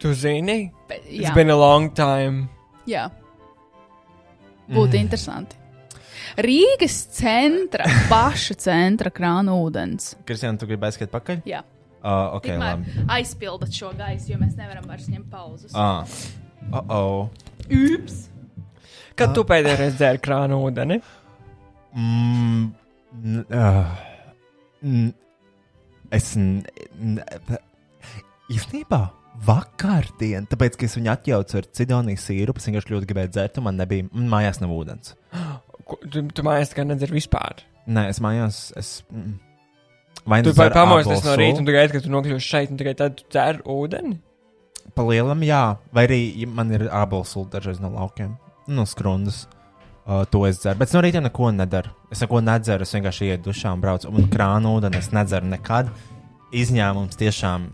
Tu zini? Bet, It's jā. been a long time. Jā. Mhm. Būtu mm. interesanti. Rīgas centra, paša centra krāna ūdens. Kristija, tu gribēji skriet pakaļ? Jā. Uh, ok, Tikmēr labi. aizpildat šo gaisu, jo mēs nevaram vairs ņemt pauzes. Ah. Uh -oh. Ups! Kad tu pēdējā reizē dzēri krānu ūdeni? Mm, n- ah, n- es n- n- p- īstenībā vakardien, tāpēc, ka es viņu atjaucu ar cidonijas sīrupu, es vienkārši ļoti gribēju dzert, un man nebija mm, mājās nav ūdens. Ko- Tu, tu mājās tā kā nedzēri vispār. Nē, es mājās. Es, mm, vai Tu nu pat dzeru pamosties no ābolsulu, rīta, un tu gaidi, ka tu nokļūsi šeit, un tikai tad tu dzēri ūdeni? Pa lielam, jā. Vai arī ja man ir ābolsūda dažreiz no laukiem, no skrundas. Uh, to es dzeru. Bet es no rīta neko nedaru. Es neko nedzeru. Es vienkārši iet dušā un braucu. Un krānu ūdeni es nedzeru nekad. Izņēmums tiešām.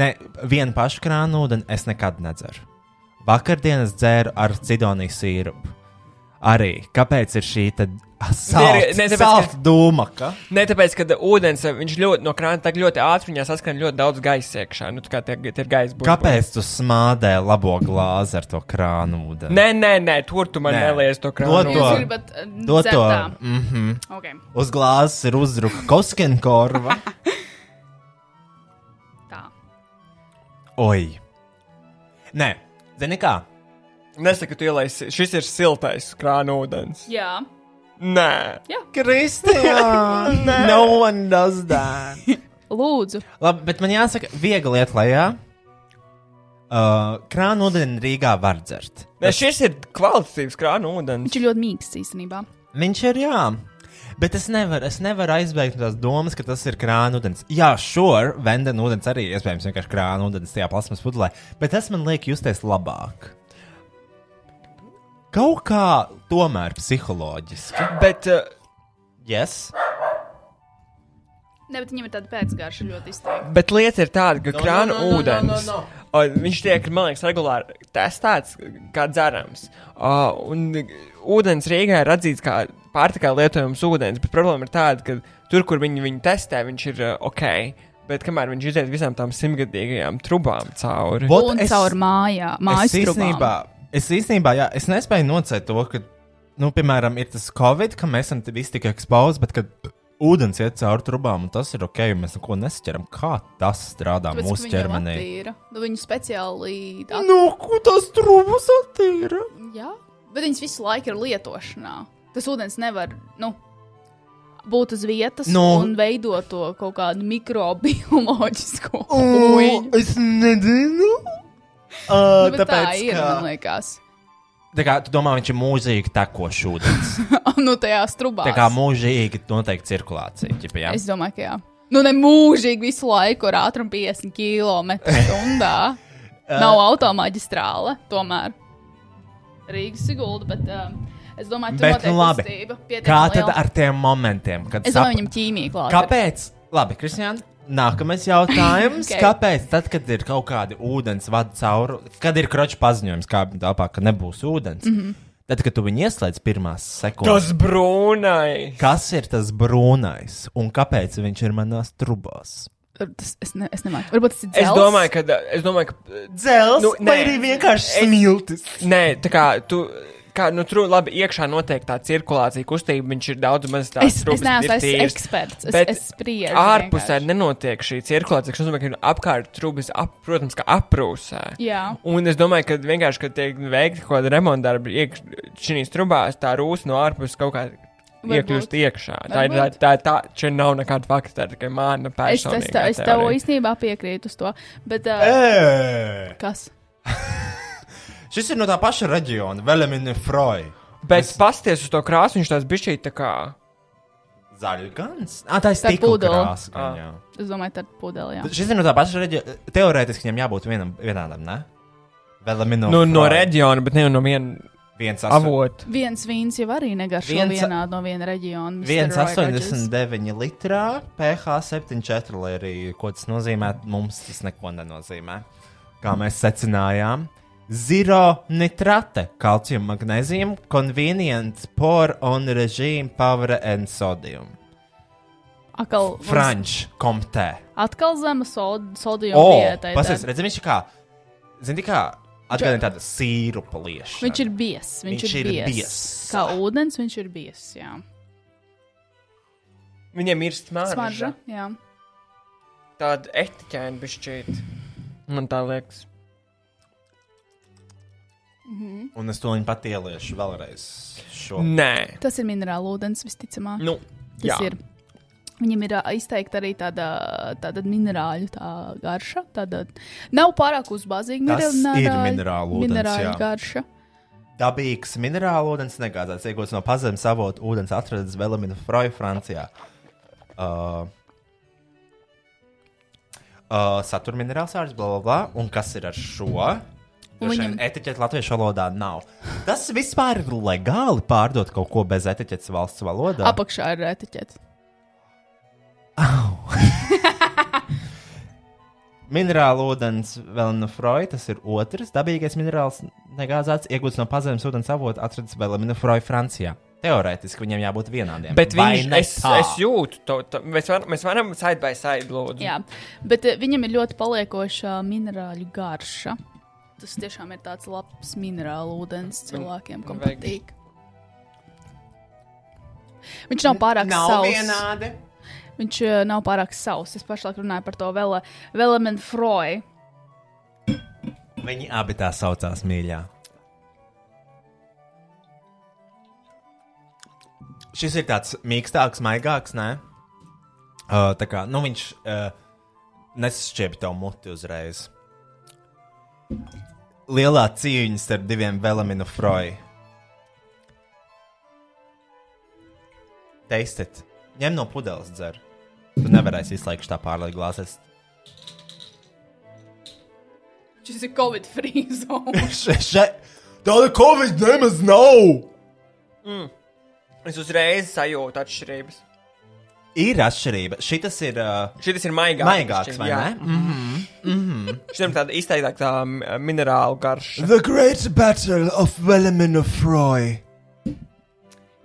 Nē, vienu pašu krānu ūdeni es nekad nedzeru. Vakardien es dzēru ar cidonijas sīrupu. Arī kāpēc ir šī tāda Nē, nē, tāpēc, ka- salta dūma? Ka? Ne tāpēc, ka ūdens eh, viņš ļoti no krāna tā ļoti ātri viņā saskan ļoti daudz gaisa iekšā. Nu, tā kā tie, tie ir gaisa burbuļi. Kāpēc tu smādē labo glāzi ar to krānu ūdeni? Nē, nē, nē, tur tu man Nē. neliec to Dod to. krānu. Jūs gribat, eh, Dod to. dzert tā. Mhm. Ok. Uz glāzes ir uzrunāta koskenkorva. Tā. Oi! Nē, zini kā? Nesaka, tu ielaisi. Šis ir siltais krānu ūdens. Jā. Nē. Jā. Kristija! no one does that! Lūdzu. Labi, bet man jāsaka, viegli lieta lejā. Uh, krānu ūdeni Rīgā var dzert. Nē, šis ir kvalitatīvs krānu ūdens. Viņš ir ļoti mīksts īstenībā. Viņš ir jā. Bet es nevaru, es nevaru aizbēgt no tās domas, ka tas ir krānūdens. Jā, šur, vendena ūdens arī iespējams vienkārši krānūdens tajā plasmas pudelē, bet tas man liek justies labāk. Kaut kā tomēr psiholoģiski. Bet uh, Yes. Ne, bet viņam ir tāda pēcgarša ļoti izteikta. Bet lieta ir tāda, ka krāna no, no, no, ūdens. no, o, Viņš tiek, man liekas, regulāri testēts kā dzerams. O, Un ūdens Rīgā ir atzīts kā pārtikā lietojams ūdens, bet problēma ir tāda, ka tur, kur viņi viņu testē, viņš ir uh, ok. Bet kamēr viņš iziet visām tām simtgadīgajām trubām cauri, Vot Un es- caur mājā, mājas Es īstenībā, trūkumā. es īstenībā, jā, es nespēju nocēt to, ka, nu, piemēram, ir tas Covid, ka mēs esam te visi tik ekspozīti, bet kad ūdens iet cauri trubām, un tas ir ok, un mēs neko nesaķeram. Kā tas strādā mūsu ķermenī? Nu, viņu speciāli. Tā... Nu, ko tas trūkums attīra? Jā, bet viņas visu laiku ir lietošanā. Tas ūdens nevar nu, būt uz vietas nu. Nu. un veidot to kaut kādu mikrobioloģisku Ui, lietu. es nezinu. Nu, e, Uh, bet tā tāpēc, ir, ka... man liekas. tā kā tu domā, viņš ir mūžīgi tekošs ūdens. nu, tajā strubā. tā kā mūžīgi noteikti cirkulācija. Ķipa, jā. Es domāju, ka jā. Nu, ne mūžīgi visu laiku ar ātrumu 50 km/h. Nav automaģistrāle, tomēr. Rīgas Sigulda, bet uh, es domāju, ka Bet, tā nu, ir labi. kustība. Kā pietiekami tad liela. ar tiem momentiem, kad Es domāju, viņam ķīmija klāta. Kāpēc? Labi, Kristian, nākamais jautājums. Okay. okay. Kāpēc, tad, kad ir kaut kādi ūdens vadi cauri, kad ir kroķis paziņojums, kā tālāk, ka nebūs ūdens, mm -hmm. tad, kad tu viņu ieslēdz pirmās sekundes, tas brūnais. kas ir tas brūnais un kāpēc viņš ir manās trubās? Tas, es, ne, es nemāku. Varbūt tas ir Es dzels? domāju, ka. Es domāju, ka Dzels, Nu, vai nē. arī vienkārši smiltis. nē, tā kā tu. Kā, nu, tur labi iekšā notiek tā cirkulācija, kustība, viņš ir daudz maz tāds es, es neesmu es eksperts. Es, Bet es spriežu. ārpusē vienkārši. nenotiek šī cirkulācija, kas nozīmē, ka apkārt trūkst, ap, protams, ka aprūsē. Jā. Un es domāju, ka vienkārši, kad tiek veikta kaut kāda remonta darba, iekšā trūkstā tā rūsas no ārpuses kaut kā Varbūt. iekļūst iekšā. Tā ir tā, Varbūt. tā, tā, šeit nav nekāda fakta, tā ir tikai mana Es, es, personīga. tā, es tev teorija. īstenībā piekrītu uz to. Bet, uh, Ē, kas? šis ir no tā paša reģiona, Velemina Froja. Bet es... pasties uz to krāsu, viņš tās bišķīt tā kā. Zaļgans. Ah, tā ir Tā stikla pudele. krāsa. Ah. gan, jā. Es domāju, tā ir pudelē. jā. Šis ir no tā paša reģiona. Teorētiski viņam jābūt vienam, vienādam, ne? Velemina Nu, no Froja. reģiona, bet ne no viena Viens asto- avota. Viens vīns jau arī negaršo Viens- vienādi no viena reģiona. Mr. Roy Rogers. 1,89 litrā, pH 7,4 lai arī ko tas nozīmē. Mums tas neko nenozīmē. Kā mēs secinājām, zero nitrate, kalcium, magnēzium, convenient for on regime, power and sodium. Atkal, mums- Franč, komtē. atkal zema sod, sodiuma O, diēta. pasies, redzi, viņš ir kā Zini, kā atgādina tādu sīrupu liešu. Viņš ir biezs. Viņš, Viņš ir ir biezs. biezs. Kā ūdens, viņš ir biezs. Jā, Viņiem ir smarža. smarža. Jā. Tāda etiķēna bišķīt. Man tā liekas. Un es to viņu pat ieliešu vēlreiz. Šo. Nē. Tas ir minerāla ūdens, visticamāk. Nu, tas jā. ir. Viņam ir ā, izteikti arī tāda, tāda minerāļu tā garša. Tāda, nav pārāk uzbāzīga Tas ir minerālu ūdens, minerāļu jā. garša. Dabīgs minerāla ūdens negādāts, iegūts no pazemes avotu ūdens atradas Velamina Froja Francijā. Uh, uh, satura minerāls ārsts, bla, bla, bla. Un kas ir ar šo? Viņam viņam- etiķeta latviešu valodā nav. Tas vispār ir legāli pārdot kaut ko bez etiķetes valsts valodā. Apakšā ir etiķete. Minerāla ūdens vēl no Froja, tas ir otrs dabīgais minerāls, negāzēts, iegūts no pazemes ūdens avota, atrasts Velamina Froja Francijā. Teorētiski viņiem jābūt vienādiem. Bet Vai viņš, ne es, tā? es jūtu, to, to, mēs, var, mēs varam side by side lūdzu. Jā, bet eh, viņam ir ļoti paliekoša minerāļu garša. Tas tiešām ir tāds labs minerāla ūdens cilvēkiem, kam vajag- patīk. Viņš nav pārāk sauss. Viņš eh, nav pārāk sauss. Es pašlaik runāju par to vēl Velamenu Froju. Viņi abi tā saucās, mīļā. Šis ir tāds mīkstāks, maigāks, nē. Uh, tā kā nu, viņš uh, nesšķiep tev muti uzreiz. Lielā cīņa starp diviem velaminu froju. Teistet, ņem no pudeles dzer. Tu nevarēsi izslēgt tā pārlaikt glāzes. Šis ir Covid-free zone. Tāda covid nemaz nav! Es uzreiz sajūtu atšķirības. Ir atšķirība. Šis ir uh, Šis ir maigāks. maigāks, bišķiņ, vai jā. ne? Mm -hmm. Šim tāda izteiktāka tā m- minerālu garša. The Great Battle of Velamina Froy.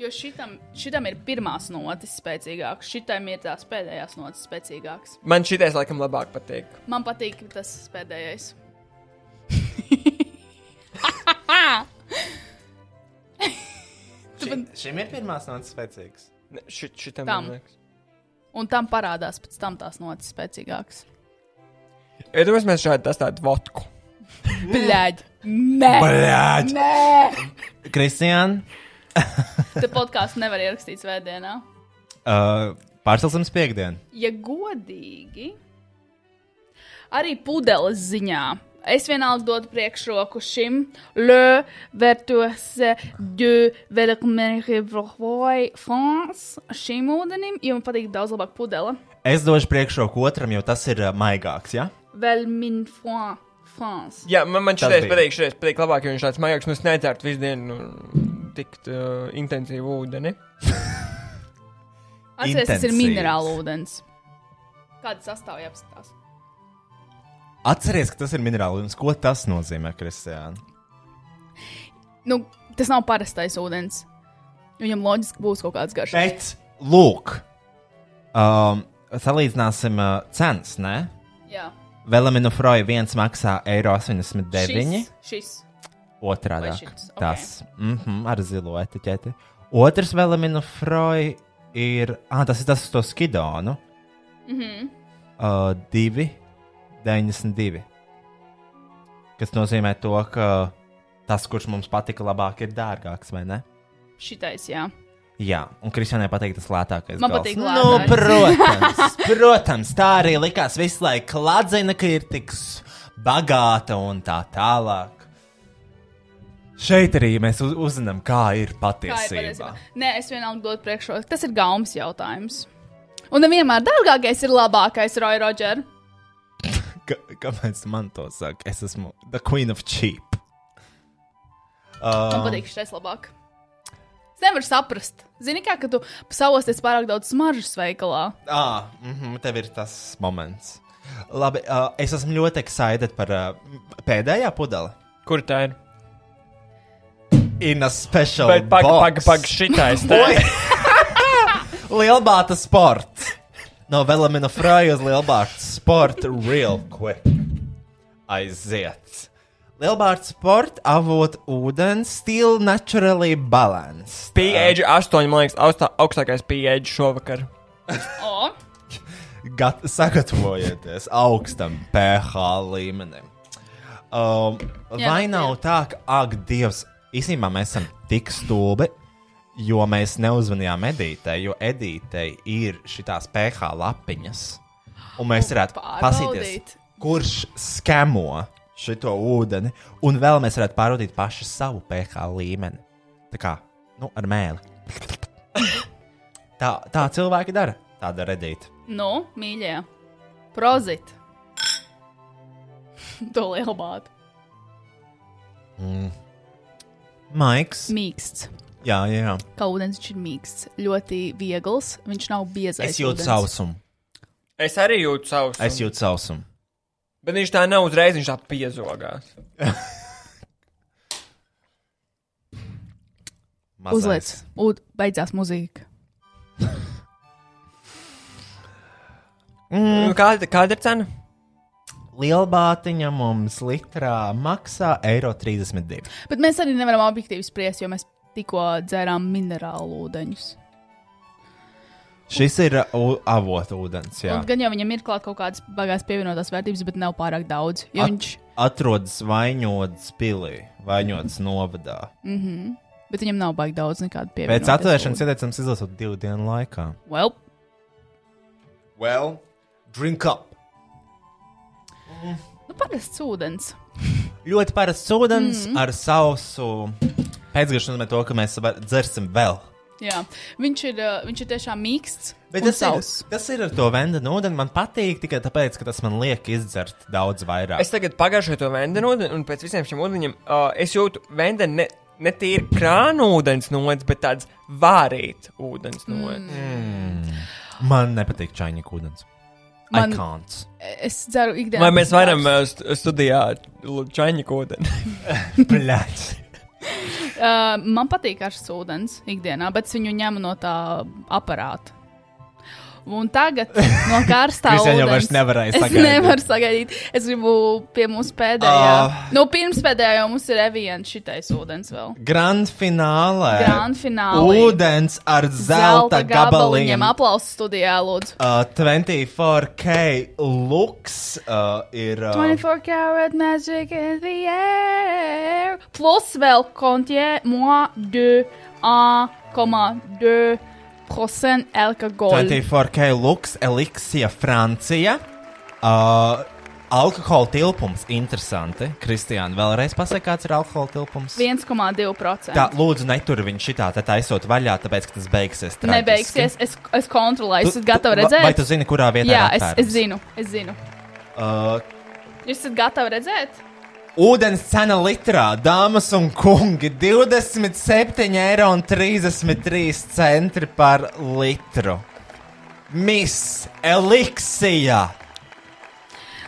Jo šitam, šitam ir pirmās notis spēcīgāks, šitam ir tās pēdējās notis spēcīgāks. Man šitais laikam labāk patīk. Man patīk tas pēdējais. Šim, šim ir pirmās notis spēcīgs. Ne, Ši, šitam Tam. man liekas. Un tam parādās pēc tam tās notis spēcīgākas. Iedomājieties, mēs šādi tas tādu vodku. Bļaģ! Nē! Bļaģ! Nē! Kristian, Te podkāstu nevar ierakstīt svētdienā. uh, pārcelsim spiegdienu. Ja godīgi, arī pudeles ziņā. Es vienalga dodu priekšroku šim Le Vertuose du Verkmerivrohoi Fons šim ūdenim, jo man patīk daudz labāk pudele. Es došu priekšroku otram, jo tas ir uh, maigāks, ja? Velmin Fons. Jā, man, man Tas šitais bija. patīk, šitais patīk labāk, jo viņš tāds maigāks. Mēs nedzērtu visu dienu nu, tik uh, intensīvu ūdeni. Atcerieties, tas ir Intensīvs. minerāla ūdens. Kāda sastāvja apskatās? Atceries, ka tas ir minerāls ūdens. Ko tas nozīmē, Kristian? Nu, tas nav parastais ūdens. Viņam loģiski būs kaut kāds garš. Bet, lūk, um, salīdzināsim uh, cenas, ne? Jā, Velamina Froja viens maksā eiro 89. šis. šis. Otrādi Vai šis? - tas mm -hmm, ar zilo etiķeti. Otrs velamina froja ir. Ah, tas ir tas uz to skidonu. Mhm. Uh, 2, 92. Kas nozīmē to, ka tas, kurš mums patika labāk, ir dārgāks, vai ne? Šitais, jā. Jā, un Kristianai patīk tas lētākais. Man gals. patīk nu, lētākais. protams, protams, tā arī likās visu laiku. Kladzina, ka ir tik s- bagāta un tā tālāk. Šeit arī mēs uz- uzzinām, kā ir Kā ir patiesībā. patiesībā? Nē, es vienalga dodu priekšroku. Tas ir gaumas jautājums. Un nevienmēr dārgākais ir labākais, Roy Roger. Ka- Kāpēc man to saka? Es esmu The Queen of Cheap. Man Um, patīk šitais labāk. Es nevaru saprast. Zini, kā, ka tu savosties pārāk daudz smaržas veikalā. Ah, mm -hmm, tev ir tas moments. Labi, uh, es esmu ļoti excited par uh, pēdējā pudeli. Kur tā ir? In a special. Bet pag, box. pag, pag, šitais. tā ir. Lielbāta sports. No Velamina Frāja uz Lielbāta sporta real quick. Aiziet. Lielbārds sporta avotu ūdens, still naturally balanced. Pieeģi astoņi, man liekas, austā, augstākais pieeģi šovakar. O, Gat, sagatavojieties augstam pH līmenim. Um, Jā, vai nav tā, ka, ak, Dievs, īstenībā mēs esam tik stulbi, jo mēs neuzvanījām Edītei, jo Edītei ir šīs pH lapiņas. Un mēs varētu Oh, pārbaudīt. paskatīties, kurš skemo šo ūdeni, un vēl mēs varētu pārbaudīt pašu savu pH līmeni. Tā kā nu, ar mēli. Tā, tā cilvēki dara. Tā dara Edīte. nu, mīļie, prozit! to lielu bādu. Maiks. Mīksts. Jā, jā, jā. Kā ūdens viņš ir mīksts. Ļoti viegls, viņš nav biezs. Es jūtu sausumu. Es arī jūtu savus. Es jūtu sausumu. Bet viņš tā nav uzreiz, viņš tā piezogās. Mazais. Uzliec, un beidzās muzika. Mm. Kāda, kāda ir cena? Lielbātiņa mums litrā maksā eiro 32. Bet mēs arī nevaram objektīvi spriest, jo mēs tikko dzērām minerālu ūdeņus. Šis ir uh, avotu ūdens. Jā. Un Gan jau viņam ir klāt kaut kādas bagātas pievienotās vērtības, bet nav pārāk daudz. Jo At- viņš, Atrodas vainotas pilī, vainotas novadā. mm -hmm, bet viņam nav baigta daudz nekādu pievienotu. Pēc atvēršanas ieteicams izlasot divu dienu laikā. Well, Well, drink up! nu parasts ūdens. Ļoti parasts ūdens mm. ar sausu pēcgašanu, bet to, ka mēs var- dzersim vēl. Jā, viņš ir, uh, viņš ir tiešām mīksts. Bet un tas ir, sauss. tas ir ar to vendenu ūdeni. Man patīk tikai tāpēc, ka tas man liek izdzert daudz vairāk. Es tagad pagaršoju to vendenūdeni, un pēc visiem šiem ūdeņiem uh, es jūtu vendeni ne, ne tīri krānu ūdens nodeļas, bet tāds vārīt ūdens nodeļas. Mm. Man nepatīk čaņģa ūdens. Man... Man- I can't. Es ceru, ikdienā. Vai mēs varam uh, st- studijā čaņģi ūdeni? Bļaļs. Uh, man patīk karsts ūdens ikdienā, bet es viņu ņemu no tā aparāta. Un tagad no karstā Kristiāna ūdens. jau vairs nevarēja es sagaidīt. nevaru sagaidīt. Es gribu pie mūsu pēdējā. Ah. Uh. Nu, pirms pēdējā jau mums ir eviens šitais ūdens vēl. Grand finālē. Grand finālē. Eh, Ūdens ar zelta, zelta gabaliņiem. gabaliņiem. Aplausos studijā, lūdzu. Uh, 24K looks uh, ir. Uh, 24 karat magic in the air. Plus vēl kontie moi de 1,2% alkohola. 24K looks, eliksija Francija. Uh, alkohola tilpums. Interesanti. Kristiāna, vēlreiz pasaki, kāds ir alkohola tilpums? 1,2%. Tā, lūdzu, netur viņu šitā, tad aizsot vaļā, tāpēc, ka tas beigsies. traģiski. Nebeigsies. Es, es kontrolēju, Tu- esat gatavi tu- redzēt? Vai tu zini, kurā vietā? Jā, ir es, aptvērums? es zinu, es zinu. Uh, Jūs esat gatavi redzēt? Ūdens cena litrā, dāmas un kungi, 27,33 eiro par litru. Miss Eliksija!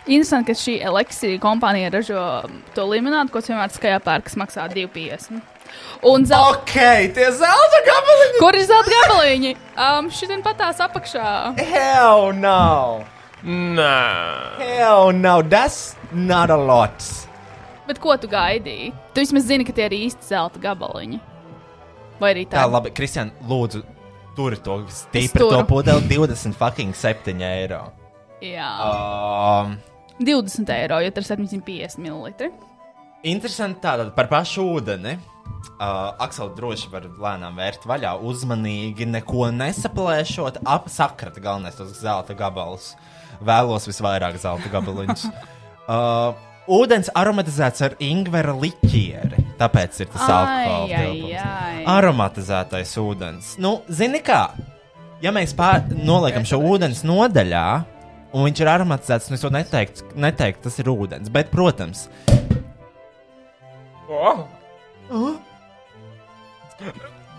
Interesanti, ka šī Elixija kompānija ražo um, to limonādu, ko es vienmēr skajā pērku, kas maksā 2,50. Un zelta Ok, tie zelta gabaliņi! Kur ir zelta gabaliņi? Um, Šitiem patās apakšā. Hell no! Nē. Hell no! That's not a lot! Bet ko tu gaidīji? Tu vismaz zini, ka tie ir īsti zelta gabaliņi. Vai arī tā? Tā, labi, Kristian, lūdzu, turi to stipri turu. to pudeli 27 eiro. Jā, Um, 20 eiro, jo tur ir 750 ml. Interesanti tātad par pašu ūdeni. Uh, Aksel droši var lēnām vērt vaļā, uzmanīgi, neko nesaplēšot, apsakrat galvenais tos zelta gabalus. Vēlos visvairāk zelta gabaliņus. uh, ūdens aromatizēts ar ingvera liķieri, tāpēc ir tas alkohola tilpums. jā. Aromatizētais ūdens. Nu, zini kā, ja mēs pār, noliekam šo ūdens nodaļā, un viņš ir aromatizēts, nu es to neteiktu, neteiktu, tas ir ūdens, bet, protams, Oh, es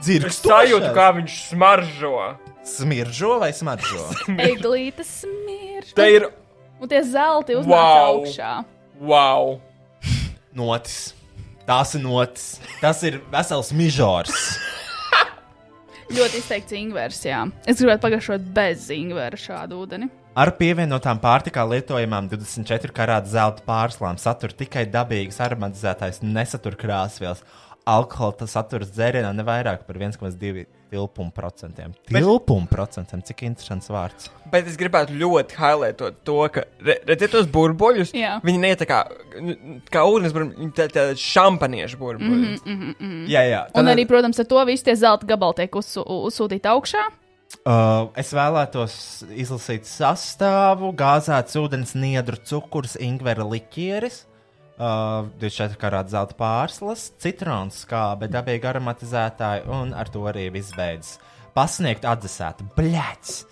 Dzirgs sajūtu, kā viņš smaržo. smiržo vai smaržo? Eglītes smirš. Te ir Un tie zelti uznāk wow. Wow. augšā. wow. notis. Tās ir notis. Tas ir vesels mižors. Ļoti izteikts ingvers, jā. Es gribētu pagaršot bez ingvera šādu ūdeni. Ar pievienotām pārtikā lietojamām 24 karāta zelta pārslām satur tikai dabīgas aromatizētājas, nesatur krāsvielas. Alkohola saturs dzērienā ne vairāk par 1,2 tilpumu procentiem. Tilpumu procentiem, cik interesants vārds. Bet es gribētu ļoti highlightot to, ka re- redziet tos burbuļus. Jā. Viņi neiet tā kā, nu, kā ūdens burbuļi, tā, tā šampaniešu burbuļi. Mm Mhm, mhm, mhm. Jā, jā. Un arī, protams, ar to visi tie zelta gabali tiek uzsū, uzsūtīti augšā. Uh, es vēlētos izlasīt sastāvu, gāzēts ūdens, niedru cukurs, ingvera likieris, uh, 24 karāta zelta pārslas, citrons, skābe, dabīga aromatizētāja, un ar to arī viss beidzas. Pasniegt atdzesēta, blēts!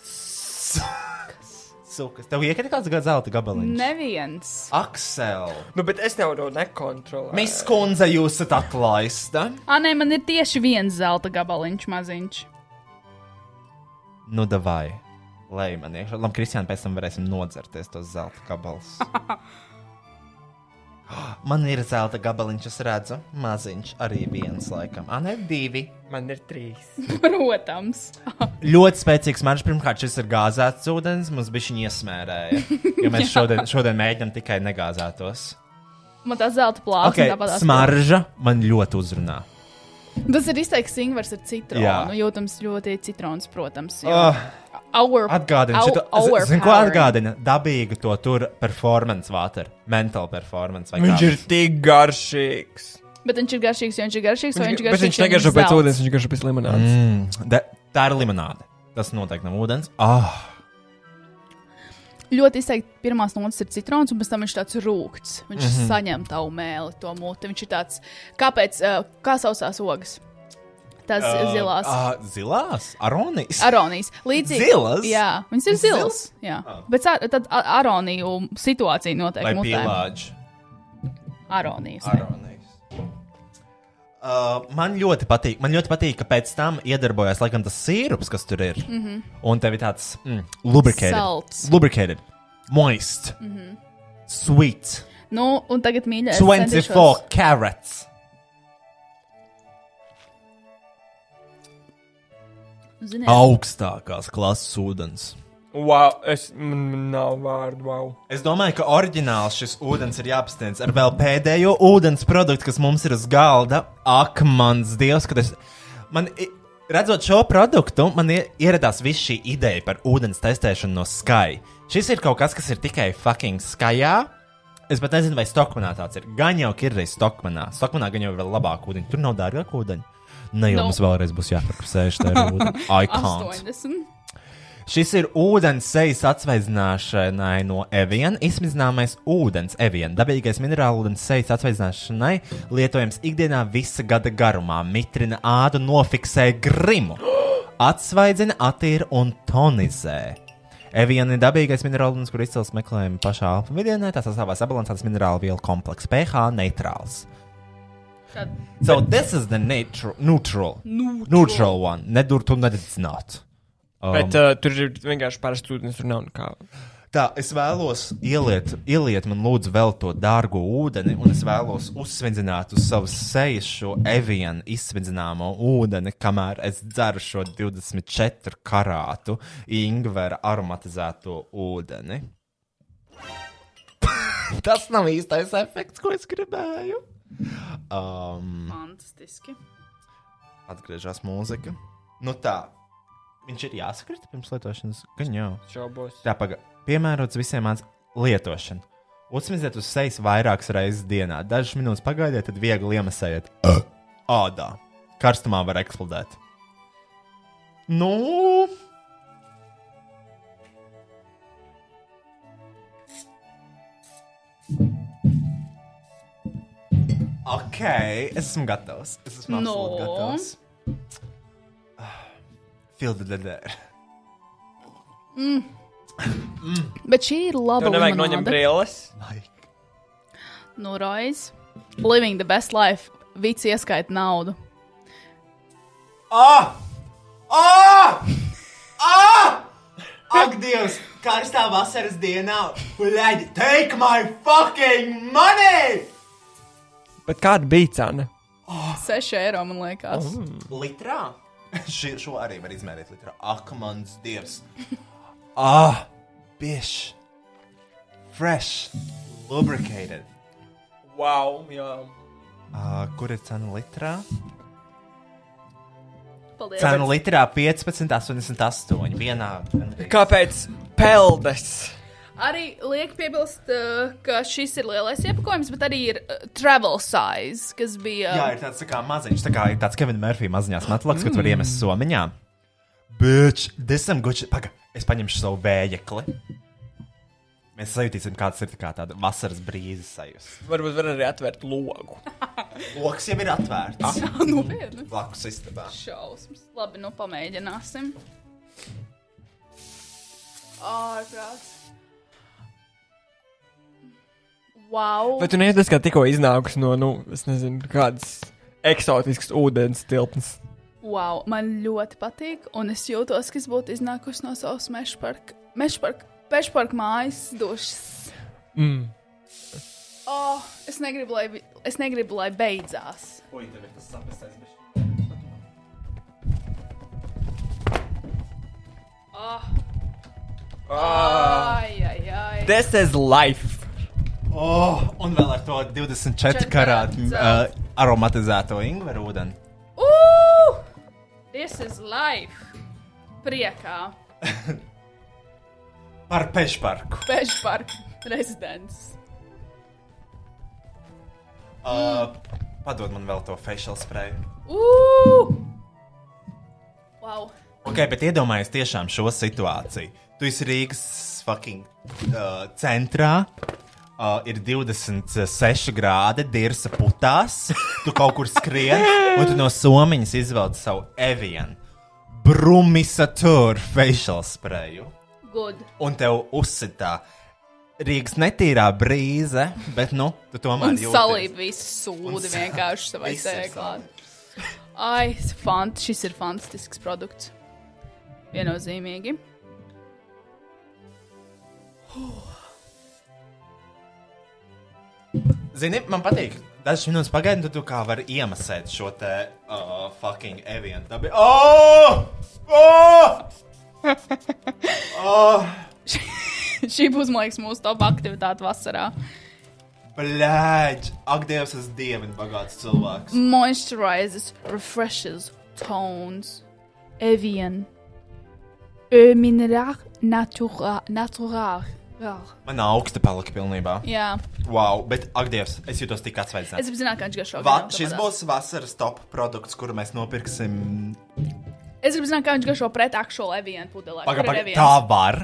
Sukas. Tev iekrita kāds gada zelta gabaliņš? Neviens. Aksel! Nu, bet es jau to nekontrolēju. Miss Kunze, jūs esat atlaista! Ah, nē, man ir tieši viens zelta gabaliņš maziņš. Nu, davai! Lai man iekšā, labi, Kristiāna, pēc tam varēsim nodzerties tos zelta gabalus. Man ir zelta gabaliņš, es redzu, maziņš arī viens, laikam. Ah, nē, divi. Man ir trīs. Protams. Ļoti spēcīgs maršruts. Pirmkārt, šis ir gāzēts ūdens, mums bija viņa iesmērēja. Jo mēs šodien, šodien mēģinām tikai negāzētos. Man tā zelta plāksne Okay, okay, tāpat smarža man ļoti uzrunā. Tas ir izteikts ingvers ar Jā. citronu. Jūtams ļoti citrons, protams. jo- Oh, Ah. Our, atgādina, au- šito, our zin, ko power. atgādina? Dabīgi to tur performance water, mental performance. vai Viņš kā. ir tik garšīgs. Bet viņš ir garšīgs, jo viņš ir garšīgs, vai viņš ir bet garšīgs. viņš jo negaršo ir pēc zelts? ūdens, viņš garšo pēc limonādes. Mm, da, tā ir limonāde. Tas noteikti nav ūdens. Ah, Ļoti izteikti pirmās notis ir citrons, un pēc tam viņš tāds rūkts. Viņš mm Mhm. -hmm. saņem tavu mēli, to mūti. Viņš ir tāds, kāpēc, eh, kā sausās ogas? Tās uh, zilās. Uh, Uh, zilās, aronijas. Aronijas. Līdzīgi. Zilas? Jā, viņas ir zilas. Jā, oh. bet tā- tad a- aroniju situācija Vai noteikti mutē. pīlāģi? Aronijas. ne. Aronijas. Uh, man ļoti patīk, man ļoti patīk, ka pēc tam iedarbojas laikam tas sīrups, kas tur ir. Mm Mhm. Un tev ir tāds mm, lubricated, Salts. lubricated, moist, mm Mhm. sweet, Nu, un tagad mīļākais. 24 carats. Ziniet, Oh, Augstākās klases ūdens. Wow, es man nav vārdu, wow. Es domāju, ka oriģināls šis ūdens ir jāapstiprina ar vēl pēdējo ūdens produktu, kas mums ir uz galda. Ak, mans dievs, kad es. Man, i- redzot šo produktu, man ie- ieradās viss šī ideja par ūdens testēšanu no Sky. Šis ir kaut kas, kas ir tikai fucking Skyā. Es pat nezinu, vai Stokmanā tāds ir. Gan jau ir reizes Stokmanā. Stokmanā gan jau ir vēl labāk ūdeņi. Tur nav dārgāk ūdeņi. Ne jau Nu. no. mums vēlreiz būs jāpapsēž tajā ūdenī. I can't. 80. Šis ir ūdens sejas atsvaidzināšanai no eviena. Izsmidzināmais ūdens, eviena, dabīgais minerālu ūdens sejas atsvaidzināšanai, lietojams ikdienā visa gada garumā, mitrina ādu, nofiksē grimu, atsvaidzina, attīra un tonizē. Eviena ir dabīgais minerālu ūdens, kur izcils meklējumi pašā vidienē, tā sastāvā sabalansēts minerālu vielu komplekss, pH neitrāls. Tad So this is the natu- neutral, neutral, neutral one. Nedur tu nedz not. Um, Bet uh, tur ir vienkārši parasts ūdens, tur nav nekā. Tā, es vēlos ieliet, ieliet man lūdzu vēl to dārgo ūdeni, un es vēlos uzsvedzināt uz savas sejas šo evienu izsvedzināmo ūdeni, kamēr es dzeru šo 24 karātu ingvera aromatizēto ūdeni. Tas nav īstais efekts, ko es gribēju. Um, Mm. fantastiski. atgriežas mūzika. Nu tā, viņš ir jāsakrita pirms lietošanas, gan jau. Šaubos. Tā paga, piemērots visiem mans lietošana. Uzsmidziet uz sejas vairākas reizes dienā. Dažas minūtes pagaidiet, tad viegli iemasējiet ādā. Karstumā var eksplodēt. Nu, ok, es esmu gatavs. Es esmu Nu? absolūti gatavs. Ah, Filda dedēra. Bet šī ir laba Tev nevajag noņemt limonāde. brilles. Nu, Roiz. Living the best life. Vici ieskaita naudu. Ah! Ah! Ah! Ak, Dievs! Karstā vasaras dienā! Leģi, take my fucking money! Bet kāda bija cena? 6 eiro, man liekas. Litrā? Ši, šo arī var izmērīt litrā. Ak, mans Dievs! Ah! bišķi fresh, lubricated. Wow, jā. Uh, kur ir cena litrā? Paldies. Cena litrā 15,88. Vienādi. Kāpēc peldes? Arī liek piebilst, uh, ka šis ir lielais iepakojums, bet arī ir uh, travel size, kas bija. Jā, ir tāds tā kā maziņš, tā kā ir tāds Kevina Mārfija maziņās matlaks, mm. ko tu vari iemest somiņā. Bitch, desam guči, paga, es paņemšu savu vējekli. Mēs sajutīsim, kāds ir tā kā tāda vasaras brīzes sajūta. Varbūt var arī atvērt logu. Loks jau ir atvērts. Jā, nopietni. Blakus istabā. Nu, Šausmas. Labi, nu pamēģināsim. Ārprāts. Wow. Bet tu neizdomā, ka tikko iznākusi no, nu, es nezinu, kādas eksotiskas ūdens tilpnes. wow, man ļoti patīk, un es jūtos, ka es būtu iznākusi no savas meža parka, meža parka, meža parka mājas dušas. Mm. Oh, es, negribu, lai, vi- es negribu, lai beidzās. Ui, tev ir tas sapestais bišķi. Oh. Ai, ai, ai. This is life. Oh, un vēl ar to 24 Četri karātu uh, karāti. aromatizēto ingveru ūdeni. Uh! This is life! Priekā! Par pešparku. Peža parka rezidents. Uh, Mm. padod man vēl to facial spray. Uh! Wow! Ok, bet iedomājies tiešām šo situāciju. Tu esi Rīgas fucking uh, centrā. Uh, ir 26 grādi, dirza putās. Tu kaut kur skrien, un tu no somiņas izvelc savu evienu. Brumisatūru facial sprayu. Good! Un tev uzsitā Rīgas netīrā brīze, bet nu, tu tomēr Un jūties- salīd visu sūdu Un sa- vienkārši savai viss ir sēklā. Ai, fant, šis ir fantastisks produkts. Viennozīmīgi. Zini, man patīk. Dažas minūtes pagaidi, un tad tu kā vari iemasēt šo te uh, fucking evienu. Tā bija. Oh! Oh! oh! Šī būs, man liekas, mūsu top aktivitāte vasarā. Blēģ! Ak, Dievs, es dievinu bagāts cilvēks. moisturizes, refreshes, tones. Evian. Eau mineral natural. natural. Man augsti palika pilnībā. Jā, Wow, bet ak, Dievs, es jūtos tik es atsveicināts. apzināju, ka viņš garšo. Va, vienam šis tāpat. būs vasaras top produkts, kuru mēs nopirksim. Es gribu zināt, kā viņš garšo pret aktuālo evienu pudelē. Paga, Kur ir paga, Evian? tā var,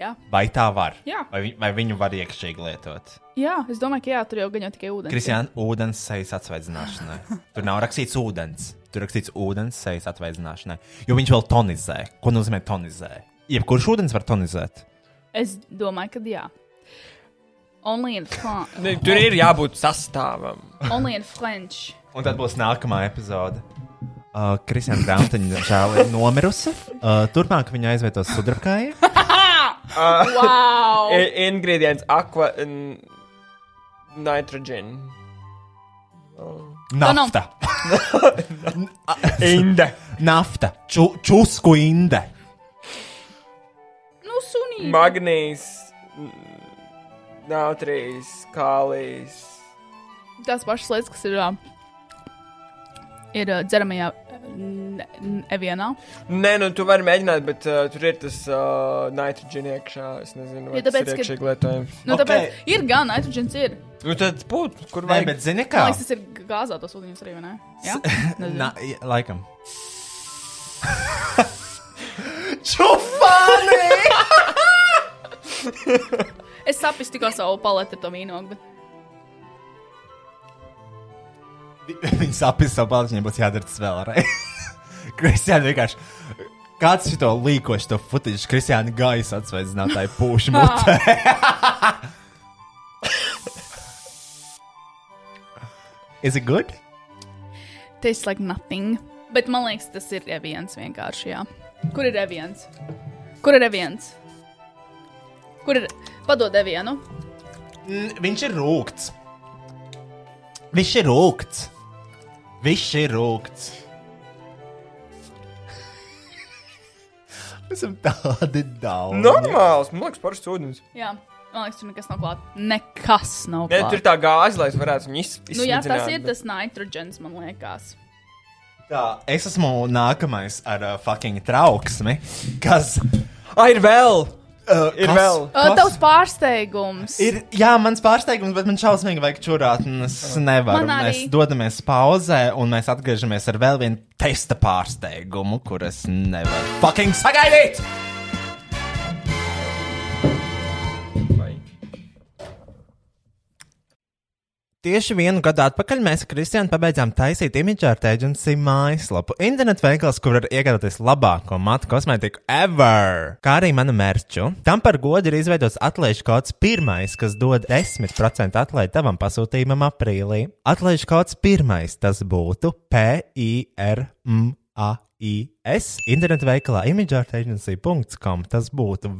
Jā. vai tā var? Jā. Vai, vi- vai viņu var iekšīgi lietot? jā, es domāju, ka jā, tur jau gan jau tikai ūdens. Kristiāna, ūdens sejas atvaidzināšanai. Tur nav rakstīts ūdens. Tur rakstīts ūdens sejas atvaidzināšanai. Jo viņš vēl tonizē. Ko nozīmē tonizē? Jebkurš ūdens var tonizēt. Es domāju, ka jā. Only in, Fran Ne, tur ir jābūt sastāvam. only in French. Un tad būs nākamā epizode. Uh, Kristiāna Grāmatiņa žēl ir nomirusi. Uh, turpmāk viņa aizvietos sudrabkājā. Wow! I ingredients aqua and nitrogen. Nafta. Inde. Nafta. Ču, čusku inde. nu, sunī! Magnīs. Nautrijas, kālijas. Tās pašas lietas, kas ir, ā, ir ā, dzeramajā n- n- evienā. Nē, nu tu vari mēģināt, bet uh, tur ir tas uh, nitrogen iekšā. Es nezinu, vai Ja tas tāpēc, ir ka- iekšīgi lietojams. Nu, Ok. okay. Tāpēc ir gan nitrogens, ir. Nu tad būtu, kur Nē, vajag. bet zini Man kā? liekas, tas ir g- gāzētos ūdeņos arī, vai ne? Jā, Nezinu. Na, i- laikam. Čufāni! es saprotu tikko savu paleti ar to vīnogu. Bet... Viņa sapnis savu balstu, viņai būs jādara tas vēlreiz. Kristiāna vienkārši. Kāds ir to līkošs, to futiņš, Kristiāna gaisa atsveicinātāja pūšu mutē? Is it good? Tastes like nothing. Bet man liekas, tas ir reviens vienkārši. Jā. Kur ir reviens? Kur ir reviens? Kur ir? Padod revienu. Mm, viņš ir rūkts. Viņš ir rūkts. Viņš ir rūkts. Esam tādi daudz. Normāls, man liekas, paršs ūdens. Jā, man liekas, tur nekas nav klāts. Nekas nav Bet tur klāts. ir tā gāze, lai es varētu viņu izspiest. Nu, jā, tas ir tas nitrogens, man liekas. Tā, es esmu nākamais ar uh, fucking trauksmi, kas. Ai, ir vēl! Uh, Ir vēl. Uh, Tavs pārsteigums. Ir, jā, mans pārsteigums, bet man šausmīgi vajag čurāt, un es nevaru. Man arī. Mēs dodamies pauzē, un mēs atgriežamies ar vēl vienu testa pārsteigumu, kur es nevaru fucking sagaidīt! Tieši vienu gadu atpakaļ mēs ar Kristiānu pabeidzām taisīt Image Art Agency mājaslapu. Internetu veikals, kur var iegādāties labāko matu kosmētiku ever, kā arī manu mērķu. Tam par godu ir izveidots atlaižu kods pirmais, kas dod 10% atlaidi tavam pasūtījumam aprīlī. Atlaižu kods pirmais tas būtu PIRMA. IS internetu veikalā imageartagency.com tas būtu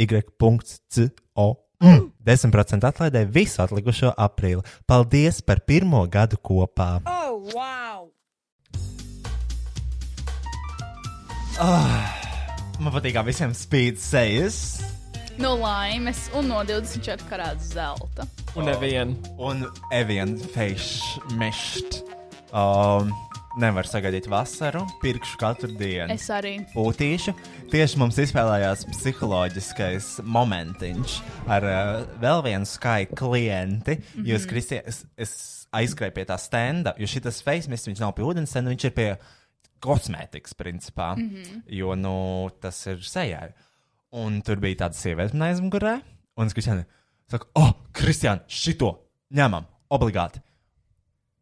E www.imagrtagny.co. 10% atlaidē visu atlikušo aprīli. Paldies par pirmo gadu kopā! Oh, wow! Ah, Man patīk, kā visiem spīd sejas. No laimes un no 24 karāta zelta. Un nevienu. Un Evian face mešt. Um, nevar sagaidīt vasaru, pirkšu katru dienu. Es arī. Būtīšu. Tieši mums izspēlējās psiholoģiskais momentiņš ar uh, vēl vienu skaitu klienti. Mm -hmm. Jūs, Kristija, es, es aizskrēju pie tā stenda, jo šis facemis viņš nav pie ūdens stenda, viņš ir pie kosmētikas, principā. Mm -hmm. Jo nu, tas ir sejai. Un tur bija tāda sieviete man aizmugurē, un es Kristijai saku, oh, Kristija, šito ņemam obligāti.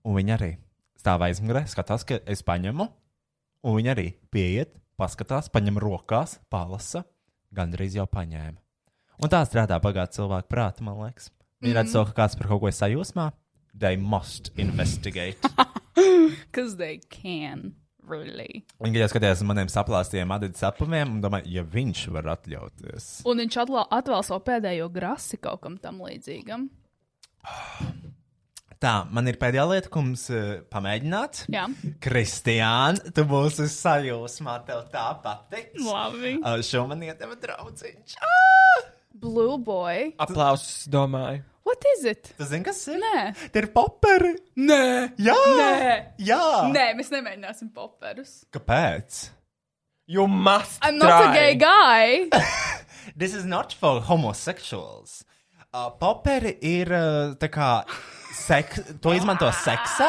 Un viņa arī stāv aizmugurē, skatās, ka es paņemu. Un viņi arī pieiet, paskatās, paņem rokās, palasa. Gandrīz jau paņēma. Un tā strādā pagātnē cilvēku prātā, man liekas. Viņi Mhm. redz to, ka kāds par kaut ko ir sajūsmā. They must investigate. Because they can, really. Viņi tikai skatījās uz maniem saplāstiem, adata sapumiem, un domāja, ja viņš var atļauties. Un viņš atla- atvēl savu pēdējo grasi kaut kam tam līdzīgam. Tā, man ir pēdējā lieta, ko mums uh, pamēģināt. Jā. Kristiāna, tu būsi sajūsmā, tev tā patiks. Labi. Uh, šo man ieteva draugs. Ah! Blue boy. Aplausus, domāju. What is it? Tu zini, kas ir? Nē, Tie ir poperi! Nē, Jā! Nē. Jā! Nē mēs nemēģināsim poperus. Kāpēc? you must. I'm not a gay guy. This is not for homosexuals. Uh, poperi ir uh, tā kā seks, to izmanto seksā.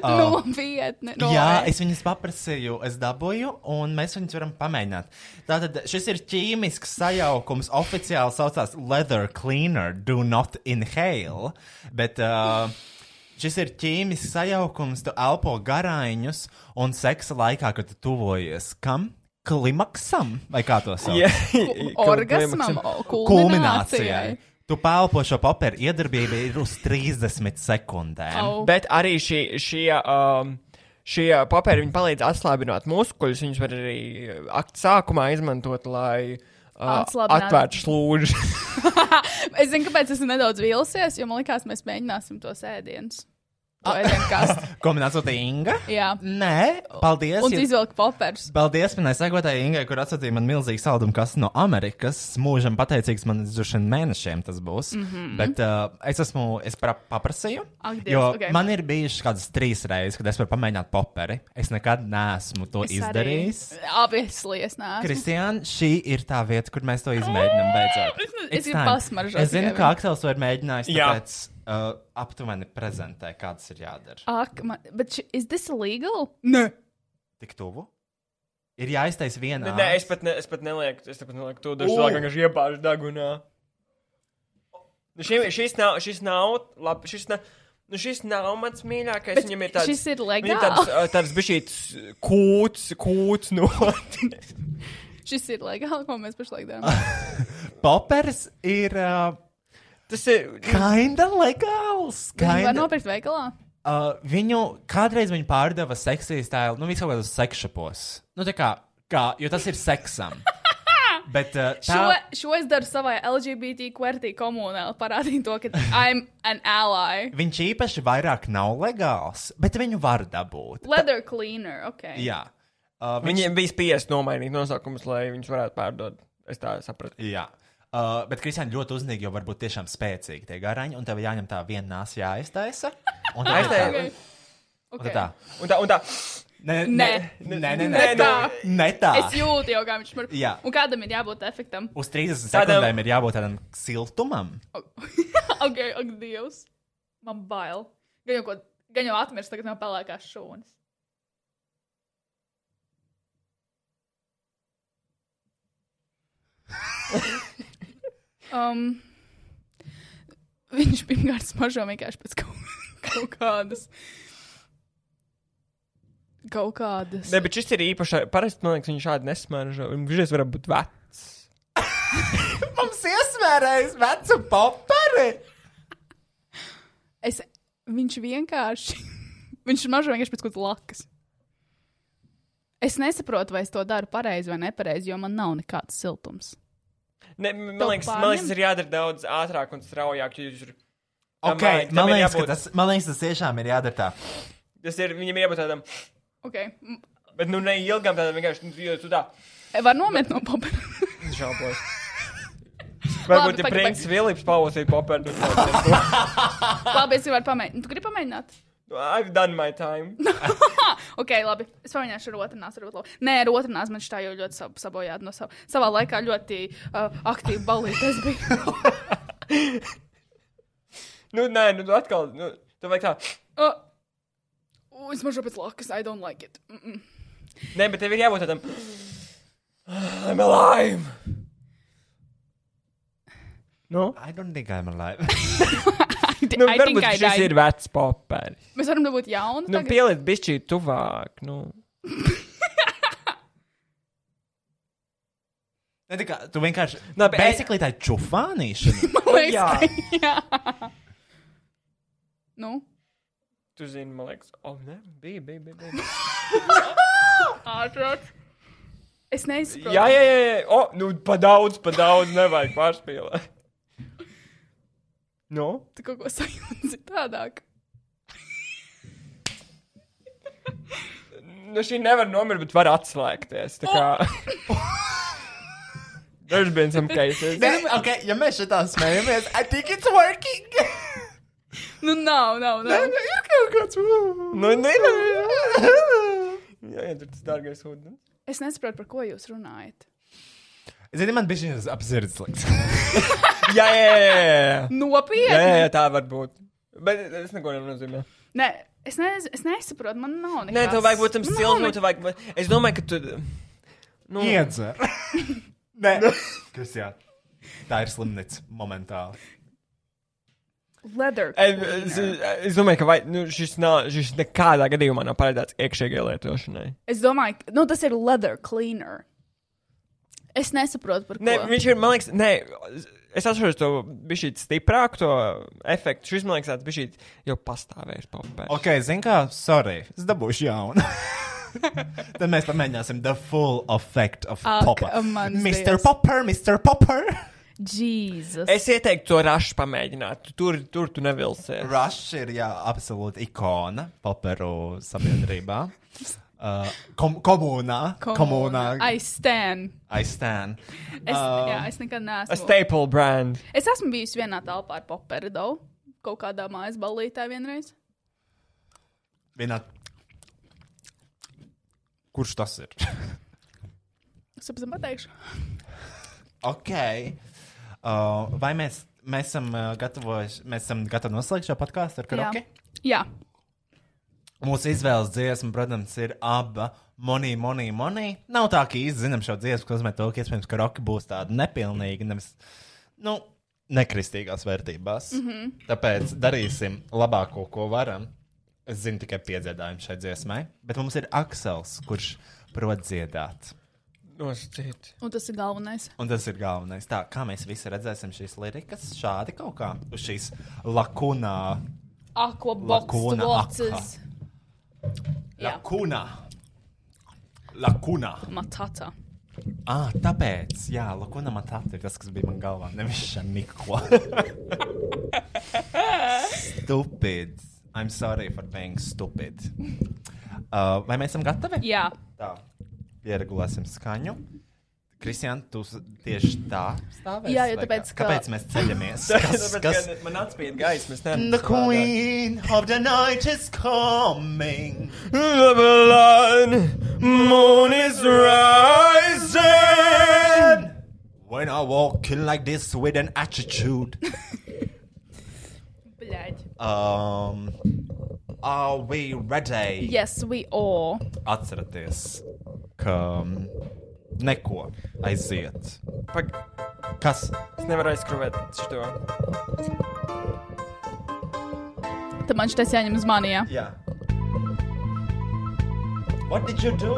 Uh, no vietnes. Nu, No Oh. Jā, es viņas paprasīju, es dabūju, un mēs viņus varam pamēģināt. Tātad šis ir ķīmisks sajaukums, oficiāli saucās Leather Cleaner, Do Not Inhale. Bet, uh, Šis ir ķīmisks sajaukums, tu elpo garāņus un seksa laikā, kad tu tuvojies kam? Klimaksam vai kā to sauc? Yeah. Orgasmam, kulminācijai. kulminācijai. Tu pelpo šo papēru iedarbību ir uz 30 sekundēm. Oh. Au. Bet arī šie, šie, um, šie papēri viņi palīdz atslābināt muskuļus. Viņus var arī uh, aktu sākumā izmantot, lai uh, Atslābinātu. atvērtu slūdzi. Es zinu, kāpēc esmu nedaudz vīlusies, jo man liekas, mēs mēģināsim to sēdiņus. Ah. Jā, Ko man atsūtīja Inga? Nē, paldies. un tu ja- izvelk poperus. Paldies manai sekotāji Ingai, kur atsūtīja man milzīgu saldumu kastu no Amerikas. Mūžam pateicīgs man droši vien mēnešiem tas būs. Mm -hmm. Bet uh, es esmu, es pra, paprasīju. Mhm. Ak, Dievs, jo ok. man ir bijušas kādas trīs reizes, kad es varu pamēģināt poperi. Es nekad neesmu to Es arī- izdarījis. Obviously, es neesmu. Kristiāna, šī ir tā vieta, kur mēs to izmēģinām. Beidzot, Es ne- It's es gribu time. pasmaržot Es zinu, tikai ka Aksels to ir mēģinājis. Jā. Tāpēc uh, aptuveni prezentē, kādas ir jādara. Ak, man, bet ši, is this illegal? Nē. Tik tuvu. Ir jāiztais viena. Nē, es pat, ne, es pat nelieku, es pat nelieku to dažu Ū. cilvēku vienkārši iebāžu dagunā. Nu, šim, šis nav, šis nav, labi, šis nav. Nu, šis nav mans mīļākais. Bet Viņam ir tāds, šis ir legāls. Viņam tāds, uh, tāds bišķīts kūts, kūts no. Šis ir legāli, ko mēs pašlaik darām. Ah, Popers ir uh, Tas ir. kinda legāls. Vai Kinda. nopirkt veikalā? Uh, viņu kādreiz viņi pārdeva seksīs tēlu, nu, visu kaut kādos sekšapos. Nu, tā kā, kā, jo tas ir seksam. Bet uh, Šo, šo es daru savai LGBT kvertī komunā, lai parādītu to, ka I'm an ally. viņš īpaši vairāk nav legāls, bet viņu var dabūt. Leather cleaner, ok. Jā. Uh, viņš- Viņiem bija spiest nomainīt nosaukumus, lai viņus varētu pārdot. Es tā sapratu. Jā. Uh, bet Kristiāna ļoti uzmanīgi, jo varbūt tiešām spēcīgi tie garaņi, un tev jāņem tā viena nāsa jāiztaisa. Un tā Aiztai- ir Okay. tā. Un tā, un tā. Nē, nē, Nē. nē, nē, nē, Ne nē, tā. nē tā. Es jūtu jau, kā viņš man ir. Jā. Un kādam ir jābūt efektam? Uz 30 Tādam- sekundēm ir jābūt tādam siltumam. Ok, ak, Dievs. Man bail. Gan jau, ko, gan jau atmirst, tagad man pelēkās šūnas. um, viņš pirmkārt smaržo vienkārši pēc kaut, kaut kādas. Kaut kādas. Nē, bet šis ir īpašs. Parasti, man liekas, viņš šādi nesmaržo. Viņš var būt vecs. Mums iesmērējas vecu poperi! Es, viņš vienkārši. viņš mažo vienkārši pēc kaut kādas lakas. Es nesaprotu, vai es to daru pareizi vai nepareizi, jo man nav nekāds siltums. Ne, man, To liekas, man pārņem? liekas, tas ir jādara daudz ātrāk un straujāk. jo Viņš ir, tam Okay, vajag- tam man, ir liekas, ka jābūt- tas, man liekas, tas tiešām ir jādara tā. tas ir viņam ir jābūt tādam, Okay. m- bet nu ne ilgam tādam vienkārši, nu, jo tu tā Var nomet no papēra. žāpojas. Varbūt Labi, ir pagaid, Prince pagaid. Filips pavasīt popēdu. nu, labi, es varu pamēģināt. Tu gribi pamēģināt? I've done my time. Ok, labi. Es pamēģināšu ar otru nāsu. varbūt labi. Nē, ar otru nāsu man šitā jau ļoti sab sabojāta no sava. Savā laikā ļoti uh, aktīvi balīties bija. Nu, nē, nu tu atkal, nu, tu vajag tā. uh, es mažu pēc lakas, I don't like it. Mm -mm. Nē, bet tev ir jābūt tādam. I'm alive! Nu, I don't think I'm alive. nu I think varbūt I šis died. ir vecs popēris. Mēs varam dabūt jaunu. Nu, tagad? pieliet bišķī tuvāk, nu. Ne, tā kā, tu vienkārši. Nē, Nē, bet- bet. Basically tā ir čufānīšana. Man liekas, Jā. ka jā. Nu, Tu zini, man liekas, oh, nē, bija, bija, bija. bija. ātrāk. Es nesaprotu. jā, jā, jā, jā, o, nu, pa daudz, pa daudz, nevajag pārspīlēt. Nu, Tu kaut ko sajūti citādāk. nu, šī nevar nomirt, bet var atslēgties. Tā kā. There's been some cases. Nē, okay, ja mēs šitā smējamies, I think it's working! Nu, nav, nav, nav. ir kaut kāds. Nu, nē, nē, jā. Jā, jā, tur tas dārgais ūdens. Es nesaprotu, par ko jūs runājat. Zini, man bija šis apzirdis liks. Jā, jā, jā, jā, jā. Jā, jā, Nopietni! jā, tā var būt. Bet es neko nenozīmē. Nē, es, ne, es nesaprotu, man nav nekādas. Nē, tev vajag būt tam Man nav siltam, ne- tev vajag. Es domāju, ka tu. Nu, Iedzer. Nē, Kristija. Tā ir slimnīca momentāli. Leather. Es, es domāju, ka vai, nu, šis, nav, šis nekādā gadījumā nav paredzēts iekšējai lietošanai. Es domāju, ka nu, tas ir leather cleaner. Es nesaprotu, par ko. Nē, viņš ir, man liekas, nē, es atceros to bišķi stiprāku to efektu. Šis, man liekas, tāds bišķi jau pastāvējis popē. Ok, zini kā, sorry, es dabūšu jaunu. Tad mēs pamēģināsim the full effect of Ak, Popper. mans Mr. Dievs. Popper, Mr. Popper! Jēzus. Es ieteiktu to rašu pamēģināt. Tu Tur, tur tu nevilsies. Rush ir, jā, absolūti ikona Popperu sabiedrībā. Uh, kom komunā. Komunā. I stand. I stand. Es, Ah. uh, jā, es nekad neesmu. A staple brand. Es esmu bijusi vienā telpā ar poperu daudz. Kaut kādā mājas ballītē vienreiz. Vienā... Kurš tas ir? Es pēc tam pateikšu. Ok. Uh, vai mēs, mēs esam uh, gatavojuši, mēs esam gatavi noslēgt šo podkāstu ar karaoke? Jā. Mūsu izvēles dziesma, protams, ir aba monī, monī, monī. Nav tā, ka īsti zinām šo dziesmu, kas nozīmē to, ka iespējams karaoke būs tāda nepilnīga, nevis, nu, nekristīgās vērtībās. Mm -hmm. Tāpēc darīsim labāko, ko varam. Es zinu tikai piedziedājumu šai dziesmai, bet mums ir Aksels, kurš prot dziedāt. Nosacīt. Un tas ir galvenais. Un tas ir galvenais. Tā kā mēs visi redzēsim šīs lirikas, šādi kaut kā uz šīs lakunā, Lakūna Akvaboxes. Jā, lakunā, lakunā. matata. Ah, tāpēc, jā, Lakuna Matata ir tas, kas bija man galvā. Nevis Šaniko. stupid. I'm sorry for being stupid. Uh, vai mēs esam gatavi? Jā. Tā. Pieregulēsim skaņu. Kristian, tu s- tieši tā stāvēsi. Jā, jo vai tāpēc, kā? ka- Kāpēc mēs ceļamies? Tāpēc, Kas, kas, Nu, ka man atspīd gaismas. The queen of the night is coming. The blood moon is rising. When I walk in like this with an attitude, Bļaģ. um, are we ready? Yes, we all. Atceraties, ka mm, neko aiziet. Pag... Kas? Es nevaru aizskrūvēt šo. Tad man šis jāņem uz mani, jā. Yeah. What did you do?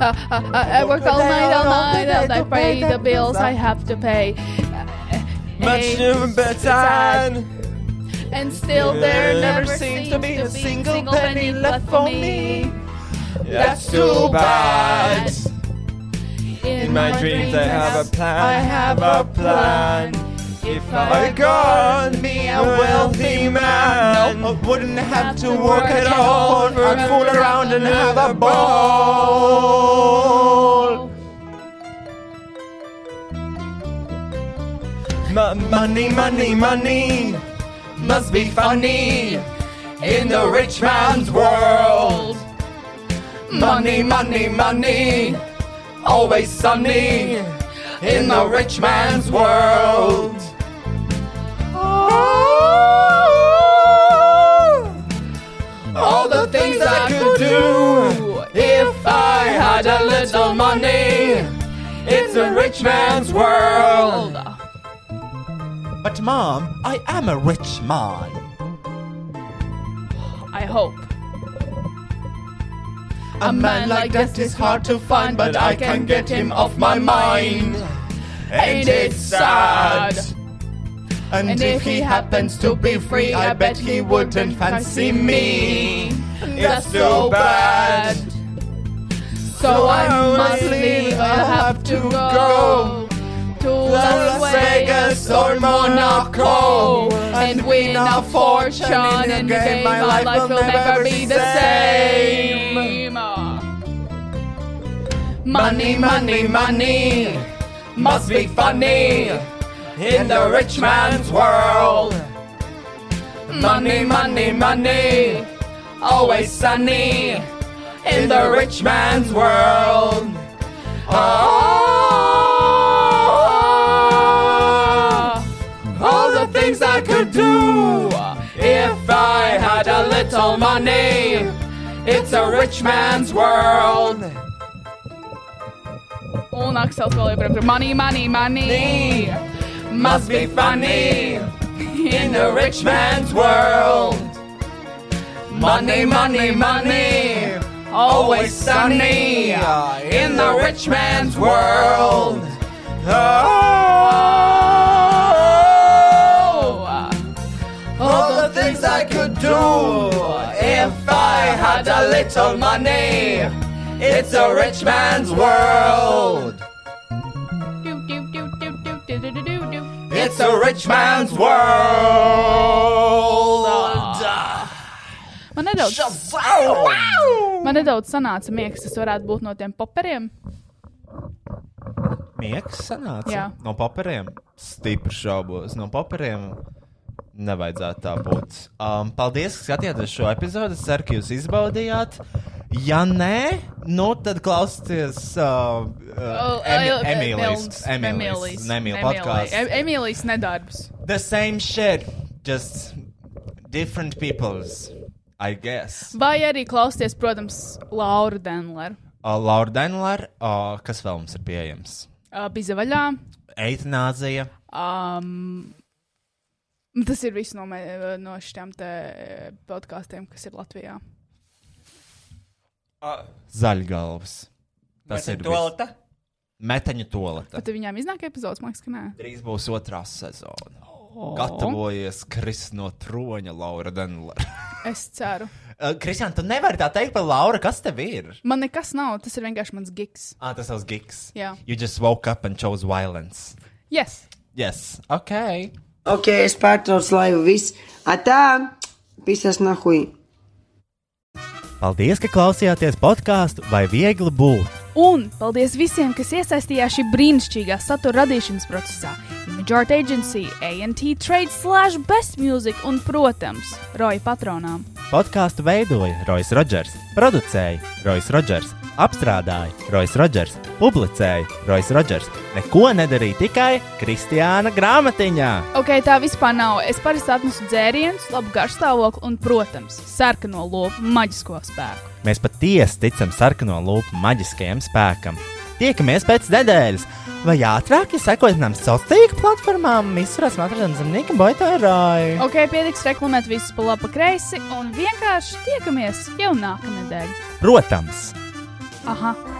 Uh, uh, uh, I work all night, all night, and I pay the bills I have to pay. Much Hey, better. And still there never seems to be a single penny left for me. That's too bad. In In my dreams I have a plan. I have a plan. If I got me a wealthy man, I wouldn't have to work at all. I'd fool around and have a ball. M- money, money, money must be funny in the rich man's world. Money, money, money, always sunny in the rich man's world. Oh, All the things I could do if I had a little money. It's a rich man's world. But mom, I am a rich man. I hope. A man like that is hard to find, but I can get him off my mind. Ain't it sad? And, if he happens to be free, I bet he wouldn't fancy me. It's so bad. So I must leave. I have to go to Las Vegas or Monaco and win a fortune and game. My life will never be the same. Money, money, money must be funny in the rich man's world. Money, money, money, always sunny in the rich man's world. Ah, Oh, all the things I could do if I had a little money. It's a rich man's world. Un Aksels vēl joprojām tur money, money, money. Must be funny. in the rich man's world. Money, money, money, always sunny in the rich man's world. Oh, uh, all oh, the things I could do if I had a little money. It's a rich man's world. It's a rich man's world. Man nedaudz, man nedaudz sanāca miegs, tas varētu būt no tiem poperiem. Mieks sanāca. Jā. No paperiem stipri šaubos. No paperiem nevajadzētu tā būt. Um, paldies, ka skatījāties šo epizodi. Es ceru, ka jūs izbaudījāt. Ja nē, nu tad klausieties uh, Oh, uh, Emi- Emīlijas Emīlijas- Nemīl podkāstu. Emīlijas nedarbs. The same shit, just different peoples, I guess. Vai arī klausties, protams, Laura Denlera. Uh, Laura Denlera, uh, kas vēl mums ir pieejams? Uh, bija vaļā. Eitanāzija. Um, tas ir viss no, me- no šiem eh, podkāstiem, kas ir Latvijā. Zaļgalvas. Tas ir viss. Tualeta? Meteņu toleta. Tad viņām iznāk epizodes, man liekas, ka nē. Drīz būs otrā Oh. sezona. Gatavojies krist no troņa, Laura Denlera. Es ceru. Uh, Kristian, tu nevari tā teikt par Laura, kas tev ir? Man nekas nav, tas ir vienkārši mans gigs. Ah, tas savs gigs. Jā. You just woke up and chose violence. Yes. Yes, ok. Ok, es pārtraucu laivu viss. Atā, pisas nahui. Paldies, ka klausījāties podkāstu vai viegli būt. Un paldies visiem, kas iesaistījās šī brīnišķīgā satura radīšanas procesā. Majority Agency, ANT Trade, Slash, Best Music un, protams, Roja patronām. Podkāstu veidoja Rois Rodžers, producēja Rois Rodžers, apstrādāja Rois Rodžers, publicēja Rois Rodžers. Neko nedarīja tikai Kristiāna grāmatiņā. Ok, tā vispār nav. Es parasti atnesu dzērienus, labu garšstāvokli un, protams, sarkano lopu maģisko spēku. Mēs patiesi ticam sarkano lupu maģiskajam spēkam. Tiekamies pēc nedēļas, vai ātrāk, ja sekojat mums sociālajām tīkla platformām, visurās matradienas zemnieka boitārāji. Ok, pietiks reklamēt visus pa labi, pa kreisi un vienkārši tiekamies jau nākamnedēļ. Protams! Aha!